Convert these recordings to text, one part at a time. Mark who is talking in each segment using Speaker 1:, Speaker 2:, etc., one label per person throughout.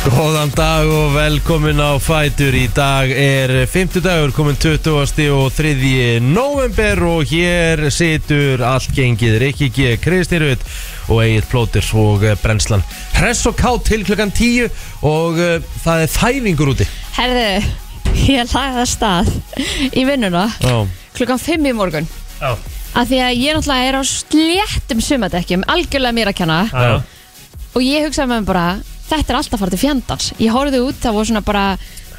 Speaker 1: Góðan dag og velkomin á Fætur Í dag er 50 dagur komin 20. og 3. november og hér situr allt gengið Rikki G. Kristirud og Egil Plóter og eh, Brennslan Hress og kátt til klukkan 10 og uh, það er þæfingur úti
Speaker 2: Herðu, ég lagði það stað í vinnuna
Speaker 1: Já,
Speaker 2: klukkan 5 í morgun
Speaker 3: Já.
Speaker 2: af því að ég náttúrulega er á sléttum sumadekkjum, algjörlega mér að kenna
Speaker 3: Já.
Speaker 2: og ég hugsaði með mér bara þetta er alltaf farið til fjandans ég horfði út, það voru svona bara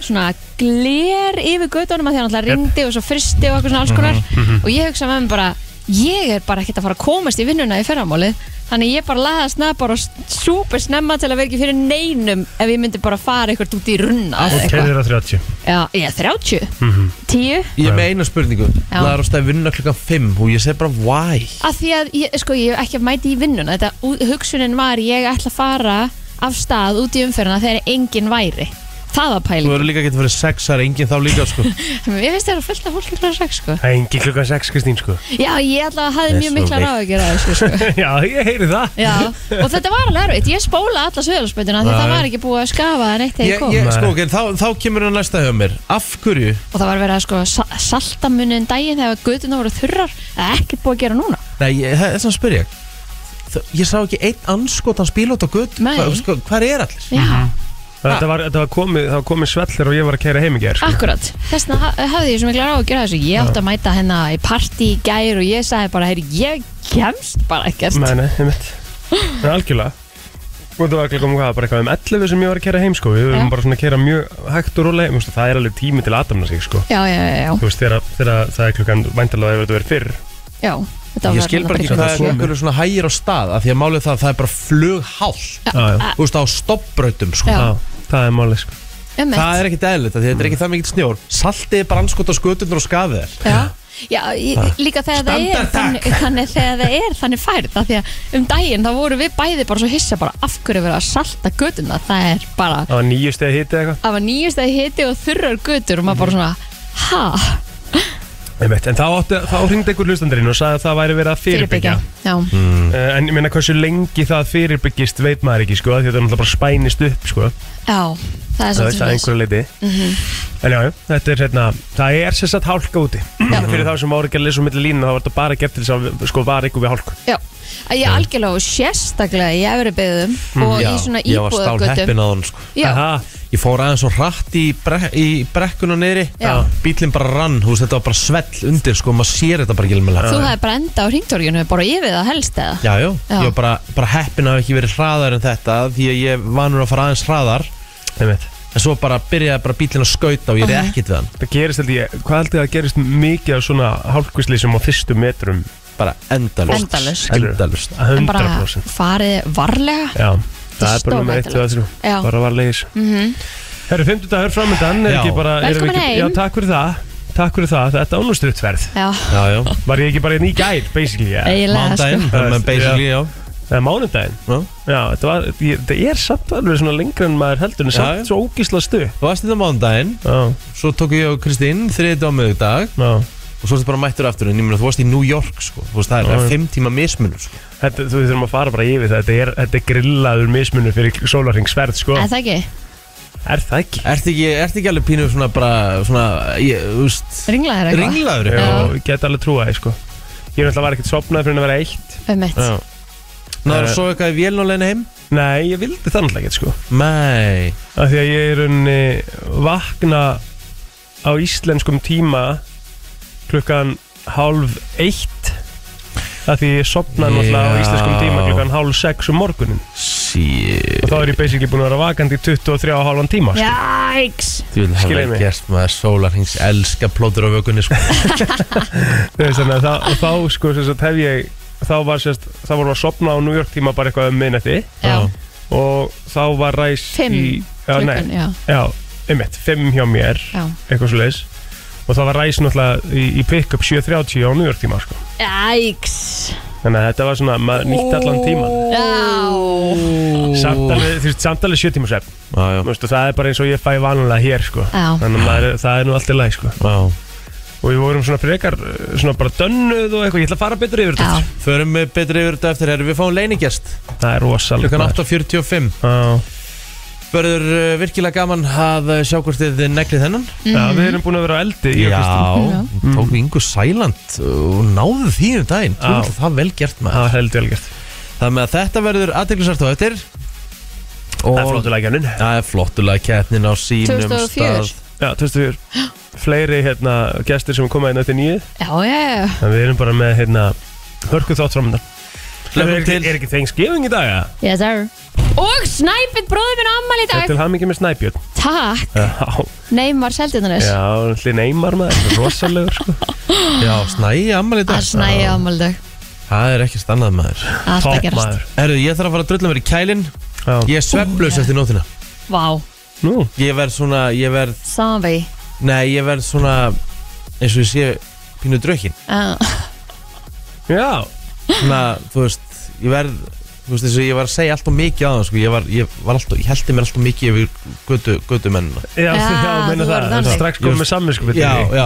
Speaker 2: svona gler yfir göttunum að því að náttúrulega ringdi og svo fristi og eitthvað svona alls konar og ég hugsaði með mér bara ég er bara ekkert að fara að komast í vinnuna í ferramálið þannig ég bara laði að snabba bara súper snemma til að vera ekki fyrir neinum ef ég myndi bara fara eitthvað út í runna eða
Speaker 3: Og
Speaker 2: eitthvað.
Speaker 3: keiðir að 30
Speaker 2: Já, ég er 30
Speaker 1: Mhm.
Speaker 2: 10
Speaker 1: ég er með eina spurningu
Speaker 2: Já.
Speaker 1: Það er á stað vinna klukkan 5 og ég segi bara why
Speaker 2: Af því að ég, sko, ég hef ekki að mæti í vinnuna Þetta ú- hugsunin var ég ætla að fara af stað út í umferðina þegar enginn væri Það var
Speaker 1: Þú
Speaker 2: pæling
Speaker 1: verður líka að geta fyrir 6 það er enginn þá líka sko
Speaker 2: Mér finnst þetta fullt af fólki frá sex sko
Speaker 3: Það er engin klukkan 6 Kristín sko
Speaker 2: Já, ég ætla að hafi
Speaker 1: Þessu
Speaker 2: mjög mikla
Speaker 1: veikt.
Speaker 2: ráð að gera þessu sko
Speaker 3: Já, ég heyri það
Speaker 2: Já, og þetta var alveg erfitt Ég spóla alla söðalspötuna því
Speaker 3: Já,
Speaker 2: það
Speaker 3: já.
Speaker 2: var ekki búið að skafa það neitt
Speaker 1: ég,
Speaker 2: þegar ég kom
Speaker 1: ég,
Speaker 3: Nei.
Speaker 1: sko, okay, þá, þá kemur hann næsta hjá mér Af hverju
Speaker 2: Og það var verið að sko sa- salta munin daginn þegar göduna voru þurrar Það er ekkert búið að gera núna
Speaker 1: Nei, ég- það er svona að spyrja Þa- Ég sá ekki einn anskotans bílót á gutt
Speaker 2: Nei.
Speaker 1: sko, Hvar er allir?
Speaker 2: Já,
Speaker 3: Þetta var, þetta var komið, það var komið svellir og ég var að keira heim í gær sko.
Speaker 2: Akkurat, þess vegna ha- hafði ég svo mikla ráð að gera þessu Ég átti að mæta hennar í partí í gær og ég sagði bara, heyri, ég kemst bara ekkert
Speaker 3: Nei, nei, einmitt En algjörlega Og það var ekki komið hvað, bara eitthvað um 11 sem ég var að keira heim sko Við
Speaker 2: Já.
Speaker 3: vorum bara svona að keira mjög hægt og rólega Vistu, Það er alveg tími til að aðdamna sig sko
Speaker 2: Já, já, já, já,
Speaker 3: Þú veist, þegar, þegar það er klukkan væntalega ef þetta verið fyrr
Speaker 2: já þetta var
Speaker 1: Ég skil bara ekki
Speaker 2: þarna
Speaker 1: hvað
Speaker 2: fyrir-
Speaker 1: er einhverju svona hægir á stað af Því að málið það, það er bara flughált
Speaker 3: Já, já,
Speaker 1: Þú veist, á stoppbrautum sko.
Speaker 2: Já.
Speaker 3: já, það er málið sko
Speaker 2: Einmitt.
Speaker 1: Það er ekkit eðlilegt, af því að þetta er ekki það mikill snjór Saltið er bara anskotans guttundur og skafið þér
Speaker 2: Já, já ég, líka þegar það er
Speaker 1: Standard
Speaker 2: þannig, þannig þegar það er þannig færð af því að um daginn þá voru við bæði bara svo hissa bara af hverju er verið að salta göduna það er bara,
Speaker 3: Það var nýju stegi hiti eða
Speaker 2: það var nýjust að hiti og þurrar gödur og maður bara svona ha,
Speaker 3: eitthvað Einmitt, En þá, átti- þá hringdi einhver hlustandurinn og sagði að það væri verið að fyrirbyggja
Speaker 2: já,
Speaker 3: Uh, en ég meina hversu lengi það fyrirbyggist veit maður ekki sko, því þetta er náttúrulega bara spænist upp sko,
Speaker 2: já, það er
Speaker 3: það
Speaker 2: svolítið Mhm.
Speaker 3: veist að
Speaker 2: svoleiðis.
Speaker 3: einhverju leiti en já, já, þetta er hérna það er sér satt hálka úti fyrir þá sem voru ekki að lesa um milli línu þá var þetta bara gert til þess að sko var ykkur við hálku
Speaker 2: Já, að ég algjörlega og sérstaklega í efri byggðum og í svona
Speaker 1: ég var stál
Speaker 2: íbúðagötum
Speaker 1: heppin á hann sko.
Speaker 2: Já,
Speaker 3: Aha,
Speaker 1: Ég fór aðeins og hratt í, brek í brekkuna niðri
Speaker 2: Já.
Speaker 1: Bílinn bara rann, þú veist, þetta var bara svell undir sko, maður sér þetta bara ekki
Speaker 2: þú
Speaker 1: ilmilega
Speaker 2: hefði bara enda á hringtorginu bara yfir það helst eða
Speaker 1: Já, já,
Speaker 2: Já.
Speaker 1: ég var bara, bara heppin að hafa ekki verið hraðar en þetta Því að ég vanur að fara aðeins hraðar
Speaker 3: einmitt.
Speaker 1: En svo bara byrjaði bara bílinn að skauta og ég er ekkert við hann
Speaker 3: það gerist held ég, hvað held ég að gerist mikið af svona hálkuslýsum á fyrstu metrum
Speaker 1: Bara endalust
Speaker 2: Endalaust.
Speaker 1: Endalust
Speaker 2: En bara
Speaker 3: 100%
Speaker 2: farið varlega
Speaker 3: já, það er
Speaker 2: Þetta er
Speaker 3: bara nummer 1 og 2
Speaker 2: Já. Mhm.
Speaker 3: bara var leiðis Herru, 50 dagur framöndan er
Speaker 1: Já.
Speaker 3: ekki bara erum við
Speaker 2: Velkomin
Speaker 3: ekki-
Speaker 2: heim.
Speaker 3: Já, takk fyrir það, takk fyrir það, þetta ánustuðtverð
Speaker 2: Já,
Speaker 1: Já, já
Speaker 3: Var ég ekki bara hérna í gær, basically ja.
Speaker 2: eiginlega sko
Speaker 1: Mándaginn, menn basically, já
Speaker 3: Eða mánudaginn
Speaker 1: Já.
Speaker 3: Já, þetta var, ég, þetta er samt alveg svona lengra en maður heldur En
Speaker 1: Já,
Speaker 3: samt
Speaker 1: já.
Speaker 3: svo ógísla stu
Speaker 1: Þú varst þetta mándaginn
Speaker 3: Já,
Speaker 1: Svo tók ég og Kristín þriðið á miðugdag
Speaker 3: já
Speaker 1: Og svo ertu bara mættur aftur En ég meina, þú varst í New York, sko Þú veist, það
Speaker 3: Já,
Speaker 1: er
Speaker 3: já.
Speaker 1: fimm tíma mismunur, sko
Speaker 3: Þetta, þú þurfum að fara bara yfir það Þetta er, þetta er grillaður mismunur fyrir sólarringsverð, sko
Speaker 2: Eða það ekki,
Speaker 3: Er það ekki?
Speaker 1: Ertu ekki, ertu ekki alveg pínu svona bara Svona, ég, þú veist
Speaker 2: ringlaðir eitthvað
Speaker 1: Ringlaður
Speaker 3: Já,
Speaker 1: eitthvað
Speaker 2: Já.
Speaker 3: ég get alveg trúa það, sko Ég náttúrulega var ekkert sopnað fyrir en að vera eitt
Speaker 2: Einmitt.
Speaker 1: Náður
Speaker 3: Eh.
Speaker 1: að sofa eitthvað í vélnulegni heim?
Speaker 3: Nei, ég vildi það náttúrulega ekkert, sko
Speaker 1: Nei
Speaker 3: Af því að ég er unni vakna á íslenskum tíma klukkan hálf eitt Af því ég sopnaði náttúrulega á
Speaker 1: Já.
Speaker 3: íslenskum tíma klukkan hálf sex um morgunin
Speaker 1: Shit
Speaker 3: og þá er ég basically búin að vera vakandi í 23 og halvan tíma sko.
Speaker 2: Jæks
Speaker 1: Þú vil hafa
Speaker 3: Skiljiði mig.
Speaker 1: gert maður sólarhings elska plótur á vökunni sko
Speaker 3: Þú veist, þannig að þá, og þá sko, sem sagt, hef ég þá var sérst, þá vorum við að sopna á New York tíma bara eitthvað um minnetti
Speaker 2: Já,
Speaker 3: og þá var ræs
Speaker 2: Fimm
Speaker 3: í já,
Speaker 2: klukkan,
Speaker 3: nei,
Speaker 2: já,
Speaker 3: já, einmitt, 5 hjá mér
Speaker 2: já
Speaker 3: eitthvað svo leis og þá var ræs náttúrulega í, í pick-up 7.30 á New York tíma sko.
Speaker 2: Jæks
Speaker 3: þannig að þetta var svona, maður nýtt allan tíman
Speaker 2: Já,
Speaker 3: samt alveg, þú veist, samt alveg 7 tíma svefn
Speaker 1: Já, já
Speaker 3: Þú veist, og það er bara eins og ég fæ vanlega hér sko.
Speaker 2: Já.
Speaker 3: þannig að maður, það er nú allt í lagi sko.
Speaker 1: Já
Speaker 3: og við vorum svona frekar uh, svona bara dönnuð og eitthvað, ég ætla að fara betur yfir
Speaker 2: já,
Speaker 3: þetta
Speaker 1: Förum við betri yfir þetta eftir herri, við fáum leiningjast
Speaker 3: það er rosalega
Speaker 1: Klukkan 8.45
Speaker 3: Já,
Speaker 1: Verður eh, virkilega gaman að eh, sjá hvort þið neglið þennan
Speaker 3: Já,
Speaker 2: Mhm.
Speaker 3: við erum búin að vera á eldi ég og Kristín.
Speaker 1: Já, Mm. tók við yngur sæland og náðu því um daginn Þú
Speaker 3: Já.
Speaker 1: veist það vel gert
Speaker 3: Það
Speaker 1: maður
Speaker 3: var heldur vel gert
Speaker 1: Þannig að þetta verður aðdeglisart á eftir
Speaker 3: Það er flottulega gænin
Speaker 1: Það er flottulega keppnin á sínum
Speaker 2: 2004.
Speaker 1: stað
Speaker 3: Já, 2004 Fleiri hérna gestir sem koma hérna til nýju
Speaker 2: Já, já, já.
Speaker 3: En við erum bara með hérna Hörku þátt framöndan Er,
Speaker 1: Hlökkum
Speaker 3: ekki-
Speaker 1: til
Speaker 3: er ekki Thanksgiving í dag, ja?
Speaker 2: Yes, sir. Og Snæbjörn bróðir minn ammali í
Speaker 3: Það er
Speaker 2: dag.
Speaker 3: til hamingi með Snæbjörn
Speaker 2: Takk,
Speaker 3: Já,
Speaker 2: Neymar Seldjarnanes.
Speaker 3: já, allir neymar maður Rosalegur, sko
Speaker 1: Já, snæi ammali í
Speaker 2: Það
Speaker 1: dag
Speaker 2: er Snæbjörn ammali í dag.
Speaker 1: Það er ekki stannað maður
Speaker 2: Alltaf
Speaker 3: Topp
Speaker 2: gerast.
Speaker 3: maður
Speaker 1: Herru, ég þarf að fara að drulla mér í kælin
Speaker 3: Já,
Speaker 1: Ég er svefnlaus eftir nótina
Speaker 2: Vá,
Speaker 3: nú
Speaker 1: Ég verð svona, ég verð
Speaker 2: saman vegi.
Speaker 1: Nei, ég verð svona eins og ég sé pínu draukin
Speaker 2: Já.
Speaker 3: Já,
Speaker 1: Svona, þú veist, ég verð Þú veist, eins og ég var að segja alltaf mikið á það sko. ég, var, ég, var alltaf, ég heldi mér alltaf mikið yfir götu, götu mennina
Speaker 2: Já,
Speaker 3: já, já, meina
Speaker 2: þú
Speaker 3: það
Speaker 2: verður þannig.
Speaker 3: Strax komið með samvinskupið
Speaker 1: Já, já,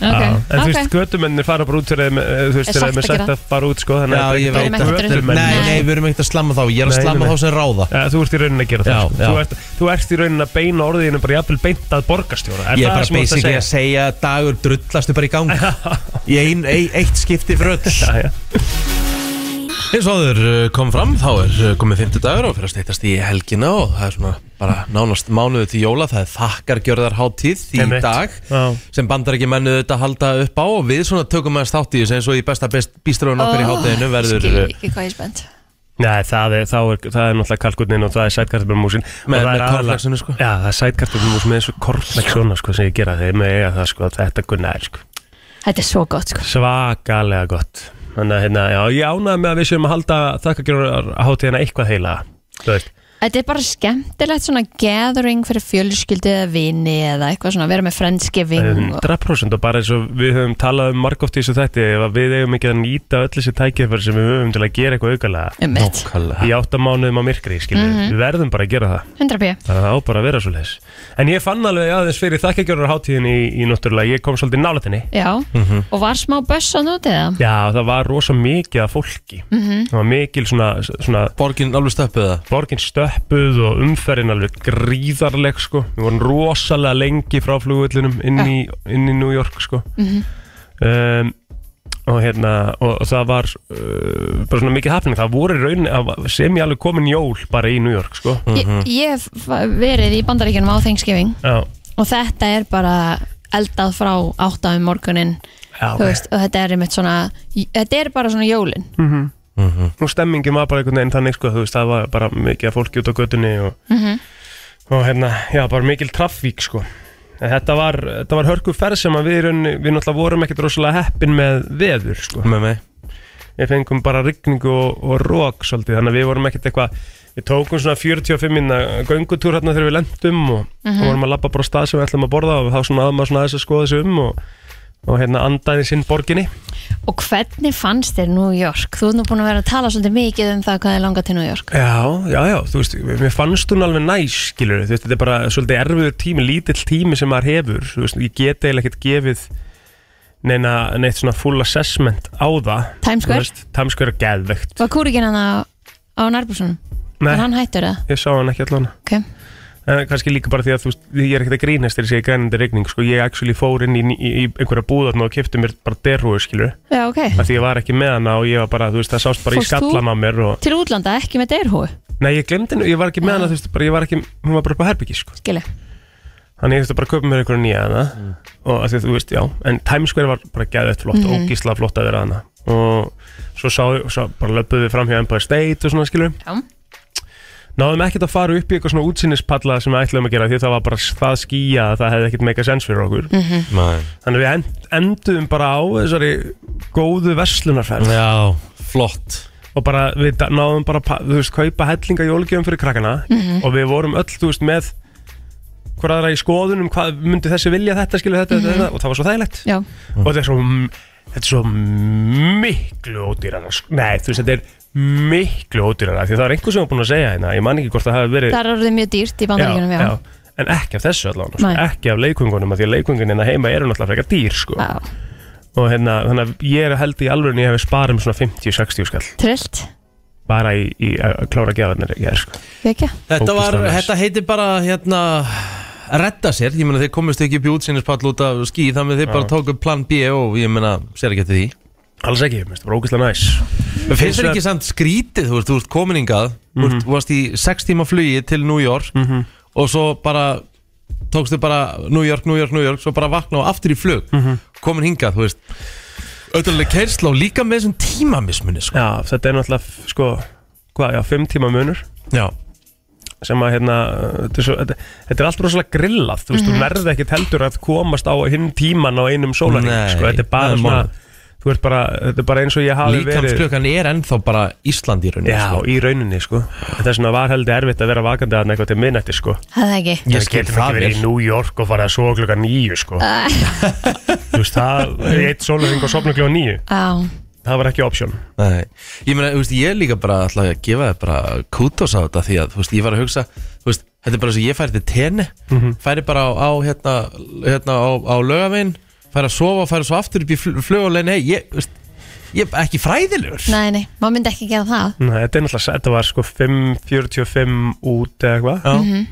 Speaker 2: Ok,
Speaker 3: Já, Ah, en þú
Speaker 2: ok.
Speaker 3: veist, götumennir fara bara út þegar þeim, eh, þú veist,
Speaker 2: Er
Speaker 3: þegar
Speaker 2: sagt
Speaker 3: þeim er
Speaker 2: að
Speaker 3: sagt
Speaker 2: gera.
Speaker 3: að fara út, sko, þannig
Speaker 1: já, ég
Speaker 2: Við
Speaker 3: að
Speaker 2: erum
Speaker 1: veit
Speaker 2: ekki að
Speaker 1: að-
Speaker 2: drulla.
Speaker 1: Nei,
Speaker 2: Nei.
Speaker 1: nei, við erum ekkert að slamma þá Ég er að
Speaker 3: Nei,
Speaker 1: slamma
Speaker 3: nei.
Speaker 1: þá sem ráða
Speaker 3: Ja, þú ert í rauninni að gera
Speaker 1: Já,
Speaker 3: það sko.
Speaker 1: já.
Speaker 3: þú, ert, þú ert í rauninni að beina orðinu bara jafnvel beint að borgarstjóra
Speaker 1: Ég er
Speaker 3: það
Speaker 1: bara
Speaker 3: sem þú ert
Speaker 1: basically að segja dagur drullastu bara í gang Í ein, ein, eitt skipti fyrir öll
Speaker 3: Já, já.
Speaker 1: Eins og áður uh, kom fram, þá er uh, komið 50 dagur og fyrir að steytast í helgina og það er svona bara nánast mánuðu til jóla, það er þakkargjörðar hátíð í
Speaker 3: Einmitt.
Speaker 1: dag
Speaker 3: Já.
Speaker 1: sem bandar ekki mennu þetta halda upp á og við svona tökum aðeins þátt í þessu eins og í besta best bístróun okkar í hátíðinu verður
Speaker 3: eh,
Speaker 2: Skil
Speaker 1: uh,
Speaker 2: ekki hvað ég er spennt.
Speaker 3: Nei, það er, þá er, það er náttúrulega kalkurnin og það er sætkartabjörnmúsin
Speaker 1: með,
Speaker 3: það
Speaker 1: með
Speaker 3: er aðalega-
Speaker 1: korflagsinu sko.
Speaker 3: Já, það er sætkartabjörnmús með þessu korfleik svona sko, sem ég gera þeir með eiga það sko, þetta gunnar sko.
Speaker 2: Þetta er svo gott, sko.
Speaker 3: svakalega gott þannig að hérna, já, ég ánaði með að við séum að halda þakkagjörðar hátíðina eitthvað heila þú veist,
Speaker 2: Þetta er bara skemmtilegt svona gathering fyrir fjölskyldu eða vini eða eitthvað svona, vera með friendsgiving og
Speaker 3: 100% og bara eins og við höfum talað um margótt í þessu þætti, ef að við eigum ekki að nýta öll þessi tækifæri sem við höfum til að gera eitthvað aukalega
Speaker 2: um mitt.
Speaker 1: Nákvæmlega
Speaker 3: í áttamánuðum á myrkri, skiljum við verðum bara að gera það,
Speaker 2: 100 pjö.
Speaker 3: þannig að það á bara að vera svo leis en ég fann alveg aðeins fyrir þakkjagjörður hátíðin í, í náttúrulega, ég kom svolítið nálatinni
Speaker 2: Já, og var smá bössan út eða?
Speaker 3: Mhm. já, það var rosa mikið af fólki það var mikil svona, svona
Speaker 1: Borgin alveg stöppuð það
Speaker 3: borgin stöppuð og umferðin alveg gríðarleg sko, við vorum rosalega lengi frá flugvöllinum inn í, inn í New York sko
Speaker 2: Mhm.
Speaker 3: um, og hérna og, og það var uh, bara svona mikið hapning, það voru í rauninni það var- sem ég alveg komin jól bara í New York sko
Speaker 2: Ég, ég hef verið í bandaríkjunum á Thanksgiving
Speaker 3: já,
Speaker 2: og þetta er bara eldað frá átta um morgunin
Speaker 3: já
Speaker 2: þú veist, og þetta er einmitt svona þetta er bara svona jólin
Speaker 3: og stemmingin var bara einhvern veginn þannig sko, þú veist, það var bara mikið af fólki út á götunni og, og hérna, já, bara mikil trafík sko. En þetta var, þetta var hörku ferð sem að við, í rauninni- við náttúrulega vorum ekkert rosalega heppin með veður sko.
Speaker 1: með mig
Speaker 3: Við fengum bara rigningu og, og rók svolítið, þannig að við vorum ekkert eitthvað, við tókum svona 45 minna göngutúr hérna þegar við lendum og, og vorum að labba bara á stað sem við ætlum að borða og þá svona aðma svona aðeins að skoða þessu um og, og hérna andaði sinn borginni.
Speaker 2: og hvernig fannst þér New York? Þú ert nú búin að vera að tala svolítið mikið um það hvað er langað til New York
Speaker 3: Já, já, já, þú veist, mér fannst hún alveg næs, skilur, þú veist, þetta er bara svolítið erfiður tími, lítill tími sem maður hefur, þú veist, ég get eiginlega ekkert gefið neina, neitt svona full assessment á það.
Speaker 2: Times Square?
Speaker 3: Þú veist, Times Square er geðvegt.
Speaker 2: Var kúrikinn hann á, á Nærbúsunum?
Speaker 3: Nei,
Speaker 2: Var hann hættur eða?
Speaker 3: ég sá hann ekki allan.
Speaker 2: Ok,
Speaker 3: En kannski líka bara því að, þú veist, ég er ekkert að grínast þegar ég segi grænandi regning, sko, ég actually fór inn í, í, í einhverja búðarn og kefti mér bara derhúi, skilur,
Speaker 2: já ok
Speaker 3: af því ég var ekki með hana og ég var bara, þú veist, það sást bara
Speaker 2: Fórst
Speaker 3: í
Speaker 2: þú?
Speaker 3: skallan á mér og,
Speaker 2: Til útlanda, ekki með deyrhúi,
Speaker 3: nei, ég glemdi henni, ég var ekki með hana, þú veist, bara, ég var ekki, hún var bara upp á herbyggi, sko.
Speaker 2: skilji
Speaker 3: Þannig ég þurfti bara að kaupa mér einhverju nýja hana og að því að þú veist, já, en Times Square var bara gæðvett flott, mm ógísla flott að vera hana og svo sá, sá bara löpuðum við fram hjá Empire State og svona skilur
Speaker 2: Já,
Speaker 3: Náðum ekkert að fara upp í eitthvað svona útsýnispalla sem við ætlum að gera því það var bara það skýja að það hefði ekkert meika sens fyrir okkur
Speaker 1: Nei.
Speaker 3: Þannig við end, endum bara á þessari góðu verslunarferð
Speaker 1: Já, flott
Speaker 3: og bara við da- náðum bara, pa- þú veist, kaupa hellinga jólgjöfum fyrir krakkana og við vorum öll, þú veist, með hver aðra í skoðunum, hvað myndi þessi vilja þetta, skilu þetta, þetta, þetta, og það var svo þægilegt
Speaker 2: já,
Speaker 3: og þetta er svo þetta er svo miklu ódýrara sko. nei, þú veist, þetta er miklu ódýrara því það er einhver sem var búin að segja hérna ég man ekki hvort það hafi verið
Speaker 2: það er orðið mjög dýrt í bandaríkjunum, já,
Speaker 3: en ekki af þessu allan, sko.
Speaker 2: Nei.
Speaker 3: ekki af leikvöngunum af því að leikvöngunin hérna heima eru náttúrulega frekar dýr sko.
Speaker 2: já.
Speaker 3: og hérna, þannig að ég er held í alveg en ég hef sparað um svona 50-60 skall
Speaker 2: Trillt,
Speaker 3: bara í, í að klára gjafarnar ég er sko
Speaker 2: Vekja.
Speaker 1: Þetta, var,
Speaker 3: Ógeðslega næs.
Speaker 1: þetta heitir bara hérna redda sér, ég meina þeir komist ekki upp í útsinnispall út af skí, þannig að þeir bara tóku plan B og ég meina, sér ekki eftir því
Speaker 3: alls ekki, mér finnst það bara ógeðslega næs
Speaker 1: Mér finnst
Speaker 3: Hins
Speaker 1: það
Speaker 3: vegar- Mhm.
Speaker 1: ekki samt skrítið, þú veist, þú veist kominingað mm -hmm. Þú varst í sex tíma flugi til New York Og svo bara tókstu bara New York, New York, New York Svo bara vakna og aftur í flug
Speaker 3: Mhm.
Speaker 1: Komin hingað, þú veist Öðrulega keirsla og líka með þessum tímamismunni sko.
Speaker 3: já, þetta er náttúrulega f- sko, hvað, já, fimm tíma munur
Speaker 1: Já,
Speaker 3: sem að hérna uh, þetta er, svo, þetta, þetta er allt rosalega grillað þú veist,
Speaker 1: Mhm.
Speaker 3: þú nærði ekkert heldur að komast á hinn tíman á einum sólarinn
Speaker 1: Nei,
Speaker 3: sko, þetta er
Speaker 1: það
Speaker 3: bara
Speaker 1: er sko.
Speaker 3: svona
Speaker 1: málið.
Speaker 3: þú ert bara, þetta er bara eins og ég hafi verið
Speaker 1: líkamsklukkan er ennþá bara Ísland í rauninni
Speaker 3: já,
Speaker 1: sko.
Speaker 3: í rauninni sko þetta er svona var heldur erfitt að vera vakandi að eitthvað til minnætti sko
Speaker 2: Það er ekki.
Speaker 1: Ég
Speaker 3: Við
Speaker 1: skil
Speaker 3: getum
Speaker 1: það
Speaker 3: ekki verið í
Speaker 1: vel Ah.
Speaker 3: New York og farið að sofa klukka nýju sko þú veist, það er eitt sólarinn og sofna klukka nýju
Speaker 2: Á.
Speaker 3: það var ekki option
Speaker 1: Nei. Ég meina, þú veist, ég er líka bara ætla að gefa þér bara kútos á þetta Því að, þú veist, ég var að hugsa Þú veist, þetta er bara svo ég færi til tenni Færi bara á, á hérna, hérna á, á laugavinn Færi að sofa, færi svo aftur upp í fl flugulegin Nei, ég, þú veist, ég er bara ekki fræðilegur
Speaker 2: Nei, nei, maður myndi ekki gera það.
Speaker 3: Nei, þetta er náttúrulega, þetta var sko 5.45 út eða eitthvað
Speaker 1: Já.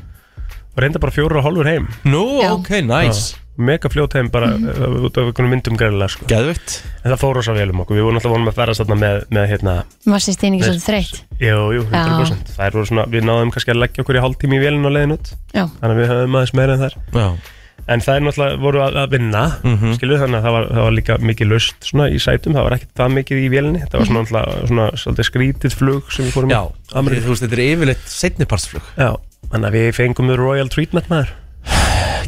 Speaker 3: og reynda bara fjóru og hálfur heim
Speaker 1: Nú,
Speaker 2: Mhm. Já.
Speaker 1: ok, nice
Speaker 3: mega fljót heim bara uh, út af einhvern myndum greiðilega sko.
Speaker 1: Geðvitt
Speaker 3: en það fór rosa vel um okkur, við vorum alltaf vonum að ferast þarna með, með hérna,
Speaker 2: Maður sést einnig
Speaker 3: Nei.
Speaker 2: svolítið þreytt.
Speaker 3: jú, jú, 100% það voru svona, við náðum kannski að leggja okkur í hálftími í vélina og leiðin út,
Speaker 2: Já.
Speaker 3: þannig að við höfum aðeins meira en þar
Speaker 1: Já,
Speaker 3: en það er náttúrulega voru að, að vinna mm
Speaker 1: Mhm.
Speaker 3: þannig að það var, það var líka mikið löst svona í sætum, það var ekkert það mikið í vélinni þetta var svona, náttúrulega svona, svona skrítið flug sem við fórum
Speaker 1: Já.
Speaker 3: í Ameríku.
Speaker 1: þú veist, þetta er yfirleitt setnipartsflug
Speaker 3: Já, þannig að við fengum the royal treatment maður,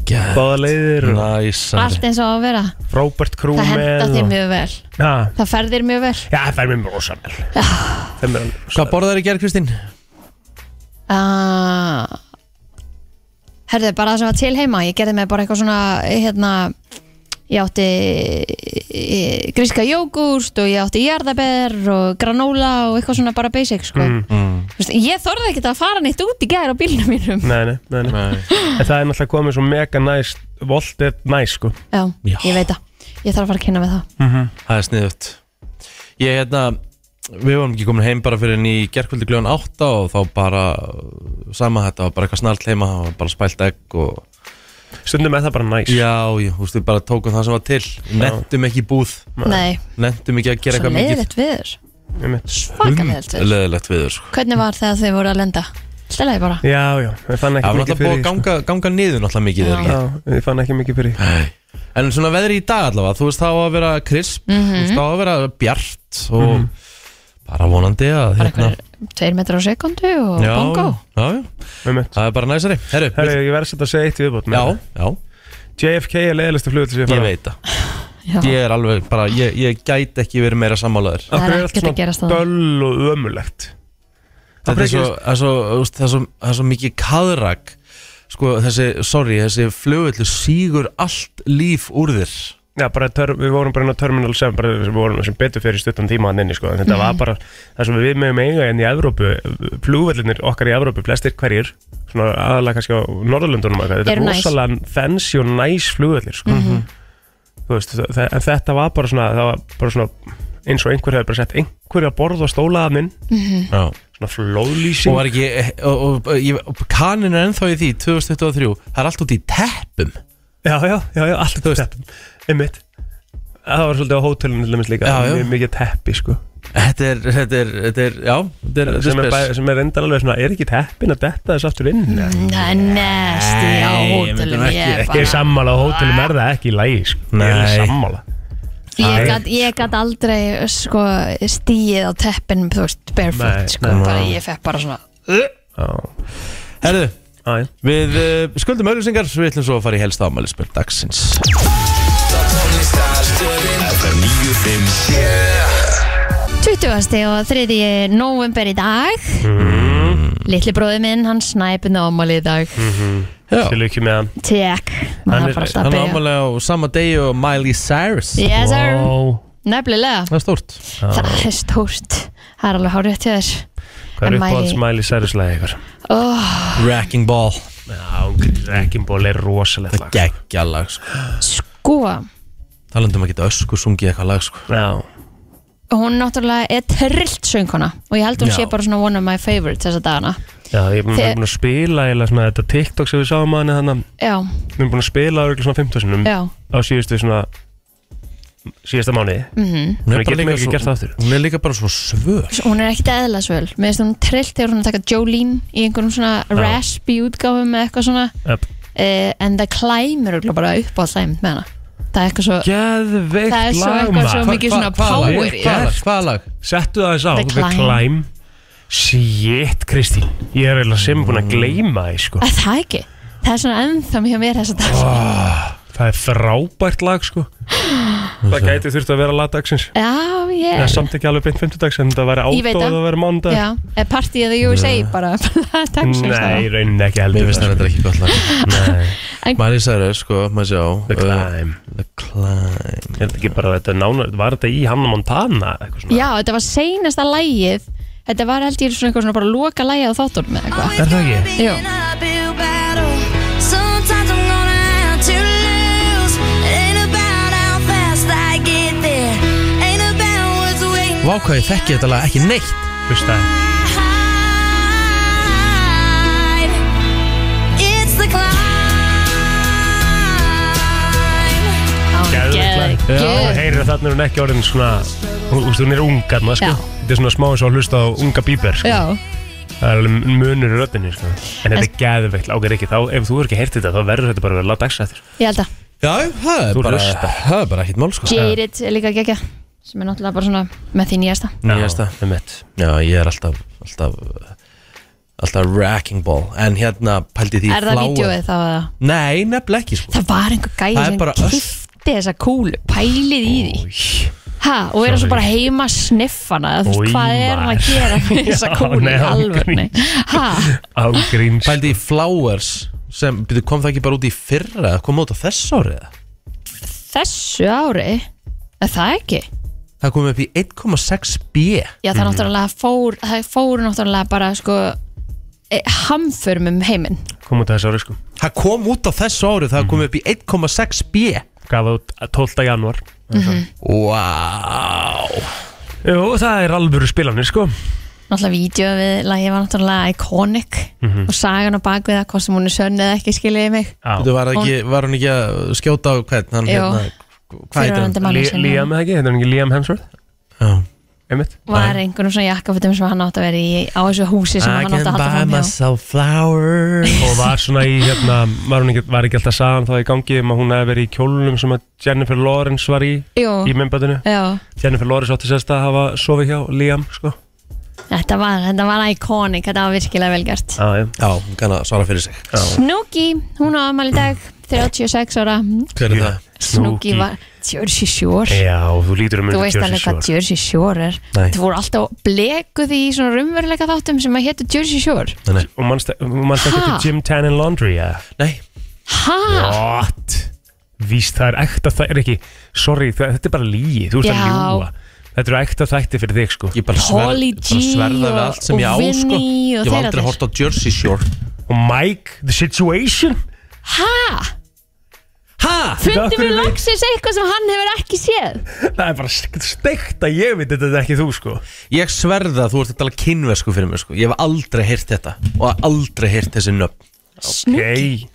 Speaker 1: Geðvitt
Speaker 3: báða leiðir og
Speaker 1: Nice
Speaker 2: Allt eins og á að vera.
Speaker 3: Robert Crew
Speaker 2: Það henda þér
Speaker 3: með og,
Speaker 2: mjög vel.
Speaker 3: ja,
Speaker 2: Það ferðir mjög vel.
Speaker 3: Já, það fær mér mjög rosa vel Það er mér alveg rosa
Speaker 1: Hvað borðar í gerð, Kristín?
Speaker 2: Ah. Herðu, bara það sem var til heima. Ég gerði mig bara eitthvað svona, hérna, ég átti eh, gríska jógúrt og ég átti jarðaber og granóla og eitthvað svona bara basic, sko.
Speaker 3: Mm.
Speaker 1: Mm.
Speaker 2: Þú Veist, ég þorði ekkert að fara neitt út í gæðir á bílnum mínum.
Speaker 3: Nei, nei, nei, nei. En það er náttúrulega komið svo mega næs Volt er næs, sko
Speaker 2: Já,
Speaker 1: Já.
Speaker 2: ég veit það. Ég þarf að fara að kynna með það.
Speaker 1: Það er sniðut Ég hérna Við vorum ekki komin heim bara fyrir en í gerkvöldi gljóðan átta og þá bara uh, sama þetta var bara eitthvað snart heima það var bara spælt egg og
Speaker 3: Stundum er það bara næs
Speaker 1: já, já, þú veist við bara tókum það sem var til nefndum ekki í búð,
Speaker 2: Nei,
Speaker 1: nefndum ekki að gera
Speaker 2: svo
Speaker 1: Mm. eitthvað mikið Mm.
Speaker 2: leiðilegt viður.
Speaker 3: einmitt.
Speaker 2: Svaka leiðilegt viður.
Speaker 1: leðilegt við þér sko.
Speaker 2: Hvernig var þegar þau voru að lenda? Stelaði bara.
Speaker 3: Já, já, ég fann
Speaker 1: Það
Speaker 3: ekki
Speaker 1: var
Speaker 3: mikið
Speaker 1: náttúrulega búið
Speaker 3: fyrir
Speaker 1: að
Speaker 3: því,
Speaker 1: ganga, ganga niður náttúrulega mikið
Speaker 2: sko. Já.
Speaker 1: þegar
Speaker 3: sko. Já, ég fann ekki mikið fyrir því.
Speaker 1: Nei. En svona veðri í dag allavega, þú veist það á að vera krisp, þú
Speaker 2: Mhm.
Speaker 1: veist það á að vera bjart og bara vonandi að
Speaker 2: Bara eitthvað tveir metrar á sekundu og
Speaker 1: Hérna. já,
Speaker 2: bongo.
Speaker 1: já, já,
Speaker 3: Einmitt.
Speaker 1: það er bara næsari Herru,
Speaker 3: Herri, ég verðs að segja eitt í viðbót
Speaker 1: já, já,
Speaker 3: JFK er leiðilegstu flugur sem ég
Speaker 1: Ég
Speaker 3: fara á.
Speaker 1: veit það
Speaker 2: Já.
Speaker 1: Ég er alveg bara, ég, ég gæti ekki verið meira sammálaður
Speaker 2: Það er
Speaker 3: Af hverju
Speaker 2: ekkert að
Speaker 3: allt
Speaker 2: gerast þarna.
Speaker 3: svona Döll og ömulegt
Speaker 1: Þetta er svo, það er svo, úst, það er svo, það er svo mikið kaðrak Sko þessi, sorry, þessi flugvöldu sígur allt líf úr þér
Speaker 3: Já, bara tör, við vorum bara inn á Terminal 7 bara, við vorum sem betur fyrir stuttan tíma hann inni sko. en þetta
Speaker 1: Mhm.
Speaker 3: var bara það sem við meðum eiga enn í Evrópu flugvellinir okkar í Evrópu, flestir hverjir svona aðalega kannski á Norðurlöndunum eitthvað. þetta
Speaker 2: Eru
Speaker 3: er
Speaker 2: næs.
Speaker 3: rosalega fancy og næs flugvellir sko.
Speaker 1: Mhm.
Speaker 3: þú veist, það, það- en þetta var bara svona, það var bara svona eins og einhver hefur bara sett einhverja borð og stólaða minn
Speaker 1: Já
Speaker 3: svona
Speaker 1: Og
Speaker 3: flóðlýsing
Speaker 1: var ekki, og, og, og, ég- og kanin er ennþá í því 2023, það er allt út í teppum
Speaker 3: já, já, já, já, allt
Speaker 1: Þú veist.
Speaker 3: þetta einmitt það var svolítið á hótelunum til dæmis líka
Speaker 1: Já, já.
Speaker 3: mjög mikið teppi sko
Speaker 1: Þetta er, þetta er, þetta er, já, þetta er,
Speaker 3: sem
Speaker 1: þetta
Speaker 3: er,
Speaker 1: er
Speaker 3: bæ, sem er endar alveg svona, er ekki teppin að detta þessu aftur inn? Nei,
Speaker 2: Það er næsti á
Speaker 1: Nei,
Speaker 2: hótelum.
Speaker 1: myndum
Speaker 2: Ég,
Speaker 1: ekki-
Speaker 2: er
Speaker 1: ekki
Speaker 3: Ég er
Speaker 2: bara-
Speaker 3: sammála á hótelum er það ekki í lagi sko. Ég er
Speaker 1: Nei.
Speaker 3: sammála
Speaker 2: ég
Speaker 3: Æ.
Speaker 2: gat- ég gat aldrei sko, stíið á teppin þú veist,
Speaker 3: Nei,
Speaker 2: barefoot sko,
Speaker 3: nei.
Speaker 2: bara, ég fekk bara svona
Speaker 3: Já,
Speaker 1: spes Herðu,
Speaker 3: já, já.
Speaker 1: við uh, skuldum auðlýsingar, við ætlum svo að fara í helsta ámælisbjörn dagsins
Speaker 4: FM 957
Speaker 2: 20. og 3. november í dag litli bróði minn hann snæpinn á ámali í dag
Speaker 1: Já,
Speaker 3: Til ekki með hann
Speaker 2: tek,
Speaker 3: Hann
Speaker 2: maður er bara
Speaker 3: er-
Speaker 2: að
Speaker 1: hann
Speaker 2: stappa
Speaker 1: er
Speaker 2: í það.
Speaker 1: ámæli á sama degi og Miley Cyrus
Speaker 2: yes sir,
Speaker 3: Vá,
Speaker 2: nefnilega
Speaker 1: Það er stórt
Speaker 2: það er stórt, það er alveg hárið til þess
Speaker 3: Hvað er
Speaker 2: En
Speaker 3: uppáhalds
Speaker 2: Miley-
Speaker 3: Miley Cyrus lagi ykkur?
Speaker 2: oh,
Speaker 1: Wrecking Ball
Speaker 3: Já, Wrecking Ball er rosalegt lag
Speaker 1: Gekkja lag sko
Speaker 2: sko
Speaker 1: Talandum að geta ösku sungið eitthvað lag sko
Speaker 3: Já,
Speaker 2: hún náttúrulega er trillt sönguna og ég held hún
Speaker 3: Já.
Speaker 2: sé bara svona one of my favorites þessa dagana
Speaker 3: Já, ég er búin,
Speaker 2: Þi-
Speaker 3: Þe... búin að spila eiginlega svona þetta TikTok sem við sáum að henni þannig
Speaker 2: já,
Speaker 3: við erum búin að spila örugglega svona 15 sinum
Speaker 2: já,
Speaker 3: á síðustu svona síðasta mánuði
Speaker 2: mhm
Speaker 1: Hún
Speaker 3: Þannig
Speaker 1: bara
Speaker 3: getum
Speaker 1: líka
Speaker 3: ekki
Speaker 1: svo-
Speaker 3: gert það aftur.
Speaker 1: Hún er líka bara svo svör
Speaker 2: hún er ekkit eðla svöl mér finnst hún trillt þegar hún er að taka Jolene í einhverjum svona raspy útgáfum eða eitthvað svona
Speaker 3: Yep.
Speaker 2: uh, en það klæmur örugglega bara upp á hlæmt með hana það er eitthvað svo
Speaker 3: Geðveikt
Speaker 2: Það er svo
Speaker 3: lag,
Speaker 2: eitthvað
Speaker 3: maður.
Speaker 2: svo mikið svona power í
Speaker 1: Hvað
Speaker 3: það.
Speaker 1: lag? Hvað lag?
Speaker 3: Settu það þess á
Speaker 2: The
Speaker 3: The
Speaker 2: Climb.
Speaker 3: Climb Shit, Kristín Ég er eiginlega sem búin að gleyma því sko.
Speaker 2: að það ekki það er svona ennþá hjá mér þessa dag
Speaker 3: Það er frábært lag sko. Það gæti þurft að vera lagdagsins
Speaker 2: já,
Speaker 3: Það er
Speaker 2: ég
Speaker 3: samt ekki alveg beint 50 dags En það væri
Speaker 2: Ég veit
Speaker 3: átóð
Speaker 2: það.
Speaker 3: að vera mándag
Speaker 2: já, er party eða USA bara
Speaker 3: Nei,
Speaker 2: Nei,
Speaker 3: í rauninni ekki
Speaker 1: Mér
Speaker 3: heldur
Speaker 1: finnst það
Speaker 3: sko.
Speaker 1: þetta ekki gott lag
Speaker 3: Nei,
Speaker 1: Miley Cyrus, sko, maður sjá
Speaker 3: The
Speaker 1: uh,
Speaker 3: Climb
Speaker 1: The Hérna. Climb
Speaker 3: Er þetta ekki bara þetta nánar Var þetta í Hanna Montana? eitthvað svona?
Speaker 2: já, þetta var seinasta lægið þetta var held ég svona eitthvað svona bara loka lægið á þáttunum eða eitthvað
Speaker 3: Er það ekki?
Speaker 2: Jú.
Speaker 1: Vá hvað ég þekki þetta lag ekki neitt
Speaker 3: Hlusta Geðveikt lag.
Speaker 2: Geð-
Speaker 3: Já,
Speaker 2: geð-
Speaker 3: og heyrir að þarna er hún ekki orðin svona Þú veist, hún er unga þarna, sko
Speaker 2: Já.
Speaker 3: Þetta er svona smá eins og að hlusta á unga bíber sko.
Speaker 2: Já,
Speaker 3: Það er alveg munur í röddinni sko. En þetta er geðveikt ákveð ekki þá, Ef þú er ekki heyrt þetta þá verður þetta bara að vera láta dagsrættir
Speaker 2: ég held að
Speaker 1: Já, það er
Speaker 3: Þú
Speaker 1: bara
Speaker 3: hlustar.
Speaker 1: Það er bara ekkit mál, sko
Speaker 2: Jaded er líka gegja sem er náttúrulega bara svona með því nýjasta
Speaker 1: Nýjasta
Speaker 3: Það mitt
Speaker 1: Já, ég er alltaf Alltaf uh, Alltaf wrecking ball En hérna pældi því
Speaker 2: Er það
Speaker 1: fláa-
Speaker 2: vídjóið þá að
Speaker 1: Nei, nefnileg ekki, sko
Speaker 2: það var einhver gæði
Speaker 1: Það er
Speaker 2: sem
Speaker 1: bara öss.
Speaker 2: kifti þessa kúlu pælið í því
Speaker 1: Új.
Speaker 2: ha, og er það svo
Speaker 3: Sorry.
Speaker 2: bara heima að sniffa hana þú veist
Speaker 3: Új,
Speaker 2: hvað er hann að
Speaker 3: maður.
Speaker 2: gera með þessa
Speaker 3: Já,
Speaker 2: kúlu
Speaker 3: nei,
Speaker 2: í
Speaker 3: án
Speaker 2: alvörni ha,
Speaker 3: Ágríns
Speaker 1: Pældi í Flowers sem, byrju, kom það ekki bara út í fyrra eða kom út á þess árið eða?
Speaker 2: þessu ári er það ekki
Speaker 1: það kom upp í 1,6 B
Speaker 2: já
Speaker 1: Mm.
Speaker 2: það náttúrulega fór það fór náttúrulega bara sko e, hamförum um heiminn
Speaker 3: Kom út að þessu ári sko
Speaker 1: það kom út á þess árið það kom upp í 1,6 B
Speaker 3: Gaf út 12. januar
Speaker 1: wow
Speaker 3: Jú, það er alvöru spilanir sko
Speaker 2: náttúrulega vídeo við lagið var náttúrulega iconic
Speaker 1: Mhm.
Speaker 2: og sagan á bakvið það hvort sem hún er sönn eða ekki skiljiði mig
Speaker 1: Þetta
Speaker 3: Já.
Speaker 1: var, það ekki, var hún ekki að skjóta á hvern hann
Speaker 2: Jú.
Speaker 1: hérna, hvað heitir hann?
Speaker 2: Fyrrverandi hérna. manni
Speaker 3: Li-
Speaker 2: sínum.
Speaker 3: Liam eða ekki, þetta er ekki Liam Hemsworth
Speaker 1: Já.
Speaker 3: Einmitt
Speaker 2: var einhvern svona jakkafutum sem hann átt að vera í á þessu húsi sem
Speaker 1: I
Speaker 2: hann átt
Speaker 1: can
Speaker 2: að halda
Speaker 1: buy
Speaker 2: fram hjá
Speaker 1: myself flowers
Speaker 3: Og var svona í hérna Var, hún ekki, var ekki alltaf sagan þá í gangi um að hún hefði verið í kjólunum sem að Jennifer Lawrence var í í
Speaker 2: Jú,
Speaker 3: myndbætinu
Speaker 2: já,
Speaker 3: Jennifer Lawrence átti sérst að hafa sofið hjá Liam sko.
Speaker 2: þetta var, þetta var iconic, þetta var virkilega vel gert
Speaker 3: ah, já.
Speaker 1: Já, hún kann að svara fyrir sig
Speaker 2: Snúki, hún á amal í dag 36 ára,
Speaker 1: Hver er
Speaker 3: Já.
Speaker 1: það?
Speaker 2: Snúki var Jersey Shore,
Speaker 3: Já, þú lítur um
Speaker 2: þú
Speaker 3: undir
Speaker 2: veist alveg hvað
Speaker 3: Shore.
Speaker 2: Jersey Shore er
Speaker 1: Nei.
Speaker 2: Þú voru alltaf blekuð í svona rumveruleika þáttum sem að hétu Jersey Shore
Speaker 1: Nei, nei.
Speaker 3: Og mannst manst ekki
Speaker 2: Ha?
Speaker 3: til Jim Tannen Laundry ja.
Speaker 1: nei,
Speaker 2: Ha?
Speaker 3: What? Víst, það er ekta það er ekki Sorry, það, þetta er bara lígi, þú ert að
Speaker 2: Já.
Speaker 3: ljúa Þetta eru ekta þætti fyrir þig sko
Speaker 1: ég bara sver,
Speaker 2: Polly
Speaker 1: bara
Speaker 2: G
Speaker 1: sverða við
Speaker 2: og-
Speaker 1: allt sem ég á
Speaker 2: og
Speaker 1: sko.
Speaker 2: Vinny og
Speaker 1: Ég var
Speaker 2: þeir
Speaker 1: aldrei
Speaker 2: allir.
Speaker 1: hort á Jersey Shore
Speaker 3: Og Mike, The Situation
Speaker 2: Ha?
Speaker 1: Ha?
Speaker 3: Af
Speaker 2: Fundum
Speaker 3: hverju
Speaker 2: við
Speaker 3: veit-
Speaker 2: loksins eitthvað sem hann hefur ekki séð
Speaker 3: Það er bara steikt að ég veit þetta er ekki þú sko
Speaker 1: Ég sverða að þú ert að tala kynversku fyrir mig sko. Ég hef aldrei heyrt þetta og aldrei heyrt þessi nöfn
Speaker 2: Snúki,
Speaker 3: Gei.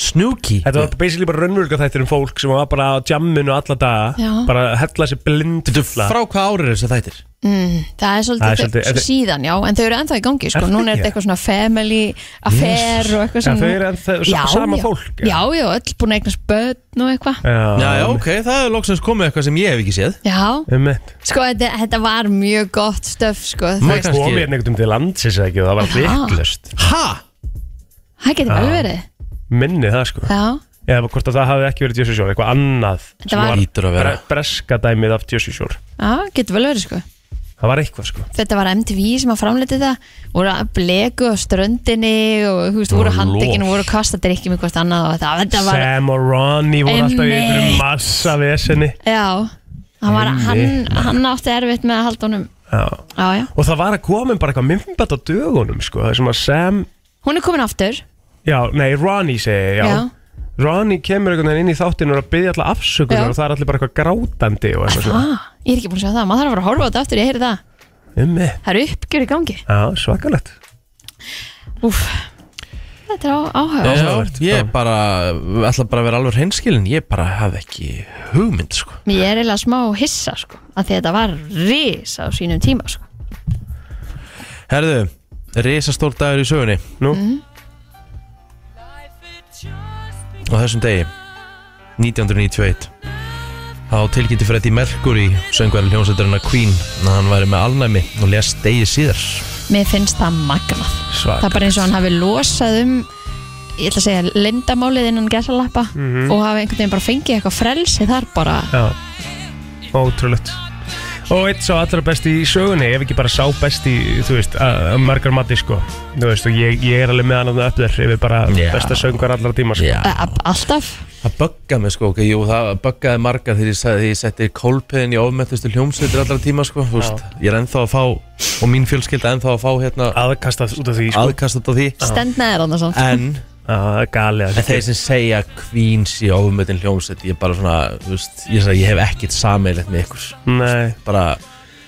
Speaker 1: Snooki
Speaker 3: Þetta var basically bara raunvölga þættir um fólk sem var bara á jamminu alla daga
Speaker 2: Já.
Speaker 3: bara að hella sér blind
Speaker 1: Þetta frá hvað árið þessi þættir?
Speaker 2: það er svolítið,
Speaker 3: Það er svolítið-
Speaker 2: síðan já en þau eru ennþá í gangi sko,
Speaker 3: Er það
Speaker 2: núna er
Speaker 3: ekki?
Speaker 2: þetta eitthvað svona family affair og eitthvað
Speaker 3: Já,
Speaker 2: svona
Speaker 3: þau eru ennþá sa- sama fólk,
Speaker 2: já.
Speaker 3: já.
Speaker 2: já, já, öll búin að eignast börn og eitthvað
Speaker 1: Já, já, ok, það er loksins komið eitthvað sem ég hef ekki séð
Speaker 2: Já,
Speaker 3: Ummitt
Speaker 2: sko þetta, þetta var mjög gott stöf sko, þú
Speaker 1: Má
Speaker 2: veist,
Speaker 1: kannski-
Speaker 3: komið hérna einhvern veginn til landsins eða ekki og það var
Speaker 2: Já.
Speaker 3: viklust
Speaker 1: Ha?
Speaker 2: það getur vel verið
Speaker 3: minni það sko
Speaker 2: Já,
Speaker 3: eða hvort að það hafi ekki verið Jössu Sjór eitthvað annað
Speaker 2: Þetta
Speaker 3: sem
Speaker 2: var-
Speaker 1: Lítur að vera.
Speaker 3: bre- breska dæmið af Jössu Sjór
Speaker 2: já getur vel verið sko
Speaker 3: það var eitthvað sko
Speaker 2: Þetta var MTV sem að framleiti það voru að bleku á ströndinni og þú veist, voru
Speaker 1: Lof.
Speaker 2: handekinu, voru að kasta drikkjum í hvort annað og það, þetta var
Speaker 3: Sam og Ronny voru alltaf í einhverjum
Speaker 2: Einmitt.
Speaker 3: massa vesenni
Speaker 2: Já, hann, var, hann,
Speaker 3: Einmitt.
Speaker 2: hann átti erfitt með að halda honum
Speaker 3: Já.
Speaker 2: Já, já,
Speaker 3: og það var að komin bara eitthvað myndbætt á dögunum sko það sem að Sam
Speaker 2: hún er komin aftur
Speaker 3: já, nei Ronny segi ég, já,
Speaker 2: Já.
Speaker 3: Ronny kemur einhvern veginn inn í þáttinn og er að byggja alltaf afsökunar
Speaker 2: Já.
Speaker 3: og það er allir bara eitthvað grátandi og eitthvað svona
Speaker 2: ah, Ég er ekki búin að sjá það, maður þarf að fara að horfa á þetta aftur, ég heyri það
Speaker 3: Ummi
Speaker 2: Það eru uppgjör í gangi
Speaker 3: Já, svakalegt
Speaker 2: Úf, þetta er á, áhuga
Speaker 3: Já.
Speaker 1: Já, ég bara, ætla bara að vera alveg hreinskilin Ég bara haf ekki hugmynd sko.
Speaker 2: Mér er eiginlega smá hissa sko að því að þetta var risa á sínum tíma sko
Speaker 1: Herðu, risastór dagur í sögunni
Speaker 3: Nú,
Speaker 2: Mm.
Speaker 1: á þessum degi 1991 þá tilkynnti Freddie Mercury söngverðin hljómsveitarina Queen að hann væri með alnæmi og lést degi síðar
Speaker 2: Mér finnst það magnað
Speaker 1: Svak
Speaker 2: Það er bara eins og hann hafi losað um ég ætla að segja lindamálið innan gæsalappa
Speaker 3: Mhm.
Speaker 2: og hafi einhvern veginn bara fengið eitthvað frelsi þar bara
Speaker 3: já Ótrúlegt Og eitt sá allra besti í sögunni Ef ekki bara sá besti, þú veist að- að Margar mati, sko Þú veist, og ég, ég er alveg með hann að það upp þér Yfir bara
Speaker 1: Já.
Speaker 3: besta söngar allra tíma, sko
Speaker 1: Já,
Speaker 2: a- a- alltaf
Speaker 1: það böggaði mig sko, ok, jú, það böggaði margar þegar ég, sagði, þegar ég setti kólpeðin í ofmættustu hljómsveitur allra tíma sko, þú veist, ég er ennþá að fá og mín fjölskylda ennþá að fá hérna
Speaker 3: Aðkastað út af því, sko
Speaker 1: aðkast út af því
Speaker 2: stendnaðir annars samt
Speaker 1: en
Speaker 3: Já, það er galið
Speaker 1: En þeir sem segja Queen sé ofumötin hljómsveit Ég er bara svona, þú veist, ég, sagði, ég hef ekkert sameilegt með ykkur
Speaker 3: Nei,
Speaker 1: Bara,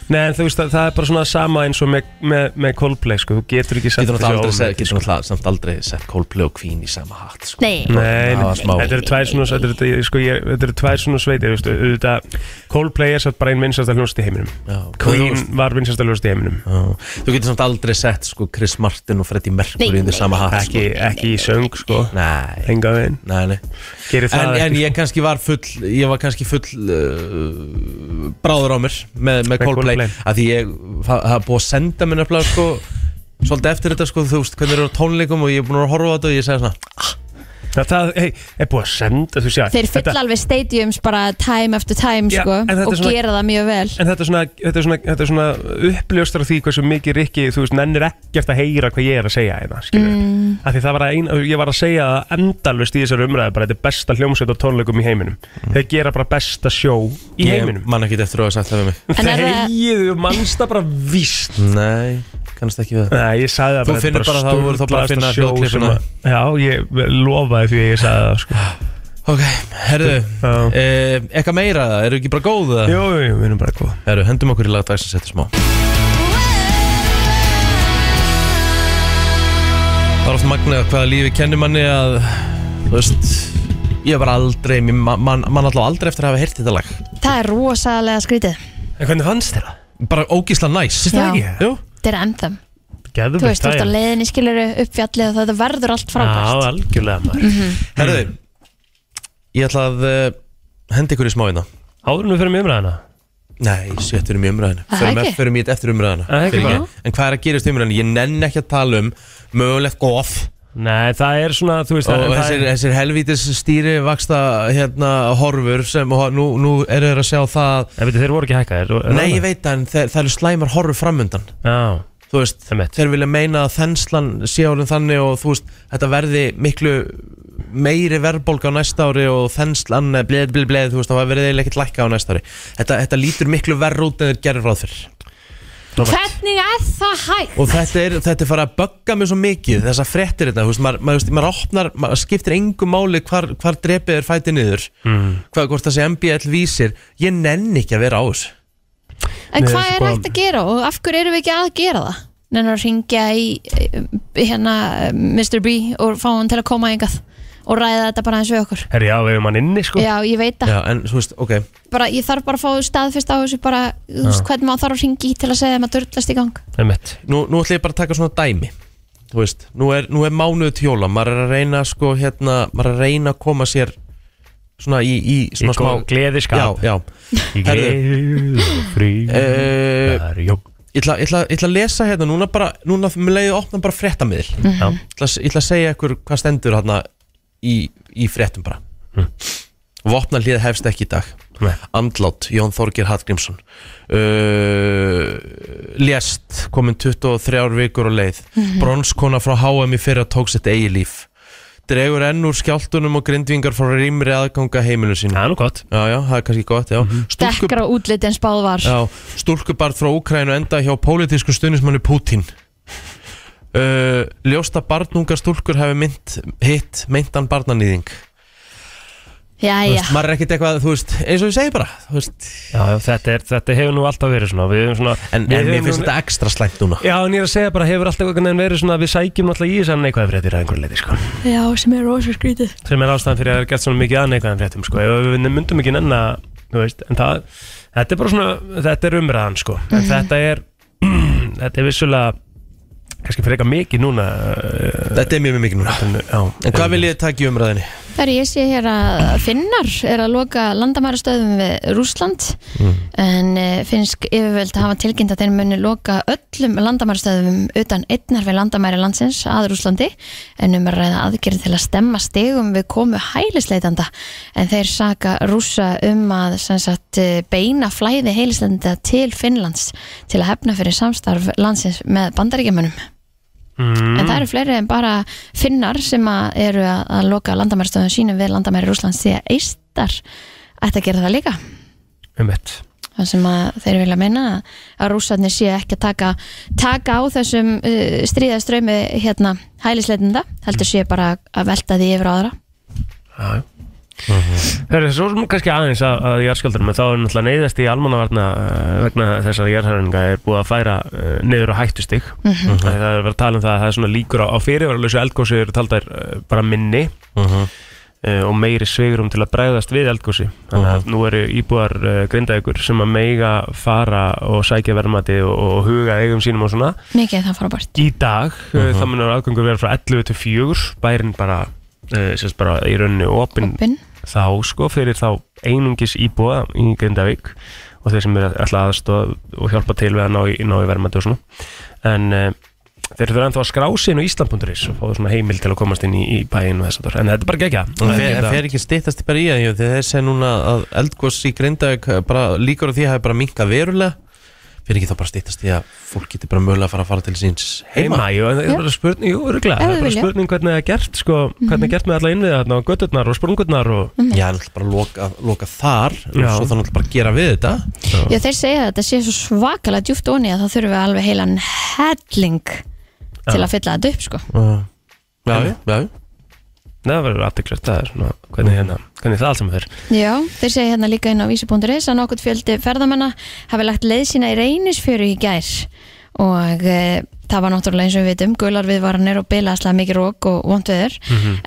Speaker 3: nei, en þú veist, það, það er bara svona sama eins og með, með, með Coldplay, sko Þú getur ekki sagt
Speaker 1: getur náttúrulega aldrei,
Speaker 3: ómögulegt,
Speaker 1: sett- getur náttúrulega samt aldrei sett Coldplay og Queen í sama hatt sko.
Speaker 2: Nei,
Speaker 3: Nei,
Speaker 1: Það var smá.
Speaker 3: þetta eru tvær svona þetta eru- ég- sko, ég- þetta eru tvær svona sveitir veistu, auðvitað, Coldplay er satt bara einn vinsasta hljónst í heiminum
Speaker 1: Já,
Speaker 3: Queen
Speaker 1: þú-
Speaker 3: var vinsasta hljónst í heiminum
Speaker 1: Já. Þú getur samt aldrei sett sko, Chris Martin og Freddie Mercury
Speaker 2: Nei,
Speaker 1: í því
Speaker 2: nei,
Speaker 1: sama hatt sko.
Speaker 3: ekki, ekki í söng sko
Speaker 1: Nei,
Speaker 3: enga veginn,
Speaker 1: nei, nei
Speaker 3: gerir
Speaker 1: En,
Speaker 3: það
Speaker 1: en
Speaker 3: ekki
Speaker 1: ég kannski var full Ég var kannski full uh, Bráður á mér með, með Coldplay
Speaker 3: Coldplay.
Speaker 1: Af því ég, það það er búið að senda mér nefnilega sko, Svolítið eftir þetta sko, Þú veist hvernig eru á tónleikum og ég er búin að horfa á þetta Og ég segja svona,
Speaker 3: Já, það hey, er búið að senda þú sjá
Speaker 2: þeir fylla alveg stadiums bara time efter time
Speaker 3: Já,
Speaker 2: sko
Speaker 3: en þetta er
Speaker 2: og
Speaker 3: svona-
Speaker 2: gera það mjög vel
Speaker 3: En þetta er svona, þetta er svona, þetta er svona uppljóstra því hversu mikið Rikki, þú veist, nennir ekkert að heyra hvað ég er að segja hérna, skilur mm. Því það var að ein, ég var að segja það endalvist í þessari umræði bara, þetta er besta hljómsveit á tónleikum í heiminum Þeir gera bara besta sjó í
Speaker 1: Mm. ég
Speaker 3: heiminum
Speaker 1: man ekki eftir að hafa sagt það við mig
Speaker 2: En er það-
Speaker 3: Þegiðu, þú manst það bara víst
Speaker 1: Nei, kannast ekki við það
Speaker 3: Nei, ég sagði það
Speaker 1: Þú
Speaker 3: bara þetta
Speaker 1: finnur
Speaker 3: er
Speaker 1: bara það, þú verður þá bara að finna
Speaker 3: sturlaðasta sjó
Speaker 1: hljóðklippuna.
Speaker 3: sem að- Já, ég lofaði því að ég sagði það sko.
Speaker 1: Ok, herðu,
Speaker 3: Já.
Speaker 1: eh, eitthvað meira það, eru ekki bara góð það?
Speaker 3: Jú, jú, jú, við erum bara góð
Speaker 1: Herru, hendum okkur í lagdags að setja smá Það er oft magnað hvaða lífi kennir manni að Þú veist, ég var aldrei, mér- man, man, man alltaf aldrei eftir að hafa heyrt þetta lag
Speaker 2: Það er rosalega skrítið
Speaker 3: En hvernig fannst þér það?
Speaker 1: Bara ógísla næs
Speaker 2: það Já.
Speaker 3: ekki?
Speaker 1: Jú,
Speaker 2: Þetta er ennþem
Speaker 3: Geðum
Speaker 2: Þú veist, þú ert á leiðinni skiluru uppfjallið og þetta verður allt
Speaker 3: Já,
Speaker 2: frábært
Speaker 3: algjörlega maður
Speaker 2: Mhm.
Speaker 1: herru Ég ætla að uh, henda ykkur í smá hérna
Speaker 3: Áður en við fyrir með umræðina
Speaker 1: Nei, séttur um í umræðinu
Speaker 2: Það
Speaker 1: Förum
Speaker 2: ekki?
Speaker 1: förum í þetta eftir umræðina
Speaker 3: Það ekki
Speaker 1: Fyrirgefðu. En hvað er að gerast í umræðinu? Ég nenn ekki að tala um mögulegt goff
Speaker 3: Nei, það er svona, þú veist
Speaker 1: og
Speaker 3: það, það
Speaker 1: þessir,
Speaker 3: er,
Speaker 1: þessir helvítis stýri vaksta hérna horfur sem og nú, nú eru þeir að sjá það
Speaker 3: En veitir, Eh, þeir voru ekki hækkaðir og-
Speaker 1: Nei, ég veit það, en þeir, það eru slæmar horfur framundan
Speaker 3: Já,
Speaker 1: Þú veist,
Speaker 3: Einmitt.
Speaker 1: þeir vilja meina að þenslan sé álinn þannig og þú veist, þetta verði miklu meiri verðbólga á næsta ári og þenslan eh, bleið, bleið, bleið, þú veist, það verði eiginlega ekkert lækka á næsta ári Þetta, þetta lítur miklu verð út en þeir gerir ráð fyrir
Speaker 2: Hvernig er það hægt?
Speaker 1: og þetta er, þetta er farið að bögga mig svo mikið þessar frettir þetta, þú veist, maður, maður, þú veist, maður opnar maður skiptir engum máli hvar, hvar drepið er fætið niður, mm. hvað hvort það sé MBL vísir, ég nenn ekki að vera á þessu
Speaker 2: En
Speaker 3: Nei,
Speaker 2: hvað
Speaker 3: sko-
Speaker 2: er hægt að gera og af hverju erum við ekki að gera það? Nennar að ringja í eh, hérna eh, Mr. B og fá hann til að koma engað og ræða þetta bara eins við okkur
Speaker 3: herri, já, við erum hann inni, sko
Speaker 2: Já, ég veit það,
Speaker 1: Já, en þú veist, ok,
Speaker 2: bara, ég þarf bara að fá staðfest á þessu bara, þú veist, hvernig maður þarf að ringi til að segja þeim að dörlast í gang
Speaker 3: Einmitt.
Speaker 1: nú, nú ætla ég bara að taka svona dæmi þú veist, nú er, nú er mánuðu tjóla maður er að reyna sko, hérna maður er að reyna að koma sér svona í, í
Speaker 3: Í
Speaker 1: svona smá
Speaker 3: gó-
Speaker 1: Já,
Speaker 3: gleðiskap
Speaker 1: já
Speaker 3: Í gleði og frí
Speaker 1: Eh,
Speaker 3: Það er jók
Speaker 1: Ég ætla, ég, ætla, ég ætla að lesa hérna, núna bara, núna með leiðið opna bara fréttamiðil
Speaker 2: Mhm.
Speaker 3: Já.
Speaker 1: ég, ætla, ég ætla að segja ykkur hvað stendur hérna í, í fréttum bara
Speaker 3: Mm.
Speaker 1: Vopna hlið hefst ekki í dag
Speaker 3: Nei.
Speaker 1: Andlát, Jón Þorgir Hallgrímsson uh, Lest, komin 23 vikur á leið Bronskona frá HM í fyrra tók sitt eigi líf Dregur enn úr skjáltunum og grindvingar frá rýmri aðganga heimilu sínu
Speaker 3: Það er nú gott
Speaker 1: Já, já, það er kannski gott, já Stúlku-
Speaker 2: Dekkar á útliti en spáð var
Speaker 1: Já, stúlkubarð frá Úkrænu enda hjá pólitísku stuðnismanni Pútín uh, Ljósta barnungar stúlkur hefur mynd, hitt meintan barnanýðing Þú
Speaker 2: Jæja,
Speaker 1: veist, maður er ekkert eitthvað, þú veist, eins og ég segi bara Þú veist,
Speaker 3: Já, já, þetta, er, þetta hefur nú alltaf verið svona Við hefum svona
Speaker 1: en,
Speaker 3: við
Speaker 1: en mér
Speaker 3: höfum
Speaker 1: finnst
Speaker 3: nú-
Speaker 1: þetta ekstra slæmt núna
Speaker 3: Já, en ég er að segja bara hefur alltaf einhvern veginn verið svona Við sækjum náttúrulega í þess að neikvæða fréttir að einhverju leiti sko.
Speaker 2: já, sem er rosa skrítið
Speaker 3: Sem er ástæðan fyrir að það er gert svona mikið að neikvæðan fréttum sko. Ef Við myndum ekki nenn að þú veist, En það, þetta er bara svona Þetta er umræðan sko. En
Speaker 2: Mhm.
Speaker 3: þetta er Þetta er vissulega Kannski fyrir eitthvað mikið núna uh, um- eh,
Speaker 1: Þetta er mjög mjög mikið núna
Speaker 3: en, já,
Speaker 1: En hvað vil ég taka í umræðinni?
Speaker 2: Þegar ég sé hér að finnar er að loka landamærastöðum við Rúsland en e, finnsk yfirvöld hafa tilkynnt að þeir muni loka öllum landamærastöðum utan einnar við landamæri landsins að Rúslandi en um að ræða aðgerð til að stemma stegum við komu hælisleitanda en þeir saka rúsa um að sem sagt, eh, beina flæði hælisleitanda til Finnlands til að hefna fyrir samstarf landsins með bandaríkjamanum
Speaker 3: Mm,
Speaker 2: en það eru fleiri en bara finnar sem að eru að, að loka landamærstöðun sínum við landamæri Rúslands því að eistar ætti að gera það líka
Speaker 3: Um eitt
Speaker 2: það sem að þeir vilja meina að- að rússarnir séu ekki að taka, taka á þessum uh, stríðaströymi hérna hælisleitinda heldur séu bara að velta því yfir á aðra
Speaker 3: Það er svo sem kannski aðeins að, að jarðskjaldunum en þá er náttúrulega neyðast í almannavarna eh, vegna þessar jarðhæringa er búið að færa eh, niður á hættustig mm -hmm. það er verið að tala um það að það er svona líkur á, á fyrirvaralösu eldgósi eru taldar eh, bara minni
Speaker 1: Mhm.
Speaker 3: eh, og meiri sveigrum til að bregðast við eldgósi þannig að nú eru íbúar uh, grindaðugur sem að meiga fara og sækja verðmati og, og huga eigum sínum og svona
Speaker 2: mikið er það farabært
Speaker 3: í dag uh það munur aðgangur vera frá 11 til 4 bærin bara, uh, sérst bara í rauninni opinn
Speaker 2: Opin.
Speaker 3: þá sko fyrir þá einungis íbúa í Grindavík og þeir sem eru alltaf aðstóð og hjálpa til við að ná í, ná í verðmæti og svona en uh, þeir eru ennþá að skrá sig inn á Ísland.is og fá svona heimil til að komast inn í, í bæinn og þess að það en þetta er bara gegja
Speaker 1: En fer, en fer ekki stittast bara í að ég, þegar þeir segja núna að eldgós í Grindavík eh, bara líkur á því að hafi bara minkað verulega fer ekki þá bara stittast í að fólk getur bara mögulega að fara að fara til síns heima
Speaker 3: heima, jú, en það
Speaker 2: Já.
Speaker 3: er bara spurning jú, örugglega,
Speaker 2: Ef
Speaker 3: það
Speaker 2: þau
Speaker 3: er bara
Speaker 2: vilja. Mhm.
Speaker 3: spurning hvernig það er gert sko, hvernig er gert með alla innviða þarna og götturnar og sprungurnar og
Speaker 1: Já, en alltaf bara loka, loka þar
Speaker 3: Já.
Speaker 1: svo þannig alltaf bara að gera við þetta
Speaker 2: já þeir segja að þetta sé svo svakalega djúft onni að það þurfum við alveg heilan helling til að fylla þetta upp sko
Speaker 1: Já, já, já
Speaker 3: það verður aftiklert, það er svona hvernig, hérna, hvernig það allt saman fer
Speaker 2: Já, þeir segja hérna líka inn á vísi.is að nokkurt fjöldi ferðamanna hafi lagt leið sína í reynisfjöru í gær og e, það var náttúrulega eins og við vitum gular viðvaranir og bilaðslega mikið rók og vondveður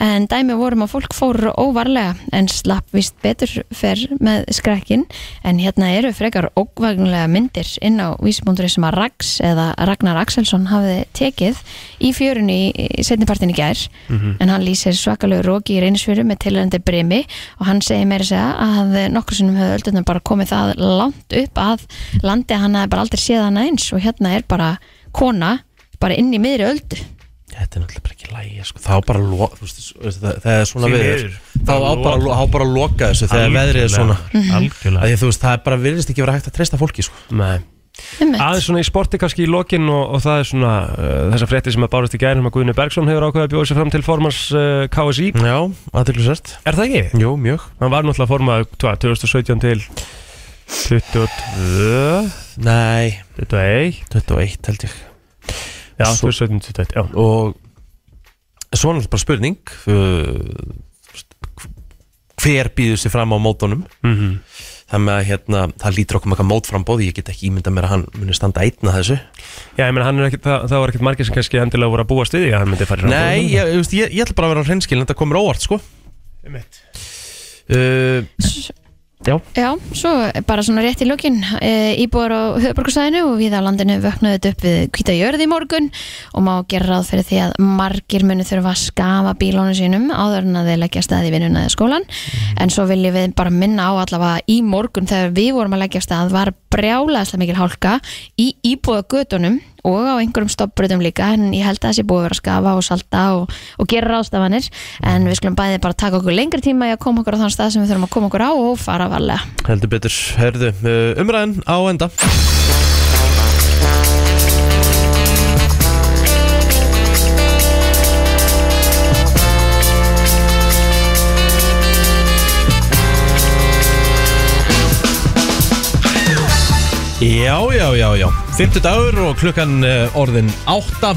Speaker 2: en dæmi vorum að fólk fór óvarlega en slapp vist betur fer með skrekkin en hérna eru frekar óvagnlega myndir inn á vísi.is sem að Rags eða Ragnar Axelsson hafiði tekið í fjörunni í setnipartin í gær en hann lýsir svakalegu róki í reynisfjöru með tilhengandi bremi og hann segir meira að segja að nokkur sinnum höfðu öldurnar bara komið það langt upp að landi að hann hafi bara aldrei séð hana eins og hérna er bara kona bara inn í miðri öldu
Speaker 1: Þetta er náttúrulega bara ekki lægi sko. Þá bara loka, þú veist, þú veist, það, það er svona
Speaker 3: Því
Speaker 1: veður
Speaker 3: miður.
Speaker 1: Þá á bara, lo- á bara að loka þessu þegar veðrið er svona
Speaker 3: algjörlega
Speaker 1: Af Því að þú veist, það er bara virðist ekki vera hægt að treysta fólki sko.
Speaker 3: Nei.
Speaker 2: Einmitt.
Speaker 3: aðeins svona í sporti kannski í lokin og, og það er svona uh, þessar fréttir sem að bárust í gæðin um að Guðni Bergson hefur ákveðið að bjóða sér fram til formans uh, KSI
Speaker 1: Já, aðeinsvært
Speaker 3: er það ekki?
Speaker 1: Jú, mjög
Speaker 3: hann var náttúrulega formað 2017 til 22
Speaker 1: Nei,
Speaker 3: 21
Speaker 1: 21 held ég
Speaker 3: já,
Speaker 1: Svo-
Speaker 3: 2017 21 já.
Speaker 1: og svo er náttúrulega bara spurning uh, hver býður sér fram á mótunum
Speaker 3: Mm
Speaker 1: það með að hérna, það lítur okkur með eitthvað mótframbóð ég get ekki ímyndað mér að hann muni standa einn að þessu
Speaker 3: já, ég meina hann er ekkit það, það var ekkit margir sem kannski endilega voru að búa stuði að hann myndi fara í
Speaker 1: Nei, ég, ég, veist, ég, ég ætla bara að vera á hreinskilin þetta komur óvart sko
Speaker 3: Einmitt.
Speaker 1: uh,
Speaker 2: Já, svo bara svona rétt í lókin e, Íbúar á höfuborgarsæðinu og við á landinu vöknuðu þetta upp við hvita jörð í morgun og má gera ráð fyrir því að margir munu þurfa að skafa bílónu sínum áður en að þeir leggja af stað í vinnuna eða skólan en svo viljum við bara minna á allavega í morgun þegar við vorum að leggja af stað var brjálaðslega mikil hálka í íbúa gödunum og á einhverjum stoppbrutum líka en ég held að það sé búið að vera að skafa og salta og, og gera ráðstafanir en við skulum bæði bara taka okkur lengri tíma í að koma okkur á þann stað sem við þurfum að koma okkur á og fara varlega
Speaker 1: heldur betur, herðu uh, umræðin á enda Já, já, já, já 50 dagur og klukkan eh, orðin 8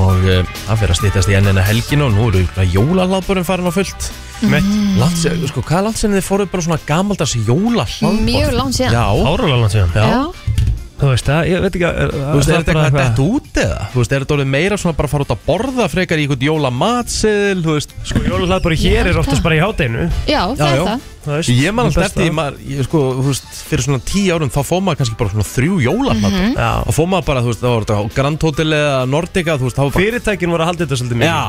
Speaker 1: og eh, það fyrir að stýttast í ennina helgin og nú eru jólahlaðbúrin farin á fullt
Speaker 3: Meitt.
Speaker 1: Langt, sé- sko, hvað er langt sinni þið fóruð bara svona gamaldags jólahlaðbúr?
Speaker 2: Mjög langt síðan.
Speaker 1: Já,
Speaker 3: Áralega langt síðan
Speaker 1: já.
Speaker 3: Þú veist það, ég veit ekki að
Speaker 1: Þú veist, er þetta eitthvað dett út eða? Þú veist, er þetta orðið meira svona bara að fara út að borða frekar í einhvern jólamatseðil, þú veist
Speaker 3: Sko, jólahlaðbúri hér er oftast bara í hátinu
Speaker 2: Já, það
Speaker 1: já.
Speaker 2: er það.
Speaker 1: Ég man alltaf eftir, ég, maður- ég, sko, þú veist, fyrir svona tíu árum þá fór maður kannski bara svona þrjú jólahlaðbúr mm
Speaker 3: Já.
Speaker 1: -hmm. og fór maður bara, þú veist, þá var þetta á Grand Hotel eða Nordica, þú veist, þá var bara
Speaker 3: Fyrirtækin voru að halda þetta svolítið mikið
Speaker 1: Já,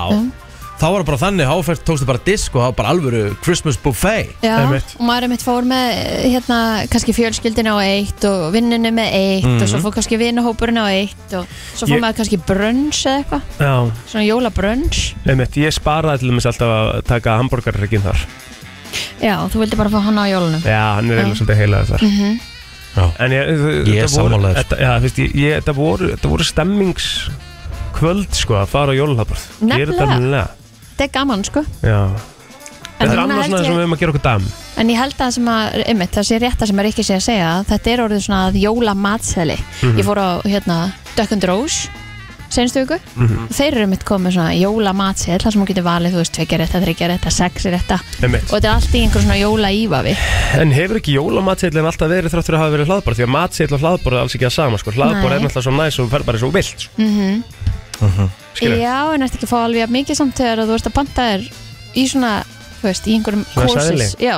Speaker 1: þá var það bara þannig, háferð tókstu bara disk og það var bara alvöru Christmas buffet
Speaker 2: Já,
Speaker 3: Einmitt.
Speaker 2: og maður er mitt fór með hérna, kannski fjölskyldin á eitt og vinnunni með eitt og svo fór kannski vinnahópurinn á eitt og svo fór
Speaker 3: Ég-
Speaker 2: maður kannski brunch eða eitthvað,
Speaker 3: Já,
Speaker 2: svona jólabrunch
Speaker 3: einmitt, ég sparaði til þess alltaf að taka hambúrgarreikinn þar
Speaker 2: Já, þú vildi bara fá hana á jólunum
Speaker 3: Já, hann er eiginlega svolítið heilaði þar
Speaker 2: Mhm.
Speaker 1: Já.
Speaker 3: En ég,
Speaker 1: Ég er
Speaker 3: þetta voru-
Speaker 1: sammála þér.
Speaker 3: þetta- Já, þú veist, ég, ég, það voru, þetta voru stemmings sko að fara á jólahlaðbúrð Ég er þetta
Speaker 2: Nefnilega.
Speaker 3: alveg
Speaker 2: Þetta er gaman sko
Speaker 3: Já Þetta
Speaker 2: núna
Speaker 3: er annars
Speaker 2: held
Speaker 3: svona
Speaker 2: ég-
Speaker 3: sem við erum að gera okkur dam
Speaker 2: En ég held að sem að, einmitt, það sé rétt að sem er ekki sé að segja að þetta er orðið svona að jólamatseli Ég fór á hérna Duck and Rose senstu viku Þeir eru mitt komið svona jólamatsel þar sem hún getur valið, þú veist, tvekja rétta, þryggja rétta, sex rétta
Speaker 3: Einmitt.
Speaker 2: og þetta er allt í einhver svona jóla ívafi
Speaker 3: En hefur ekki jólamatseitlinn alltaf verið þrátt fyrir að hafa verið hlaðbór Því að matseitl og hlaðbór er alls ekki að sama sko. Hlaðbór
Speaker 2: Nei.
Speaker 3: er náttúrulega svo næs og fer bara svo vilt sko. Skilur?
Speaker 2: Já, en ert ekki að fá alveg jafn mikið samt þegar að þú ert að panta þér í svona, þú veist, í einhverjum
Speaker 3: Svona
Speaker 2: courses Já,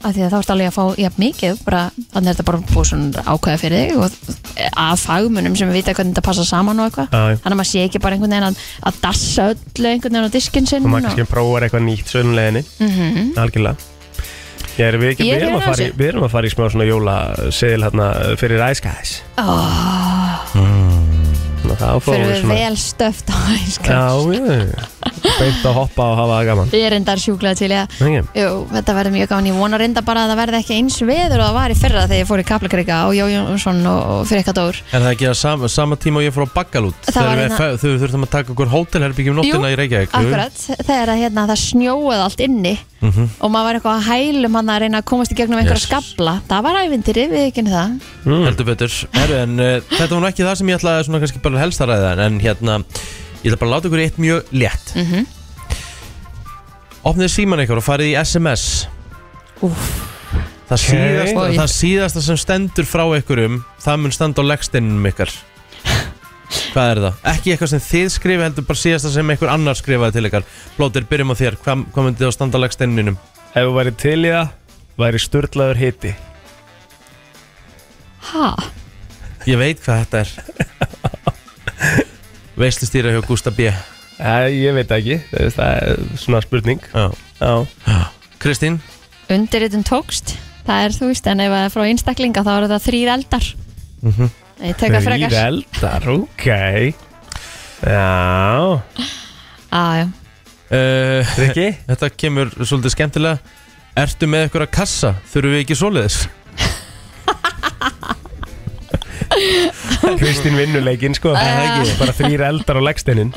Speaker 2: af því að þá ert alveg að fá jafn mikið, bara, þannig er þetta bara búið svona ákveða fyrir þig og að fagmunum sem vita hvernig þetta passa saman og eitthvað
Speaker 3: Já, já.
Speaker 2: Þannig að maður sé ekki bara einhvern veginn að, að dassa öllu einhvern veginn á diskinn sinn
Speaker 3: Og maður kannski prófar eitthvað nýtt sögumleginni
Speaker 2: Mhm.
Speaker 3: Algjörlega Ég er, við, ekki,
Speaker 2: Ég
Speaker 3: við, erum
Speaker 2: er
Speaker 3: að fara í,
Speaker 2: þessu.
Speaker 3: við erum að fara í smá svona jólaseil hérna, fyrir Ice Guys Ná, Þá fáum
Speaker 2: Fyrir
Speaker 3: við
Speaker 2: við
Speaker 3: svona
Speaker 2: vel stöft á
Speaker 3: Já,
Speaker 2: einskans
Speaker 3: já, já. beint að hoppa og hafa það gaman
Speaker 2: Ég er enda sjúklað til ég að
Speaker 3: Nei,
Speaker 2: Jú, þetta verður mjög gaman, ég vonar reynda bara að það verði ekki eins veður og það var í fyrra þegar ég fór í Kaplakrika og Jó Jónsson og og fyrir eitthvað dór
Speaker 1: Er það ekki að sama, sama tíma og ég fór á Baggalút
Speaker 2: Það var
Speaker 1: Þegar við
Speaker 2: hérna-
Speaker 1: fe- þau þurftum að taka okkur hótelherbyggjum nóttina
Speaker 2: Jú,
Speaker 1: í Reykjavík jú.
Speaker 2: Akkurat, þegar að hérna, það snjóaði allt inni
Speaker 3: Mhm.
Speaker 2: og maður var eitthvað að hælum hann að reyna að komast í gegnum einhverja
Speaker 1: Yes.
Speaker 2: skabla það var ævindiri, við ekki það
Speaker 1: Mm. Heldur betur Heru, en, uh, Þetta var nú ekki það sem ég ætlaði svona kannski bara helst að ræða en- En hérna, ég ætla bara að láta ykkur í eitt mjög létt mm
Speaker 2: Mhm.
Speaker 1: Opnið síman ykkur og farið í SMS
Speaker 2: Úff,
Speaker 1: Það, síðasta,
Speaker 2: Oj.
Speaker 1: það síðasta sem stendur frá ykkurum Það mun standa á legstinnum ykkar Hvað er það? Ekki eitthvað sem þið skrifa heldur bara síðasta sem einhver annar skrifaði til ykkar Blóttir, byrjum á þér, hvað, hvað myndið það standa á legstinninum?
Speaker 3: Ef þú væri til í það, væri störtlaður hiti
Speaker 2: ha,
Speaker 1: Ég veit hvað þetta er Veistustýra hjá Gústa B
Speaker 3: Æ, Ég veit það ekki, það er- það er svona spurning
Speaker 1: Já.
Speaker 3: Já,
Speaker 1: Kristín,
Speaker 2: undirritun tókst það er þú veist, en ef það er frá einstaklinga þá eru það þrýr eldar
Speaker 3: Mhm.
Speaker 2: ég tek að
Speaker 3: Þrýr
Speaker 2: frekar
Speaker 3: eldar, ok Já,
Speaker 2: ah, já.
Speaker 1: uh,
Speaker 3: Rikki
Speaker 1: þetta kemur svolítið skemmtilega Ertu með ykkur að kassa? Þurfum við ekki svoleiðis?
Speaker 3: Kristín vinnur leikinn sko
Speaker 1: það ekki?
Speaker 3: Bara þrýr eldar á leggsteinin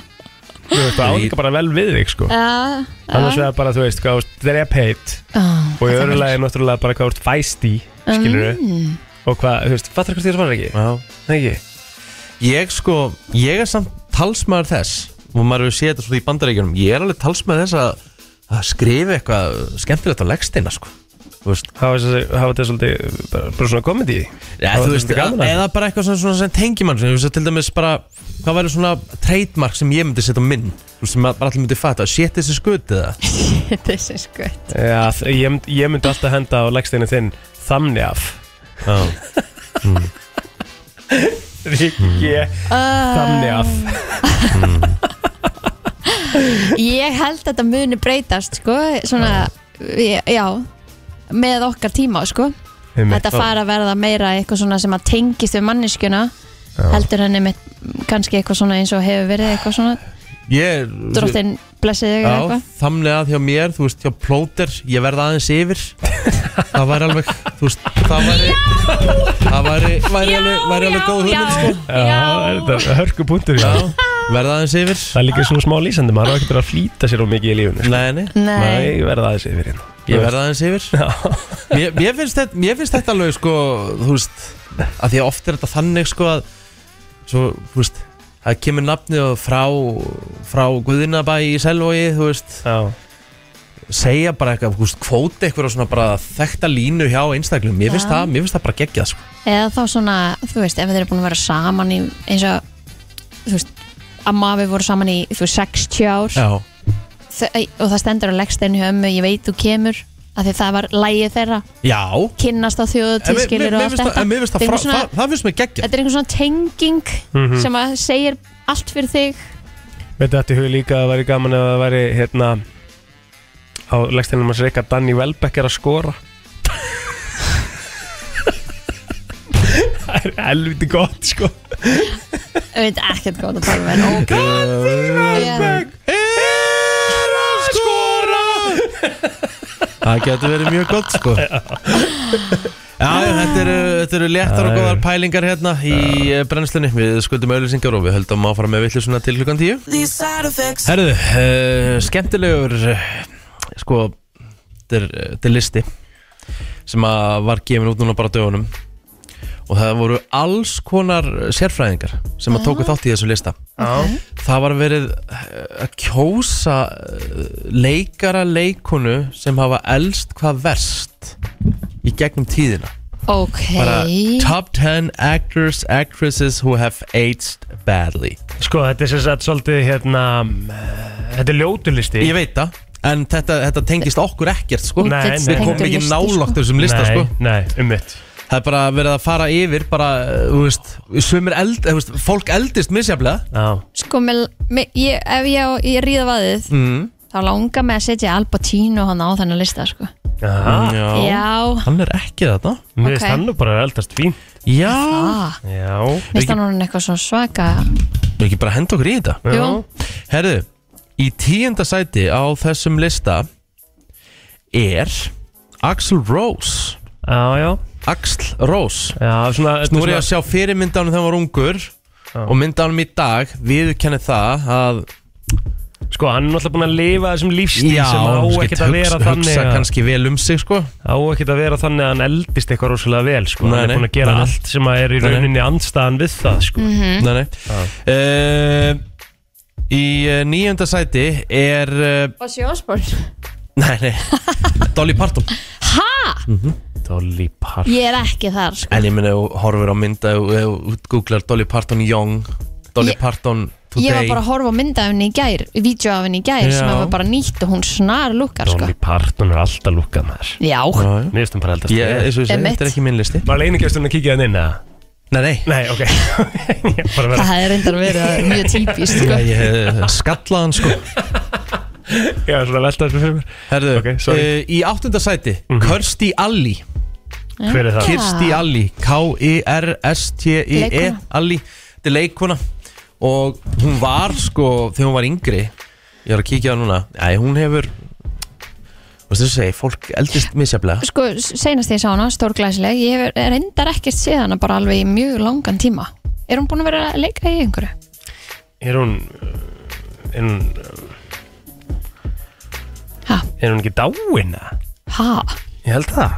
Speaker 3: Þú veist, það álíka bara vel við þig sko
Speaker 2: Ah,
Speaker 3: Annars vegar bara, þú veist, hvað þú ert drep heitt
Speaker 2: ah,
Speaker 3: Og í
Speaker 2: þetta
Speaker 3: öðru
Speaker 2: var-
Speaker 3: lagi náttúrulega bara hvað þú ert fæst í Skilur
Speaker 2: Mm.
Speaker 3: Og hvað, þú veist, fattar hvað þér svarar ekki?
Speaker 1: Já
Speaker 3: Nei ekki
Speaker 1: Ég sko, ég er samt talsmaður þess og maður hefur séð þetta svona í bandaríkjunum ég er alveg talsmaður þess að, að skrifa eitthvað skemmtilegt á leggsteina sko. Þú veist,
Speaker 3: Hafa þessi- hafa þetta svolítið, bara, bara svona komedi
Speaker 1: ja, þú veist
Speaker 3: gaman
Speaker 1: eða
Speaker 3: að
Speaker 1: eða bara eitthvað svona, svona sem tengi mann sem, til dæmis bara, hvað væri svona trademark sem ég myndi setja á minn þú veist, sem að bara allir myndi fatta, shit þessi skutið það
Speaker 2: This is good
Speaker 3: Já, þ- ég, mynd- ég myndi alltaf henda á leggsteinu þinn Þannig af
Speaker 2: Mm.
Speaker 3: Rikki,
Speaker 2: Ah,
Speaker 3: þannig af
Speaker 2: Ég held að þetta muni breytast sko,
Speaker 3: Ah.
Speaker 2: svona, ég- já með okkar tíma sko
Speaker 3: Einmitt.
Speaker 2: Þetta fara að verða meira eitthvað svona sem að tengist við manneskjuna heldur henni með kannski eitthvað svona eins og hefur verið eitthvað svona
Speaker 1: ég er
Speaker 2: drottin blessið eða
Speaker 1: Já,
Speaker 2: eitthvað
Speaker 1: þamlega að hjá mér, þú veist, hjá plóter Ég verð aðeins yfir Það væri alveg, þú veist, það væri Það væri, væri alveg, væri alveg góð hugmynd sko.
Speaker 3: Já, þetta er hörku punktur já.
Speaker 1: Já, verða aðeins yfir
Speaker 3: Það er líka svona smá lýsandi, maður á ekki bara að flýta sér of mikið í sko. lífunu
Speaker 1: Nei, nei,
Speaker 2: Nei,
Speaker 3: Nei, ég verða aðeins yfir hérna
Speaker 1: ég verða aðeins yfir mér, mér, finnst þetta, mér finnst þetta alveg sko, þú veist að því að oft er þetta þannig sko að svo, þú veist það kemur nafnið frá, frá Guðinabæ í Selvogi, þú veist
Speaker 3: Já,
Speaker 1: segja bara eitthvað, þú veist, kvóti eitthvað svona bara þekta línu hjá einstaklum mér finnst
Speaker 2: Já.
Speaker 1: það, mér finnst það bara geggjað sko.
Speaker 2: eða þá svona, þú veist, ef þeir eru búin að vera saman í eins og þú veist, amma við voru saman í þú veist, 60 ár
Speaker 1: Já,
Speaker 2: Þau- og það stendur á leggsteinu hjá ömmu, ég veit þú kemur af því það var lægið þeirra
Speaker 1: já
Speaker 2: kynnast á
Speaker 1: En mér- mér-
Speaker 2: þjóðutískilur
Speaker 1: mér
Speaker 2: og allt
Speaker 1: finnst það-
Speaker 2: þetta
Speaker 1: en mér finnst það
Speaker 2: Þetta er
Speaker 1: frá-
Speaker 2: einhver svona-
Speaker 1: það- það finnst mér geggjað
Speaker 2: þetta er einhvern svona tenging
Speaker 3: Mhm.
Speaker 2: sem að segir allt fyrir þig
Speaker 3: Mér þetta í hug líka að það væri gaman að það væri hérna á leggstæðinum hans Rikka Danny Welbeck er að skora Það er helviti gott sko
Speaker 2: ég veit ekkert hvað það tala um með og
Speaker 1: Welbeck er að skora Það getur verið mjög gott sko Já, já, þetta eru, þetta eru léttar og góðar pælingar hérna í eh, brennslunni Við skuldum auðlýsingar og við höldum áfram með villu til klukkan tíu Herðu, uh, skemmtilegur eh, sko þetta er, eh, þetta er listi sem að var gefin út núna bara á dögunum og það voru alls konar sérfræðingar sem að tóku þátt í þessu lista
Speaker 3: Já,
Speaker 1: það var verið eh, að kjósa eh, leikara leikonu sem hafa elst hvað verst í gegnum tíðina
Speaker 2: ok
Speaker 1: bara top 10 actors, actresses who have aged badly
Speaker 3: sko þetta er sem sagt svolítið hérna eh, þetta er ljótulisti
Speaker 1: ég veit það, en þetta, þetta tengist okkur ekkert sko,
Speaker 3: Nei, nei.
Speaker 1: við komum
Speaker 2: Útlitstengdur
Speaker 1: ekki
Speaker 2: listi,
Speaker 1: nálagt þessum lista
Speaker 3: Nei,
Speaker 1: sko
Speaker 3: nei, um mitt
Speaker 1: það er bara verið að fara yfir bara, eh, þú veist, sumir eld eh, þú veist, fólk eldist misjaflega
Speaker 3: Já,
Speaker 2: sko, með, með, ég, ef ég, á- ég ríða vaðið
Speaker 1: mm.
Speaker 2: þá langar mig að setja Al Pacino hann á þennan lista sko.
Speaker 3: Mm, já,
Speaker 1: já,
Speaker 2: já,
Speaker 1: hann er ekki þetta
Speaker 3: mér finnst
Speaker 2: ok.
Speaker 3: hann nú bara eldast fín
Speaker 1: já,
Speaker 2: ah,
Speaker 3: Já,
Speaker 2: minnst hann orðin eitthvað svona svaka
Speaker 1: við ekki bara henda okkur í þetta
Speaker 2: jú,
Speaker 1: Herðu, í tíunda sæti á þessum lista er Axl Rose
Speaker 3: já, já,
Speaker 1: Axl Rose
Speaker 3: já svona, þetta er
Speaker 1: Nú er ég að
Speaker 3: svona-
Speaker 1: sjá fyrir myndanum þegar hann var ungur og myndanum í dag viðkenni það að
Speaker 3: Sko, hann er náttúrulega búin að lifa þessum lífstíl sem á
Speaker 1: kannski
Speaker 3: ekkert að vera
Speaker 1: hugsa,
Speaker 3: þannig
Speaker 1: hugsa
Speaker 3: að-
Speaker 1: kannski vel um sig sko
Speaker 3: á ekkert að vera þannig að hann eldist eitthvað rosalega vel sko.
Speaker 1: Nei,
Speaker 3: hann er
Speaker 1: nei,
Speaker 3: búin að gera
Speaker 1: nei, nei.
Speaker 3: allt sem að er í
Speaker 1: Nei, nei.
Speaker 3: rauninni andstaðan við það sko.
Speaker 1: Nei, nei uh, Í eh, níunda sæti er uh,
Speaker 2: Ossi Osborn
Speaker 1: Nei, nei Dolly Parton
Speaker 3: Dolly Parton
Speaker 2: ég er ekki þar sko.
Speaker 1: En ég meni, þú horfir á mynda og þú googlar Dolly Parton Young Dolly
Speaker 2: Ég-
Speaker 1: Parton Today
Speaker 2: ég var bara að horfa á mynda af henni í gær vídeo af henni í gær sem
Speaker 1: Já.
Speaker 2: var bara nýtt og hún snar lukkar sko.
Speaker 3: Dolly Parton er alltaf lukkað með þess
Speaker 2: já,
Speaker 1: Já, já.
Speaker 3: mér finnst hann bara eldast
Speaker 1: Ég,
Speaker 3: vel
Speaker 1: eins og ég segi,
Speaker 2: Einmitt.
Speaker 1: þetta er ekki minn listi
Speaker 3: Var leini gæsturinn að kíkja hann inn eða?
Speaker 1: Nei, nei
Speaker 3: Nei, ok Ég bara verið-
Speaker 2: það er reyndar að vera mjög típist
Speaker 1: Já,
Speaker 2: sko.
Speaker 1: Ég eh, skallaði hann sko
Speaker 3: Ég var svona að velta þessu fyrir mér
Speaker 1: Herðu,
Speaker 3: Ok, sorry.
Speaker 1: eh, í áttunda sæti Kirsti Alli
Speaker 3: Hver er það?
Speaker 1: Kirsti Alli K-I-R-S-T-I-E
Speaker 2: Leikkona.
Speaker 1: Alli Þetta er leikuna Og hún var sko, þegar hún var yngri Ég var að kíkja á núna Æ, hún hefur Þú veist þú segi, fólk eldist misjaflega
Speaker 2: sko, seinast ég sá hana, stórglæsileg ég hef reyndar ekkert séð hana bara alveg í mjög langan tíma er hún búin að vera að leika í einhverju?
Speaker 3: Er hún Er hún,
Speaker 2: ha,
Speaker 3: er hún ekki dáin eða?
Speaker 2: ha,
Speaker 3: Ég held það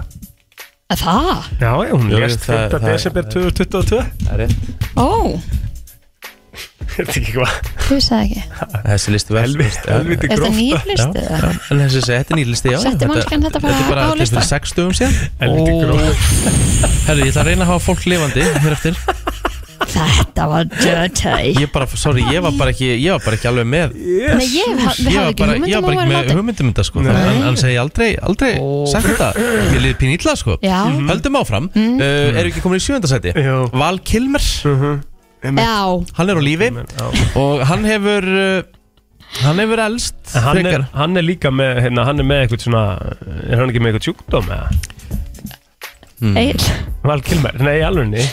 Speaker 2: að það?
Speaker 3: Já, já, hún
Speaker 1: Jú,
Speaker 3: lést
Speaker 1: það-
Speaker 3: 5.
Speaker 1: það-
Speaker 3: desember 2022
Speaker 1: Það er rétt
Speaker 2: ó,
Speaker 3: Er þetta ekki hvað?
Speaker 2: þú sagði ekki
Speaker 1: Þessi listi var
Speaker 3: Helviti, helviti
Speaker 2: er þetta
Speaker 3: gróft
Speaker 2: nýr listi?
Speaker 1: Já, En þessi segi, þetta er nýrlisti, já já,
Speaker 2: Setti mannskjan þetta bara
Speaker 1: Þetta er
Speaker 2: á
Speaker 1: bara til
Speaker 2: listan?
Speaker 1: fyrir sex dögum síðan
Speaker 3: Helviti
Speaker 1: Og-
Speaker 3: gróft
Speaker 1: Herri, ég ætla að reyna að hafa fólk lifandi hér eftir
Speaker 2: þetta var dirty
Speaker 1: Ég bara, sorry, ég var bara ekki, ég var bara ekki alveg með
Speaker 2: Nei, ég haf- hafði
Speaker 1: Ég var
Speaker 2: ekki
Speaker 1: bara, ég var
Speaker 2: hugmynd um
Speaker 1: bara ekki
Speaker 2: að vera
Speaker 1: með
Speaker 2: látin
Speaker 1: hugmyndum þetta sko
Speaker 3: Nei.
Speaker 1: Þannig að hann segi aldrei, aldrei sagt þetta Mér liði pín illa sko
Speaker 2: já, Mhm.
Speaker 1: Höldum áfram, mm. uh, eru ekki komin í sjöndasæti
Speaker 3: Jú.
Speaker 1: Val Kilmer,
Speaker 2: já,
Speaker 1: hann er á lífi
Speaker 3: Já.
Speaker 1: Og hann hefur uh, Hann hefur elst
Speaker 3: En hann er,
Speaker 1: frekar.
Speaker 3: hann er líka með, hérna, hann er með eitthvað svona, er hann ekki með eitthvað sjúkdóm eða?
Speaker 1: Mm.
Speaker 2: eil
Speaker 3: Val Kilmer, nei, alveg niður,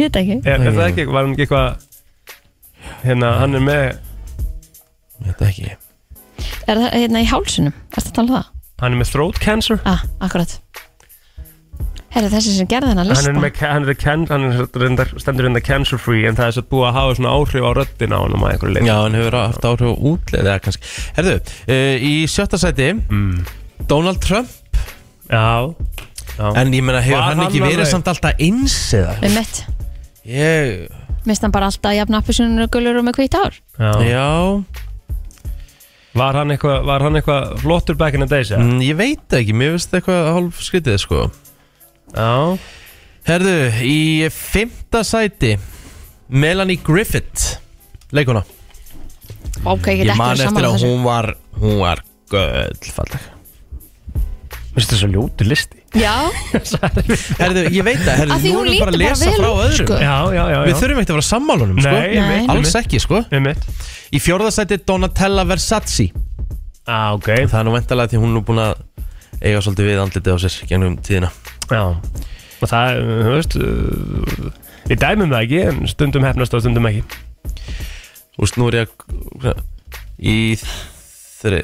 Speaker 2: ég veit ekki
Speaker 1: Eh.
Speaker 3: er, er það ekki, var hann ekki eitthvað, hérna, hann er með,
Speaker 1: Þetta ekki
Speaker 2: Er það hérna í hálsunum? Ertu að tala um það?
Speaker 3: hann er með throat cancer,
Speaker 2: Ah, akkurat Herra þessi sem gerði hennar
Speaker 3: hann
Speaker 2: lista
Speaker 3: er með, ca- hann er, can, hann er reyndar, stendur reyndar cancer free, en það er svo búið að hafa svona áhrif á röddina á hann um að einhverju leið.
Speaker 1: Já, hann hefur haft áhrif á útleið eða kannski Herðu, uh, í sjötta sæti Mm. Donald Trump
Speaker 3: Já, já,
Speaker 1: En ég meina, hefur
Speaker 3: Var
Speaker 1: hann,
Speaker 3: hann
Speaker 1: ekki verið
Speaker 3: alveg-
Speaker 1: samt alltaf eins eða?
Speaker 2: Við mitt
Speaker 1: Ég,
Speaker 2: mist hann bara alltaf jafn appisunum og gulur og með hvitt ár
Speaker 3: Já.
Speaker 1: Já,
Speaker 3: Var hann eitthvað var hann eitthvað flottur back in the days? Mm.
Speaker 1: mm, ég veit ekki, mér finnst eitthvað hálf skytið sko
Speaker 3: Já,
Speaker 1: Herðu, í fymta sæti Melanie Griffith Leikuna
Speaker 2: ok, ég get
Speaker 1: Ég
Speaker 2: ekki
Speaker 1: man
Speaker 2: verið
Speaker 1: eftir
Speaker 2: sammála
Speaker 1: að
Speaker 2: þessu
Speaker 1: hún var Hún var göllfalleg
Speaker 3: finnst þetta svo ljóti listi
Speaker 2: já,
Speaker 1: Herðu, ég veit það, herðu,
Speaker 2: Af því
Speaker 1: nú erum
Speaker 2: hún
Speaker 1: við bara að
Speaker 2: lítur bara
Speaker 1: lesa
Speaker 2: vel
Speaker 1: frá
Speaker 2: út,
Speaker 1: öðrum
Speaker 2: sko.
Speaker 3: Já, já, já, já.
Speaker 1: Við þurfum ekkert að vera sammálunum, sko
Speaker 3: Nei,
Speaker 2: Nei.
Speaker 3: einmitt,
Speaker 1: Alls ekki, sko
Speaker 3: einmitt
Speaker 1: Í fjórðasæti Donatella Versace
Speaker 3: Já, ok
Speaker 1: Það er nú vendalega því hún er nú búin að eiga svolítið við andlitið á sér gennum tíðina
Speaker 3: Já Og það, eh, þú veist uh, Við dæmum það ekki en stundum hefnast og stundum ekki
Speaker 1: Þú veist, nú er ég að Í þri...